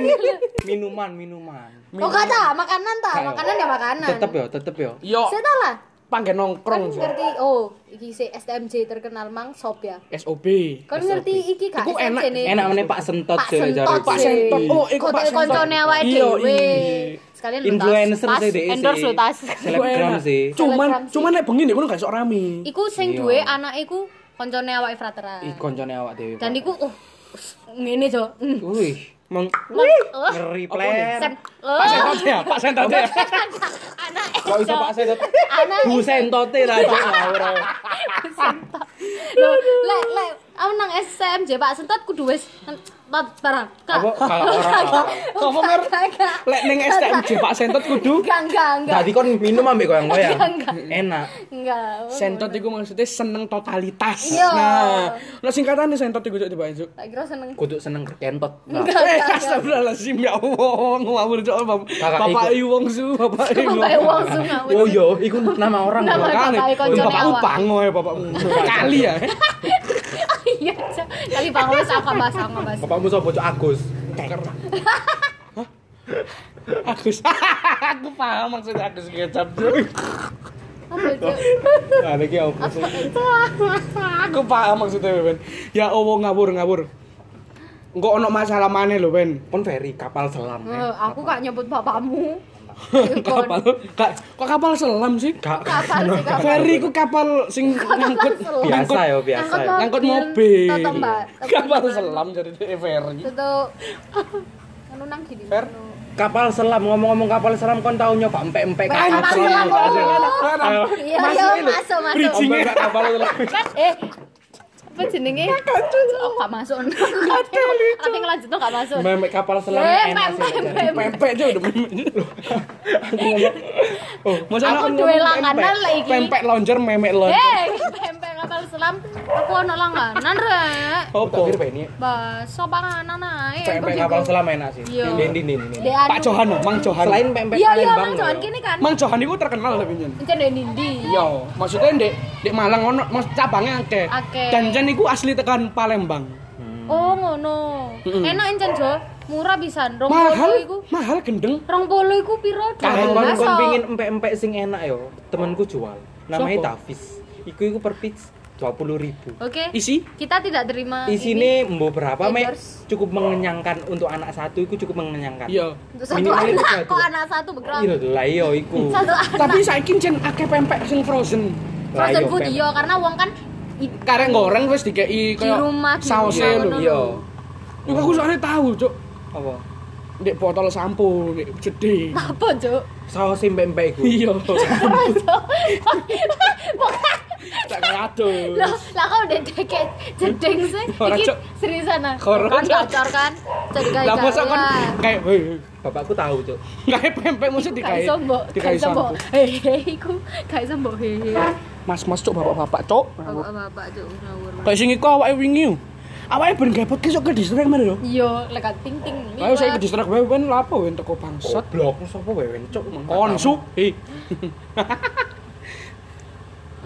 Speaker 3: Minuman, minuman.
Speaker 2: Oh kata makanan ta,
Speaker 3: Kayak-
Speaker 2: makanan ya makanan.
Speaker 3: Tetep yo, tetep yo.
Speaker 1: Yo,
Speaker 2: Saya tahu lah.
Speaker 1: panggen
Speaker 2: Kan
Speaker 1: nongkrong. Cuk.
Speaker 2: ngerti oh iki si STMJ terkenal mang sop ya.
Speaker 1: SOB.
Speaker 2: Kan ngerti iki gak
Speaker 1: Iku enak,
Speaker 2: STMJ
Speaker 3: Enak meneh Pak Sentot
Speaker 2: Iya, Pak
Speaker 3: jare
Speaker 2: Sentot
Speaker 1: Pak
Speaker 2: sih.
Speaker 1: Sentot. Oh, iku Pak
Speaker 2: Kote
Speaker 1: Sentot.
Speaker 2: koncone awake
Speaker 1: Iya,
Speaker 2: dhewe.
Speaker 1: iya.
Speaker 2: Sekalian lu tas.
Speaker 3: Influencer
Speaker 2: Tas,
Speaker 3: sih dhek.
Speaker 2: Endorse lu tas.
Speaker 3: Selebgram
Speaker 1: Enak.
Speaker 3: sih.
Speaker 1: Cuman
Speaker 2: Selebgram sih.
Speaker 1: cuman nek bengi nek ngono gak iso rame.
Speaker 2: Iku sing duwe anake iku koncone awake frateran.
Speaker 3: Ih koncone awak dhewe.
Speaker 2: Dan
Speaker 3: Pak.
Speaker 2: iku oh ngene jo. Mm.
Speaker 3: Wih, meng ngeri pler.
Speaker 2: Set.
Speaker 1: Pak
Speaker 2: Oh,
Speaker 1: Sentot ya, Pak Sentot ya.
Speaker 2: anake.
Speaker 3: Kok iso Pak Sentot?
Speaker 2: Anak
Speaker 3: Bu Sentote lah Cuk, ngawur.
Speaker 2: Sentot. Lho, lek lek aku nang SMJ Pak Sentot kudu wis tot barang. Kak.
Speaker 3: Apa kalau orang apa?
Speaker 1: Apa, Mer?
Speaker 2: Kak, kak.
Speaker 1: Lek ning STMJ Pak Sentot kudu
Speaker 2: Enggak, enggak, enggak.
Speaker 3: Tadi kon minum ambek goyang-goyang.
Speaker 2: Enggak, enggak.
Speaker 3: Enak.
Speaker 2: Enggak.
Speaker 1: Sentot iku maksudnya seneng totalitas.
Speaker 2: Iya.
Speaker 1: Nah, nah singkatane sentot iku cuk dibahas cuk.
Speaker 2: Tak kira seneng.
Speaker 3: Kudu seneng kentot. Nah,
Speaker 2: Enggak,
Speaker 1: Eh,
Speaker 2: enggak. enggak.
Speaker 1: astagfirullahaladzim ya Allah, ngawur cuk Bap-
Speaker 3: Kakak
Speaker 1: Bapak
Speaker 3: ikut.
Speaker 1: I wong su, bapak I wong.
Speaker 2: Bapak wong sunga.
Speaker 3: Oh yo, iku nama orang
Speaker 2: Nama
Speaker 3: loh.
Speaker 1: Kali,
Speaker 2: Bapak I koncone
Speaker 1: bapakmu
Speaker 2: awak.
Speaker 1: pango ya bapakmu. Kali ya.
Speaker 2: Iya, Cak. kali Bang wis apa Mas, apa Mas.
Speaker 3: Bapakmu sapa Cuk Agus?
Speaker 1: Agus. Aku paham maksud Agus kecap cuk.
Speaker 2: Aduh, Cak.
Speaker 3: Nah, iki apa?
Speaker 1: Aku paham maksudnya Ben. Ya Allah ngawur ngawur. Engko ono masalah maneh lho Ben.
Speaker 3: Kon ferry kapal selam.
Speaker 2: Eh,
Speaker 3: ya.
Speaker 2: aku gak nyebut bapakmu.
Speaker 1: Kapal. Ka- Kok kapal selam sih?
Speaker 3: Gak
Speaker 2: Kapal sih kapal.
Speaker 1: Ferry ku kapal sing ngangkut
Speaker 2: selam.
Speaker 3: biasa ya, biasa.
Speaker 2: Angkut
Speaker 3: ya.
Speaker 2: mau-
Speaker 1: ngangkut
Speaker 2: Mobil,
Speaker 1: mobil.
Speaker 2: toto, Mbak. Toto,
Speaker 1: Kapal
Speaker 2: Mbak.
Speaker 1: selam jadi dia Ferry.
Speaker 2: Itu anu nang gini.
Speaker 1: Fer?
Speaker 2: anu.
Speaker 3: Kapal selam, ngomong-ngomong kapal selam kon tau nyoba empek-empek kapal
Speaker 2: Kapal
Speaker 3: selam.
Speaker 2: selam.
Speaker 1: Ayo.
Speaker 2: Iya,
Speaker 1: Masuk
Speaker 2: iya,
Speaker 1: ini.
Speaker 2: masuk, masuk.
Speaker 1: Bridging.
Speaker 3: Empek-empek kapal selam.
Speaker 2: Kan eh apa jenenge? Oh, gak masuk. Tapi ngelanjut gak masuk.
Speaker 3: Memek kapal selam
Speaker 2: Eh,
Speaker 3: enak
Speaker 2: mem-
Speaker 3: sih. Jan.
Speaker 2: mem- mem-
Speaker 1: Pempek aja udah memek. Oh, masa
Speaker 2: Aku
Speaker 1: anak
Speaker 2: duwe
Speaker 1: ngomong
Speaker 2: langanan
Speaker 1: pempek.
Speaker 2: lah iki.
Speaker 1: Pempek lonjer memek lonjer.
Speaker 2: Hei, Eh, pempek kapal selam. Aku ono langganan, Rek.
Speaker 1: Opo?
Speaker 3: Tapi ini
Speaker 2: Bakso panganan ae.
Speaker 3: empek kapal selam enak sih.
Speaker 2: Iya.
Speaker 3: Ini ini ini. ini.
Speaker 1: Pak Johan, loh, Mang Johan.
Speaker 3: Selain empek
Speaker 2: anu. Iya, iya,
Speaker 3: Palembang
Speaker 2: Mang
Speaker 3: loh.
Speaker 2: Johan kini kan.
Speaker 1: Mang Johan itu terkenal tapi nyen.
Speaker 2: Encen dek Nindi.
Speaker 1: Yo, maksudnya ndek ndek Malang ono mas cabangnya akeh.
Speaker 2: Akeh.
Speaker 1: Dan jan iku asli tekan Palembang.
Speaker 2: Oh, ngono.
Speaker 1: Mm-mm.
Speaker 2: Enak encen, Jo. Murah pisan. 20
Speaker 1: Mahal,
Speaker 2: iku.
Speaker 1: mahal gendeng.
Speaker 2: 20 iku piro?
Speaker 1: Kayak
Speaker 3: Kalau
Speaker 1: Kalau
Speaker 2: 12
Speaker 3: kon kon
Speaker 2: so.
Speaker 3: pingin empek-empek sing enak yo, temanku jual.
Speaker 1: Sopo?
Speaker 3: Namanya Davis. Iku iku per piece 20 ribu.
Speaker 2: Oke.
Speaker 1: Isi
Speaker 2: Kita tidak terima ini
Speaker 3: Isine mbo berapa, Mek?
Speaker 2: Endorse.
Speaker 3: Cukup mengenyangkan untuk anak satu iku cukup mengenyangkan.
Speaker 1: Iya.
Speaker 2: untuk satu
Speaker 3: Minimal itu
Speaker 2: anak.
Speaker 3: dua.
Speaker 2: Kok anak satu bekerang?
Speaker 3: Iya lah iya iku.
Speaker 2: Satu anak.
Speaker 1: Tapi saiki jan akeh pempek sing frozen.
Speaker 3: Lah,
Speaker 2: Frozen
Speaker 3: iya,
Speaker 2: food
Speaker 3: Pem.
Speaker 2: iya karena wong kan i-
Speaker 1: Karek goreng wis dikei
Speaker 2: di rumah di
Speaker 1: sausnya
Speaker 2: rumah,
Speaker 1: lho.
Speaker 2: ngono
Speaker 3: Iya.
Speaker 1: Iku aku soalnya tahu, Cuk.
Speaker 3: Apa?
Speaker 1: Ndek botol sampo, ndek jedhe.
Speaker 2: Apa, Jo?
Speaker 3: Saus empek-empek iku.
Speaker 1: Iya.
Speaker 2: Apa, Jo? Bukan.
Speaker 1: Tak kado.
Speaker 2: Lah, lah kau udah deket jedeng sih.
Speaker 1: Ora,
Speaker 2: Iki
Speaker 1: Cuk.
Speaker 2: seriusan ah.
Speaker 1: Ora,
Speaker 2: Kan
Speaker 1: Cuk.
Speaker 2: gacor kan. Jadi
Speaker 1: Lah masa kon
Speaker 2: kayak
Speaker 1: kayak "Hei,
Speaker 3: Bapakku tahu, Cuk.
Speaker 1: kayak pempek mesti
Speaker 2: Kayak
Speaker 1: dikai.
Speaker 2: sombong,
Speaker 1: Dikai
Speaker 2: kayak sombong.
Speaker 1: sampo.
Speaker 2: Hehehe, iku kayak sombong hehehe.
Speaker 1: Mas-mas Cuk, bapak-bapak Cuk.
Speaker 2: Bapak-bapak tuh ngawur.
Speaker 1: Kayak sing iku awake wingi. yo. Awake ben gabut ki sok ke distrik mer yo.
Speaker 2: Iya, lekat ting ting.
Speaker 1: Oh. Ayo saya ke distrik wae ben lapo ben teko bangsat.
Speaker 3: Goblok, sapa wewen, Cuk?
Speaker 1: Konsu. Eh,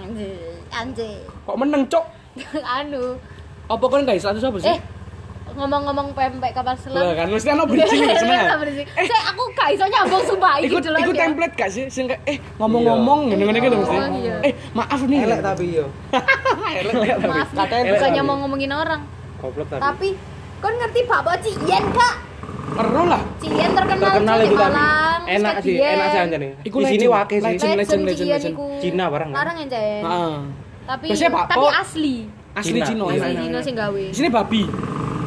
Speaker 2: Anjir, anjir.
Speaker 1: kok meneng Cuk?
Speaker 2: anu
Speaker 1: Apa kon gak status apa sih?
Speaker 2: eh ngomong-ngomong pempek kapal selam.
Speaker 1: Lah kan mesti ana bridging sebenarnya.
Speaker 2: Lah, bridging. Saya aku gak iso nyambung sumpah iki
Speaker 1: Eh. Ikut
Speaker 2: dulu.
Speaker 1: ikut
Speaker 2: ya.
Speaker 1: template gak sih sing kayak, eh ngomong-ngomong ngene-ngene gitu mesti.
Speaker 2: Oh, iya.
Speaker 1: Eh maaf nih.
Speaker 3: elek tapi yo elek tapi
Speaker 2: Maaf nih,
Speaker 3: Katanya
Speaker 2: bukannya
Speaker 3: tapi.
Speaker 2: mau ngomongin orang.
Speaker 3: goblok tapi
Speaker 2: Tapi kon ngerti Bapak Cian Kak?
Speaker 1: Ero lah.
Speaker 2: Cian terkenal,
Speaker 3: terkenal
Speaker 2: Cian
Speaker 3: itu tapi
Speaker 2: Malang,
Speaker 3: enak sih
Speaker 2: Cian.
Speaker 3: enak sih anjane
Speaker 1: Iku
Speaker 3: di sini
Speaker 1: legend.
Speaker 3: wake sih
Speaker 1: Legend.
Speaker 2: Legend
Speaker 1: legend,
Speaker 2: Cian
Speaker 1: legend.
Speaker 2: iku.
Speaker 3: Cina barang kan?
Speaker 2: Larang anjen.
Speaker 1: Heeh.
Speaker 2: Tapi
Speaker 1: Biasanya Ah. Pak
Speaker 2: tapi
Speaker 1: Po.
Speaker 2: asli.
Speaker 1: Asli
Speaker 3: Cina.
Speaker 1: Cino.
Speaker 3: Oh,
Speaker 2: Asli
Speaker 3: iya,
Speaker 2: Cino sing gawe.
Speaker 1: Di sini babi.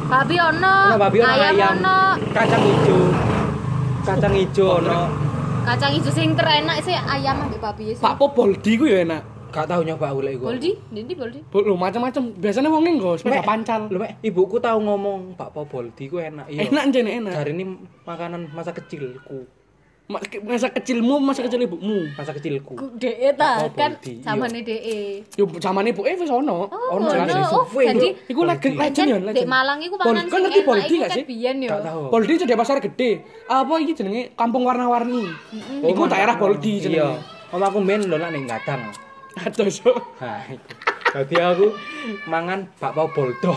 Speaker 2: Babi ono,
Speaker 3: Ono babi ono
Speaker 2: ayam,
Speaker 3: ayam,
Speaker 2: ono,
Speaker 3: kacang hijau. Kacang hijau ono.
Speaker 2: kacang hijau sing terenak sih ayam ambek babi sih.
Speaker 1: Pak Po Boldi ku ya enak.
Speaker 3: Gak tau nyoba golek iku.
Speaker 2: Boldi, Dindi Boldi.
Speaker 1: Bo- Lho macam-macam. Biasanya wong nggo sepeda
Speaker 3: Mek,
Speaker 1: pancal.
Speaker 3: Lho, Mek, ibuku tau ngomong Pak Boldi ku enak iya.
Speaker 1: Enak jane enak.
Speaker 3: Hari ini makanan masa kecilku,
Speaker 1: Ma- ke- Masa kecilmu, masa kecil ibumu.
Speaker 3: masa kecilku.
Speaker 2: DE ta
Speaker 3: Apa
Speaker 2: kan
Speaker 3: Boldi? Iya.
Speaker 2: zamane DE.
Speaker 1: Yo zaman ibu eh wis ono.
Speaker 2: Oh,
Speaker 3: Ono,
Speaker 2: ono.
Speaker 3: jadi
Speaker 2: Oh,
Speaker 3: suwe.
Speaker 2: jadi
Speaker 1: Iku legend legend ya
Speaker 2: Jan,
Speaker 1: legend.
Speaker 2: Dek Malang iku
Speaker 1: Bol-
Speaker 2: panganan
Speaker 1: Kan ngerti Boldi gak sih?
Speaker 2: Biyen yo.
Speaker 3: Gak tau.
Speaker 1: Boldi itu di pasar gede. Apa iki jenenge? Kampung warna-warni.
Speaker 3: Oh,
Speaker 1: Iku
Speaker 3: makanan.
Speaker 1: daerah Boldi
Speaker 3: Iya.
Speaker 1: jenenge.
Speaker 3: Om aku main lho lah ning gadang.
Speaker 1: Aduh, so.
Speaker 3: Nah, itu. Jadi aku mangan bakpao boldo.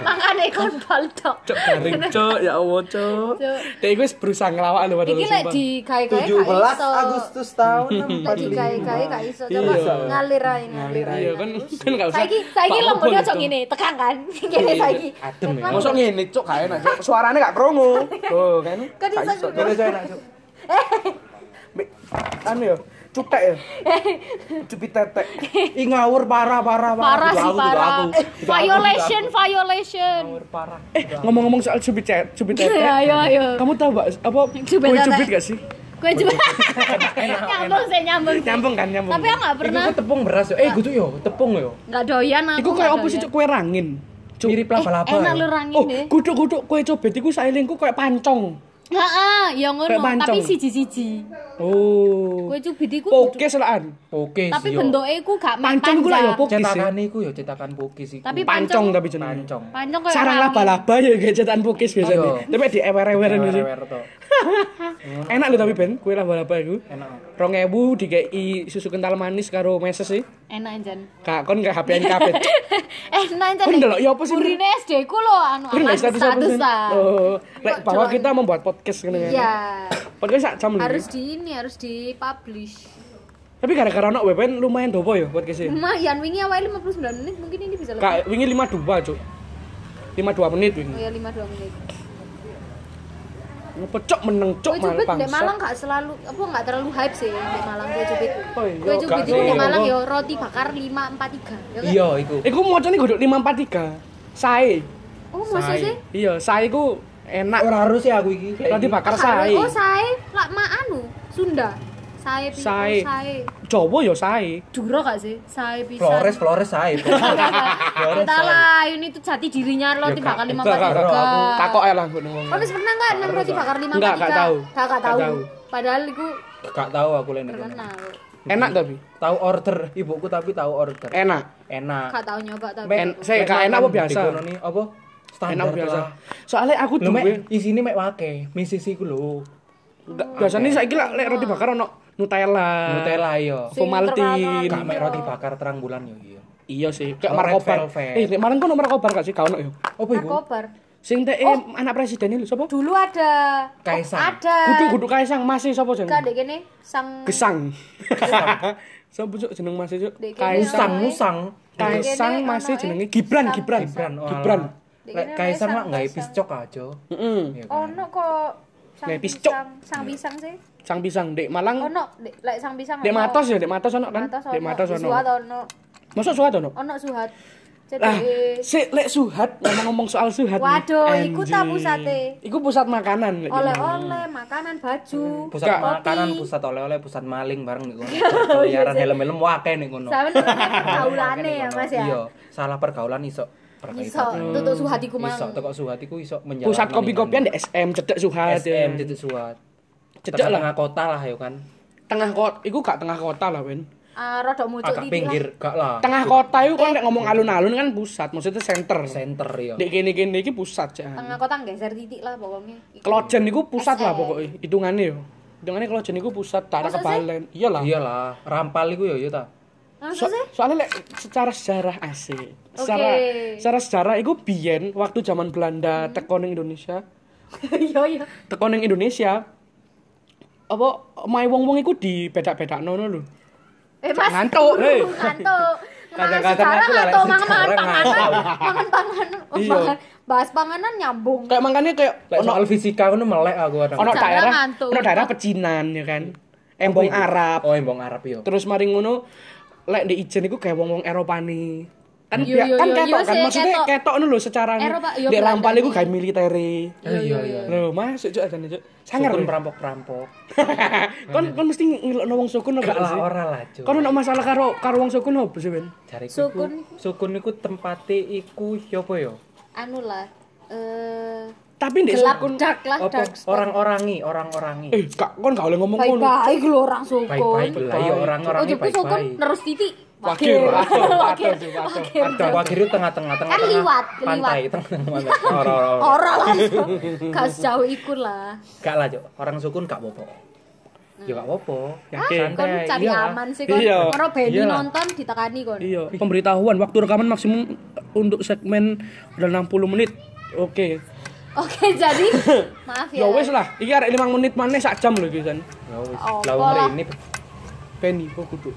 Speaker 2: Mangane kon baldo.
Speaker 1: Cok garing, cok. Ya Allah, cok.
Speaker 2: Cok.
Speaker 1: Dek iku wis berusaha ngelawak lho padahal.
Speaker 2: Iki lek
Speaker 1: sumpah.
Speaker 2: digawe-gawe gak
Speaker 4: 17
Speaker 2: iso.
Speaker 4: Agustus tahun
Speaker 2: Lek digawe-gawe gak iso. Coba
Speaker 1: Iya.
Speaker 2: ngalir ae ngalir ae.
Speaker 1: Iya kan, kan gak usah.
Speaker 2: Saiki saiki
Speaker 1: Pak
Speaker 2: lombone
Speaker 1: Bol
Speaker 2: aja
Speaker 1: itu.
Speaker 2: ngene, tekan kan. Ngene saiki.
Speaker 3: Adem ya.
Speaker 1: Mosok ngene, cok, gak enak, cok. Suarane gak krungu. Loh, kan.
Speaker 2: Kan
Speaker 1: gak
Speaker 2: iso
Speaker 1: iso,
Speaker 2: krungu.
Speaker 1: Cok, enak, cok. Be- Anu ya, cutek ya. Cupi tetek.
Speaker 3: Ih ngawur parah parah
Speaker 2: Parah sih
Speaker 3: Dudaku,
Speaker 2: parah.
Speaker 3: dudaku.
Speaker 2: Violation, violation.
Speaker 3: Parah.
Speaker 1: Eh, ngomong-ngomong soal cupi cet, cupi
Speaker 2: Ayo
Speaker 1: tetek.
Speaker 2: ayo ayo.
Speaker 1: Kamu tahu gak apa
Speaker 2: Cubit
Speaker 1: kue
Speaker 2: Iya, tetek.
Speaker 1: cubit gak sih?
Speaker 2: Gue coba. Nyambung saya nyambung. sih.
Speaker 1: Nyambung kan, nyambung.
Speaker 2: Tapi aku nggak
Speaker 3: Iku
Speaker 2: pernah
Speaker 3: ku tepung beras yo. Eh gitu yo, tepung yo.
Speaker 2: nggak doyan aku.
Speaker 1: Iku kayak
Speaker 2: nggak ya,
Speaker 1: apa sih
Speaker 2: doyan.
Speaker 1: cuk kue rangin? Cuk.
Speaker 3: Mirip laba-laba.
Speaker 2: Eh, enak
Speaker 3: yo.
Speaker 2: lu rangin
Speaker 1: Oh,
Speaker 2: deh.
Speaker 1: kudu-kudu kue cobet iku saelingku kayak pancong.
Speaker 2: Heeh, ya ngono,
Speaker 1: Kayak pancong.
Speaker 2: tapi siji-siji.
Speaker 1: Oh.
Speaker 2: Kue cubit iku
Speaker 1: Poke selaan.
Speaker 3: Oke sih.
Speaker 2: tapi
Speaker 3: yo.
Speaker 2: bentuknya iku gak main
Speaker 1: Pancong iku lah ya
Speaker 2: panjang.
Speaker 1: pokis sih.
Speaker 3: cetakan iku yo cetakan pokis iku.
Speaker 2: Tapi
Speaker 1: Pancong
Speaker 2: pancong
Speaker 1: tapi jenenge.
Speaker 3: pancong.
Speaker 2: pancong kayak
Speaker 1: Sarang
Speaker 2: rangin.
Speaker 1: laba-laba ya kayak cetakan pokis
Speaker 3: Ayo.
Speaker 1: biasanya. Tapi di ewer-ewer gitu.
Speaker 3: Ewer-ewer to.
Speaker 1: Enak lho tapi Ben, kue laba-laba iku.
Speaker 3: Enak.
Speaker 1: 2000 dikei susu kental manis karo meses sih.
Speaker 2: Enak anjen.
Speaker 1: Kak kon gak HP-an kabeh. Cuk,
Speaker 2: Enak anjen.
Speaker 1: Kon ndelok ya apa sih?
Speaker 2: Urine SD ku lo anu
Speaker 1: Kon
Speaker 2: aman,
Speaker 1: gak status apa sih?
Speaker 2: statusan.
Speaker 1: Oh, lek
Speaker 2: Kok
Speaker 1: bahwa
Speaker 2: cuman-
Speaker 1: kita membuat podcast ngene. kan.
Speaker 2: Iya.
Speaker 1: Podcast sak jam lho.
Speaker 2: Harus di ini, harus di publish.
Speaker 1: Tapi gara-gara ono WPN lumayan dobo ya podcastnya.
Speaker 2: Lumayan wingi awalnya 59 menit mungkin ini bisa lebih.
Speaker 1: Kak, wingi 52, Cuk. 52 menit wingi.
Speaker 2: Oh ya 52 menit.
Speaker 1: Ngepecok meneng cok
Speaker 2: Kue
Speaker 1: malah
Speaker 2: cubit di
Speaker 1: bangsa.
Speaker 2: Malang gak selalu apa gak terlalu hype sih di Malang kue cubit.
Speaker 1: Oh iya,
Speaker 2: Kue cubit
Speaker 1: gak
Speaker 2: itu di
Speaker 1: sih.
Speaker 2: Malang ya roti bakar 543. Ya kan?
Speaker 3: Iya iku.
Speaker 1: Iku mocone godok 543. Sae.
Speaker 2: Oh masa
Speaker 3: Sai.
Speaker 2: sih?
Speaker 1: Iya, sae ku enak.
Speaker 3: Ora harus ya aku iki. kayak
Speaker 1: Roti
Speaker 3: iki.
Speaker 1: bakar
Speaker 2: Gak
Speaker 1: sae.
Speaker 2: ada- Oh sae lak ma anu Sunda. Sae pisan
Speaker 1: Sae.
Speaker 2: sae. sae.
Speaker 1: Jawa ya sae.
Speaker 2: Duro gak sih? Sae pisan.
Speaker 3: Flores Flores ae. Flores
Speaker 2: Kita
Speaker 3: ae.
Speaker 2: lah ini tuh jati dirinya roti
Speaker 3: Ya,
Speaker 2: bakar
Speaker 1: Gak,
Speaker 3: gak-
Speaker 1: gak, gak. Aku
Speaker 2: 543.
Speaker 1: Takok ae lah gue ngomong.
Speaker 2: Kau Oh, wis pernah gak nang roti bakar 543?
Speaker 1: Enggak, gak tahu.
Speaker 2: Gak, gak
Speaker 1: Gak
Speaker 2: tahu.
Speaker 1: tahu.
Speaker 2: Padahal iku
Speaker 3: Gak tahu aku lek niku.
Speaker 2: terkenal.
Speaker 1: Enak tapi.
Speaker 3: Tahu order ibuku tapi tahu order.
Speaker 1: Enak.
Speaker 3: Enak.
Speaker 2: Gak tahu nyoba tapi.
Speaker 1: Men- saya gak enak apa biasa?
Speaker 3: Dikononi apa? Standar
Speaker 1: Enak biasa.
Speaker 3: lah.
Speaker 1: Soalnya aku
Speaker 3: Lho
Speaker 1: duwe
Speaker 3: mek isine mek wake, misisi ku lho.
Speaker 1: Nggak, biasanya saiki lek lek roti bakar ono Nutella.
Speaker 3: Nutella yo.
Speaker 2: Sing
Speaker 1: Formaltin.
Speaker 3: Gak
Speaker 2: terkenal.
Speaker 3: mek roti bakar terang bulan yo iya.
Speaker 1: Iya sih, kayak
Speaker 3: Kalau red
Speaker 1: markobar.
Speaker 3: velvet.
Speaker 1: Eh, nek Malang kono markobar gak sih? Gak ono ya.
Speaker 3: Apa iku?
Speaker 2: Koper.
Speaker 1: Sing teh eh,
Speaker 2: Oh.
Speaker 1: anak presiden itu sapa?
Speaker 2: Dulu ada
Speaker 3: Kaisang.
Speaker 2: Ada.
Speaker 1: Kudu kudu Kaisang masih sapa jeneng?
Speaker 2: Gak dek kene sang
Speaker 1: Gesang. Sopo cuk jeneng Mas cuk?
Speaker 2: Dek kene
Speaker 1: Kaisang.
Speaker 3: Musang, musang.
Speaker 1: Kaisang
Speaker 2: Dek kene
Speaker 1: masih
Speaker 2: ono
Speaker 1: jenenge
Speaker 2: e.
Speaker 1: Gibran,
Speaker 2: Sam-
Speaker 1: Gibran.
Speaker 3: Gibran. oh,
Speaker 1: Gibran.
Speaker 3: alah. Lek Kaisang mak gawe piscok aja.
Speaker 1: Heeh.
Speaker 3: Iya kan?
Speaker 2: oh, Ono kok sang
Speaker 1: Nek piscok.
Speaker 2: pisang, sang pisang sih.
Speaker 1: Sang pisang Dek Malang.
Speaker 2: Ono dek lek sang pisang.
Speaker 1: Dek
Speaker 2: ono.
Speaker 1: Matos ya, Dek Matos ono kan?
Speaker 2: Matos
Speaker 1: Dek Matos ono.
Speaker 2: Suhat ono.
Speaker 1: Masa Suhat ono?
Speaker 2: Ono suhat.
Speaker 1: Lah,
Speaker 2: Jadi
Speaker 1: sik lek Suhat ngomong-ngomong soal Suhat.
Speaker 2: Waduh,
Speaker 1: nih.
Speaker 2: iku
Speaker 1: Anjing.
Speaker 2: ta pusate.
Speaker 1: Iku pusat makanan lek.
Speaker 2: oleh-oleh, makanan, baju,
Speaker 3: Pusat
Speaker 1: Gak.
Speaker 3: makanan,
Speaker 2: kopi. Oh, iya
Speaker 3: pusat oleh-oleh, pusat maling bareng nih kono. Peliaran helm-helm wake nih kono.
Speaker 2: Sampe nang pergaulane
Speaker 3: Wake nih
Speaker 2: ya,
Speaker 3: kono.
Speaker 2: Mas ya.
Speaker 3: Iya, salah pergaulan iso
Speaker 2: Iso
Speaker 3: pergaulan.
Speaker 2: tutuk
Speaker 1: Hmm,
Speaker 2: suhatiku mang.
Speaker 3: Iso tekok suhatiku iso menjalani.
Speaker 1: Pusat kopi-kopian di SM cedek Suhat.
Speaker 3: SM
Speaker 1: ya.
Speaker 3: titik suhat.
Speaker 1: Cedek
Speaker 3: Tengah-
Speaker 1: lah.
Speaker 3: Tengah kota lah ya kan.
Speaker 1: Tengah kota, iku gak tengah kota lah, Wen.
Speaker 2: Ah, rodok mucuk
Speaker 3: Agak
Speaker 2: titik
Speaker 3: pinggir
Speaker 2: lah.
Speaker 3: gak lah.
Speaker 1: Tengah kota iku kan lek ngomong
Speaker 2: Eh.
Speaker 1: alun-alun kan pusat, maksudnya center.
Speaker 3: Center ya.
Speaker 1: Dek kene-kene iki pusat ya.
Speaker 2: Tengah kota geser titik lah pokoknya.
Speaker 1: Klojen niku pusat lah
Speaker 2: SM.
Speaker 1: pokoknya, hitungannya yo. Hitungannya Klojen niku pusat, tak ada
Speaker 2: Masa sih?
Speaker 1: Iya. kebalen. Iyalah.
Speaker 3: Iyalah, rampal iku ya ya ta.
Speaker 2: Masa
Speaker 1: So-
Speaker 2: sih?
Speaker 1: soalnya lek secara sejarah asik. Secara secara sejarah iku biyen waktu zaman Belanda teko ning Indonesia,
Speaker 2: Iya iya.
Speaker 1: teko ning Indonesia apa mai wong-wong iku dibedak-bedakno ngono lho.
Speaker 2: Eh Mas.
Speaker 1: ngantuk, hei.
Speaker 2: Ngantuk. Mangan
Speaker 3: Kadang-kadang
Speaker 2: sejarah
Speaker 3: aku lah,
Speaker 2: ngantuk,
Speaker 3: lek
Speaker 2: mangan mangan
Speaker 3: sejarah
Speaker 2: panganan, mangan panganan, Oh,
Speaker 1: Iya.
Speaker 2: mangan- bahas panganan nyambung.
Speaker 1: Kayak makanya kayak
Speaker 3: Lek
Speaker 1: ono
Speaker 3: soal fisika ngono melek aku kadang.
Speaker 1: ono
Speaker 2: Sejarah
Speaker 1: daerah
Speaker 2: ngantuk.
Speaker 1: ono daerah pecinan ya kan. Embong Arab.
Speaker 3: Oh, embong Arab yo.
Speaker 1: Terus mari ngono lek di ijen iku kayak wong-wong Eropani. Kan
Speaker 2: Yo,
Speaker 1: ya-
Speaker 2: yo,
Speaker 1: kan
Speaker 2: yo,
Speaker 1: ketok
Speaker 2: yo
Speaker 1: kan
Speaker 2: sih,
Speaker 1: maksudnya
Speaker 2: ketok.
Speaker 1: ketok ngono lho secara
Speaker 2: Eropa, yo,
Speaker 1: di
Speaker 2: Belanda
Speaker 1: rampal iku
Speaker 2: nih.
Speaker 1: gawe militeri.
Speaker 3: Iya iya iya.
Speaker 1: Lho, masuk cuk ajane cuk. Sangar
Speaker 3: Sangger
Speaker 1: lho.
Speaker 3: perampok-perampok.
Speaker 1: kon kon mesti ngelokno wong sukun apa
Speaker 3: Gak lah
Speaker 1: Iya sih?
Speaker 3: ora lah, Cuk.
Speaker 1: Kon ono masalah karo karo wong sukun apa sih, Ben?
Speaker 3: Jariku iku-
Speaker 2: Sukun.
Speaker 3: Sukun iku tempate iku siapa ya? yo?
Speaker 2: Anu lah. Eh
Speaker 1: Tapi ndek
Speaker 2: gelap
Speaker 1: sukun
Speaker 2: dark lah
Speaker 3: Apa
Speaker 2: Ah, dark. spot.
Speaker 3: orang-orangi, orang-orangi.
Speaker 1: eh gak kon gak boleh ngomong ngono.
Speaker 2: Baik-baik lho orang sukun.
Speaker 3: Baik-baik lah yo
Speaker 2: Oh,
Speaker 3: orang-orangi
Speaker 2: jadi sukun
Speaker 3: baik-baik.
Speaker 2: terus titik.
Speaker 1: Wakil, wakil, wakil, wakil.
Speaker 3: Ada wakil tengah-tengah tengah
Speaker 2: Kan liwat, liwat.
Speaker 3: pantai tengah-tengah pantai. Ora ora, ora.
Speaker 2: Orang lah. Gak sejauh iku lah.
Speaker 3: Gak lah, Cuk. Orang sukun gak apa-apa. Ya gak apa-apa.
Speaker 1: Yakin?
Speaker 3: Santai,
Speaker 2: Ah, Kon cari
Speaker 3: iyalah.
Speaker 2: aman sih kon.
Speaker 1: Iya.
Speaker 2: Orang Benny
Speaker 3: Iyalah.
Speaker 2: nonton ditekani kon.
Speaker 1: Iya, pemberitahuan waktu rekaman maksimum untuk segmen udah 60 menit. Oke.
Speaker 2: Oke, jadi maaf ya.
Speaker 1: Ya wis lah, iki arek 5 menit maneh sak jam lho iki kan.
Speaker 3: Ya wis.
Speaker 2: Apa
Speaker 3: Lah wong
Speaker 2: lah.
Speaker 3: ini
Speaker 1: Penny kok kudu.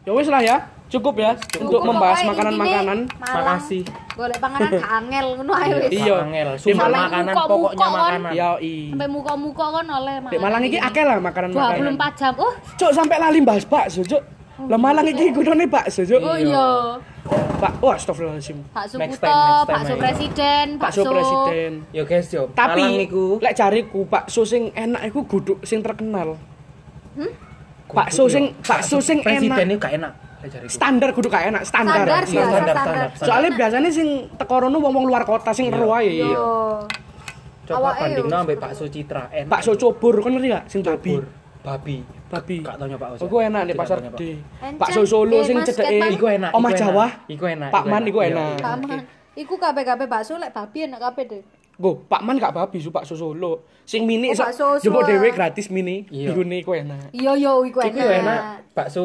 Speaker 1: Ya wis lah ya, cukup ya untuk
Speaker 2: Buku
Speaker 1: membahas
Speaker 2: pokoknya
Speaker 1: makanan-makanan.
Speaker 2: intine Malang,
Speaker 3: Makasih.
Speaker 2: Golek panganan gak angel ngono ae wis.
Speaker 1: Iya.
Speaker 3: Angel,
Speaker 1: Sampai
Speaker 3: sumpah makanan
Speaker 2: muka-muka
Speaker 3: pokoknya
Speaker 2: on.
Speaker 3: makanan.
Speaker 1: Ya i.
Speaker 2: Sampai muka-muka kon oleh malang. kan
Speaker 1: Dek Malang iki akeh lah makanan-makanan.
Speaker 2: 24 jam. Oh,
Speaker 1: Cuk sampai lali bahas bakso, Cuk. Lah Malang iki gunane bakso, Cuk. oh,
Speaker 2: oh iya.
Speaker 1: Pak, wah astagfirullahalazim.
Speaker 2: Bakso
Speaker 3: Next
Speaker 2: Kuto,
Speaker 3: time, next time
Speaker 2: bakso
Speaker 3: aja.
Speaker 2: presiden,
Speaker 1: Bakso
Speaker 2: iya. bakso
Speaker 1: presiden.
Speaker 3: Yo ya guys, yo. Malang
Speaker 1: Tapi
Speaker 3: iku
Speaker 1: lek jariku bakso sing enak iku guduk sing terkenal.
Speaker 2: Hmm?
Speaker 1: Bakso sing bakso sing
Speaker 3: ya? presiden
Speaker 1: enak.
Speaker 3: itu gak enak. Lah jariku.
Speaker 1: Standar guduk gak enak, standar.
Speaker 2: Standar
Speaker 3: Iya,
Speaker 2: biasa
Speaker 3: standar,
Speaker 2: standar.
Speaker 3: standar.
Speaker 1: Soalnya biasanya sing tekorono wong-wong luar kota
Speaker 3: Iya.
Speaker 1: sing ero ae.
Speaker 2: Yo.
Speaker 3: Coba
Speaker 2: Awake
Speaker 3: bandingno
Speaker 2: yo.
Speaker 3: ambek bakso Citra. Enak.
Speaker 1: Bakso cobor kan ngerti gak sing babi.
Speaker 3: Bur. babi.
Speaker 1: Babi. Oh,
Speaker 3: Gak tau nyoba bakso.
Speaker 1: Iku enak di
Speaker 3: Tidak
Speaker 1: pasar
Speaker 3: tau nyoba.
Speaker 1: gede.
Speaker 2: Encen,
Speaker 1: Bakso Solo
Speaker 2: eh,
Speaker 1: sing
Speaker 2: Mas,
Speaker 1: cedeke
Speaker 2: Ketan.
Speaker 3: Iku enak.
Speaker 1: Omah
Speaker 3: iku enak.
Speaker 1: Jawa.
Speaker 3: Iku enak.
Speaker 1: Pak Man iku
Speaker 3: Iya,
Speaker 1: enak.
Speaker 3: iya.
Speaker 2: Pak Man. Iku kabeh-kabeh bakso lek babi enak kabeh deh.
Speaker 1: Go, Pak Man gak babi su bakso Solo. Sing mini
Speaker 2: Oh,
Speaker 1: sak
Speaker 2: bakso Solo.
Speaker 1: jupuk dhewe gratis mini.
Speaker 3: Iya.
Speaker 1: Digune iku enak.
Speaker 2: Iya yo iku
Speaker 3: Iku yo enak.
Speaker 2: enak.
Speaker 3: Bakso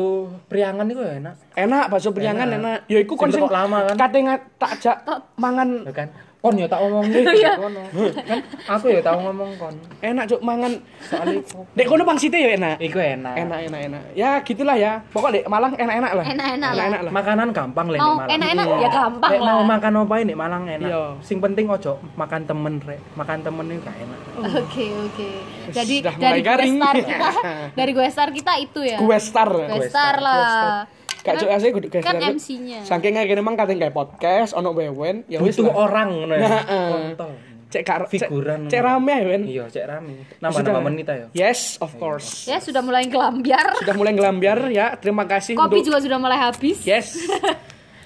Speaker 3: Priangan iku yo enak.
Speaker 1: Enak bakso priangan
Speaker 3: Enak.
Speaker 1: enak. Ya iku kon
Speaker 3: Sing
Speaker 1: sing
Speaker 3: tekok lama kan?
Speaker 1: kate nga- tak ajak mangan
Speaker 3: Lho kan. Kon yo tak omongin
Speaker 2: Iya.
Speaker 3: kono. Kan aku yo tau ngomong kon.
Speaker 1: enak cuk mangan.
Speaker 3: Soale iku.
Speaker 1: Dek kono pangsite ya enak.
Speaker 3: Iku enak.
Speaker 1: Enak enak enak. Ya gitulah ya. Pokok Dek Malang enak-enak lah.
Speaker 2: Enak-enak lah.
Speaker 1: Enak-enak lah.
Speaker 3: Makanan gampang lek
Speaker 2: Mau
Speaker 3: Malang.
Speaker 2: enak-enak ya gampang
Speaker 3: Lek mau
Speaker 2: lah.
Speaker 3: makan apa nek Malang enak.
Speaker 1: Iya.
Speaker 3: Sing penting ojo makan temen rek. Makan temen itu gak enak.
Speaker 2: Oke oke. Jadi
Speaker 1: Sudah mulai
Speaker 2: dari gue
Speaker 1: garing.
Speaker 2: star kita, dari gue star kita itu ya.
Speaker 1: Gue star.
Speaker 2: Gue star lah.
Speaker 1: Gak cuk asih kudu
Speaker 2: Kan
Speaker 1: geser.
Speaker 2: MC-nya.
Speaker 1: Saking ngene mang kate kayak podcast ono wewen ya wis lah.
Speaker 3: Butuh
Speaker 1: Nah, eh.
Speaker 3: orang ngono ya.
Speaker 1: Heeh.
Speaker 3: Kontol.
Speaker 1: Cek karo
Speaker 3: Figuran.
Speaker 1: Cek rame ya, Wen.
Speaker 3: Iya, cek rame.
Speaker 1: Sudah.
Speaker 3: Nambah-nambah menit ayo.
Speaker 1: Yes, of course.
Speaker 2: Ya sudah mulai ngelambiar.
Speaker 1: Sudah mulai ngelambiar ya. Terima kasih
Speaker 2: Kopi
Speaker 1: untuk
Speaker 2: juga sudah mulai habis.
Speaker 1: Yes.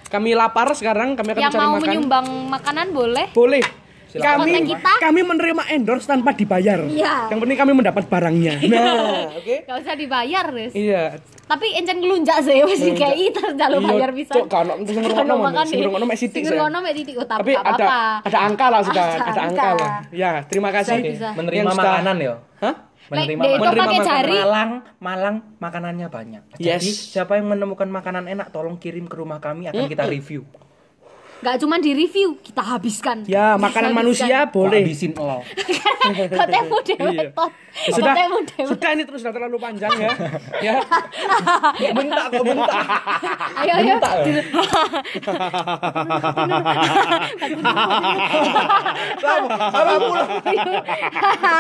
Speaker 1: Kami lapar sekarang, kami akan
Speaker 2: Yang
Speaker 1: Ya, cari
Speaker 2: mau
Speaker 1: makan.
Speaker 2: menyumbang makanan boleh.
Speaker 1: Boleh.
Speaker 3: Silakan.
Speaker 1: Kami
Speaker 2: Kontak kita.
Speaker 1: kami menerima endorse tanpa dibayar.
Speaker 2: Iya.
Speaker 1: Yang penting kami mendapat barangnya. Nah, oke.
Speaker 2: Gak usah dibayar, Riz.
Speaker 1: Iya.
Speaker 2: Tapi encen ngelunjak sih gitu, wis dikai terlalu
Speaker 1: Iya,
Speaker 2: bayar bisa. ya.
Speaker 1: Cuk, gak ono sing ngrungokno ngono, sing ngrungokno mek sithik.
Speaker 2: Sing
Speaker 1: saya.
Speaker 2: ngrungokno mek Oh, titik utama
Speaker 1: Tapi ada ada angka lah sudah, ada angka lah. Ya, terima kasih.
Speaker 2: Saya bisa.
Speaker 3: Menerima
Speaker 1: Yang sudah-
Speaker 3: makanan ya.
Speaker 1: Hah?
Speaker 2: Lek
Speaker 3: Menerima
Speaker 2: dek itu
Speaker 3: makanan.
Speaker 2: pakai
Speaker 1: Menerima
Speaker 2: jari.
Speaker 3: Malang, Malang makanannya banyak.
Speaker 1: Yes.
Speaker 3: Jadi siapa yang menemukan makanan enak tolong kirim ke rumah kami akan kita review.
Speaker 2: Gak cuma di review, kita habiskan.
Speaker 1: Ya, makanan manusia boleh.
Speaker 3: Habisin lo.
Speaker 2: Kotemu
Speaker 1: Iya.
Speaker 2: dhewe tot.
Speaker 1: Sudah,
Speaker 2: Kotemu dhewe.
Speaker 1: sudah ini terus sudah terlalu panjang ya. ya.
Speaker 3: Bentak kok bentak.
Speaker 2: Ayo ayo.
Speaker 3: Bentak ya? Sama, sama pula.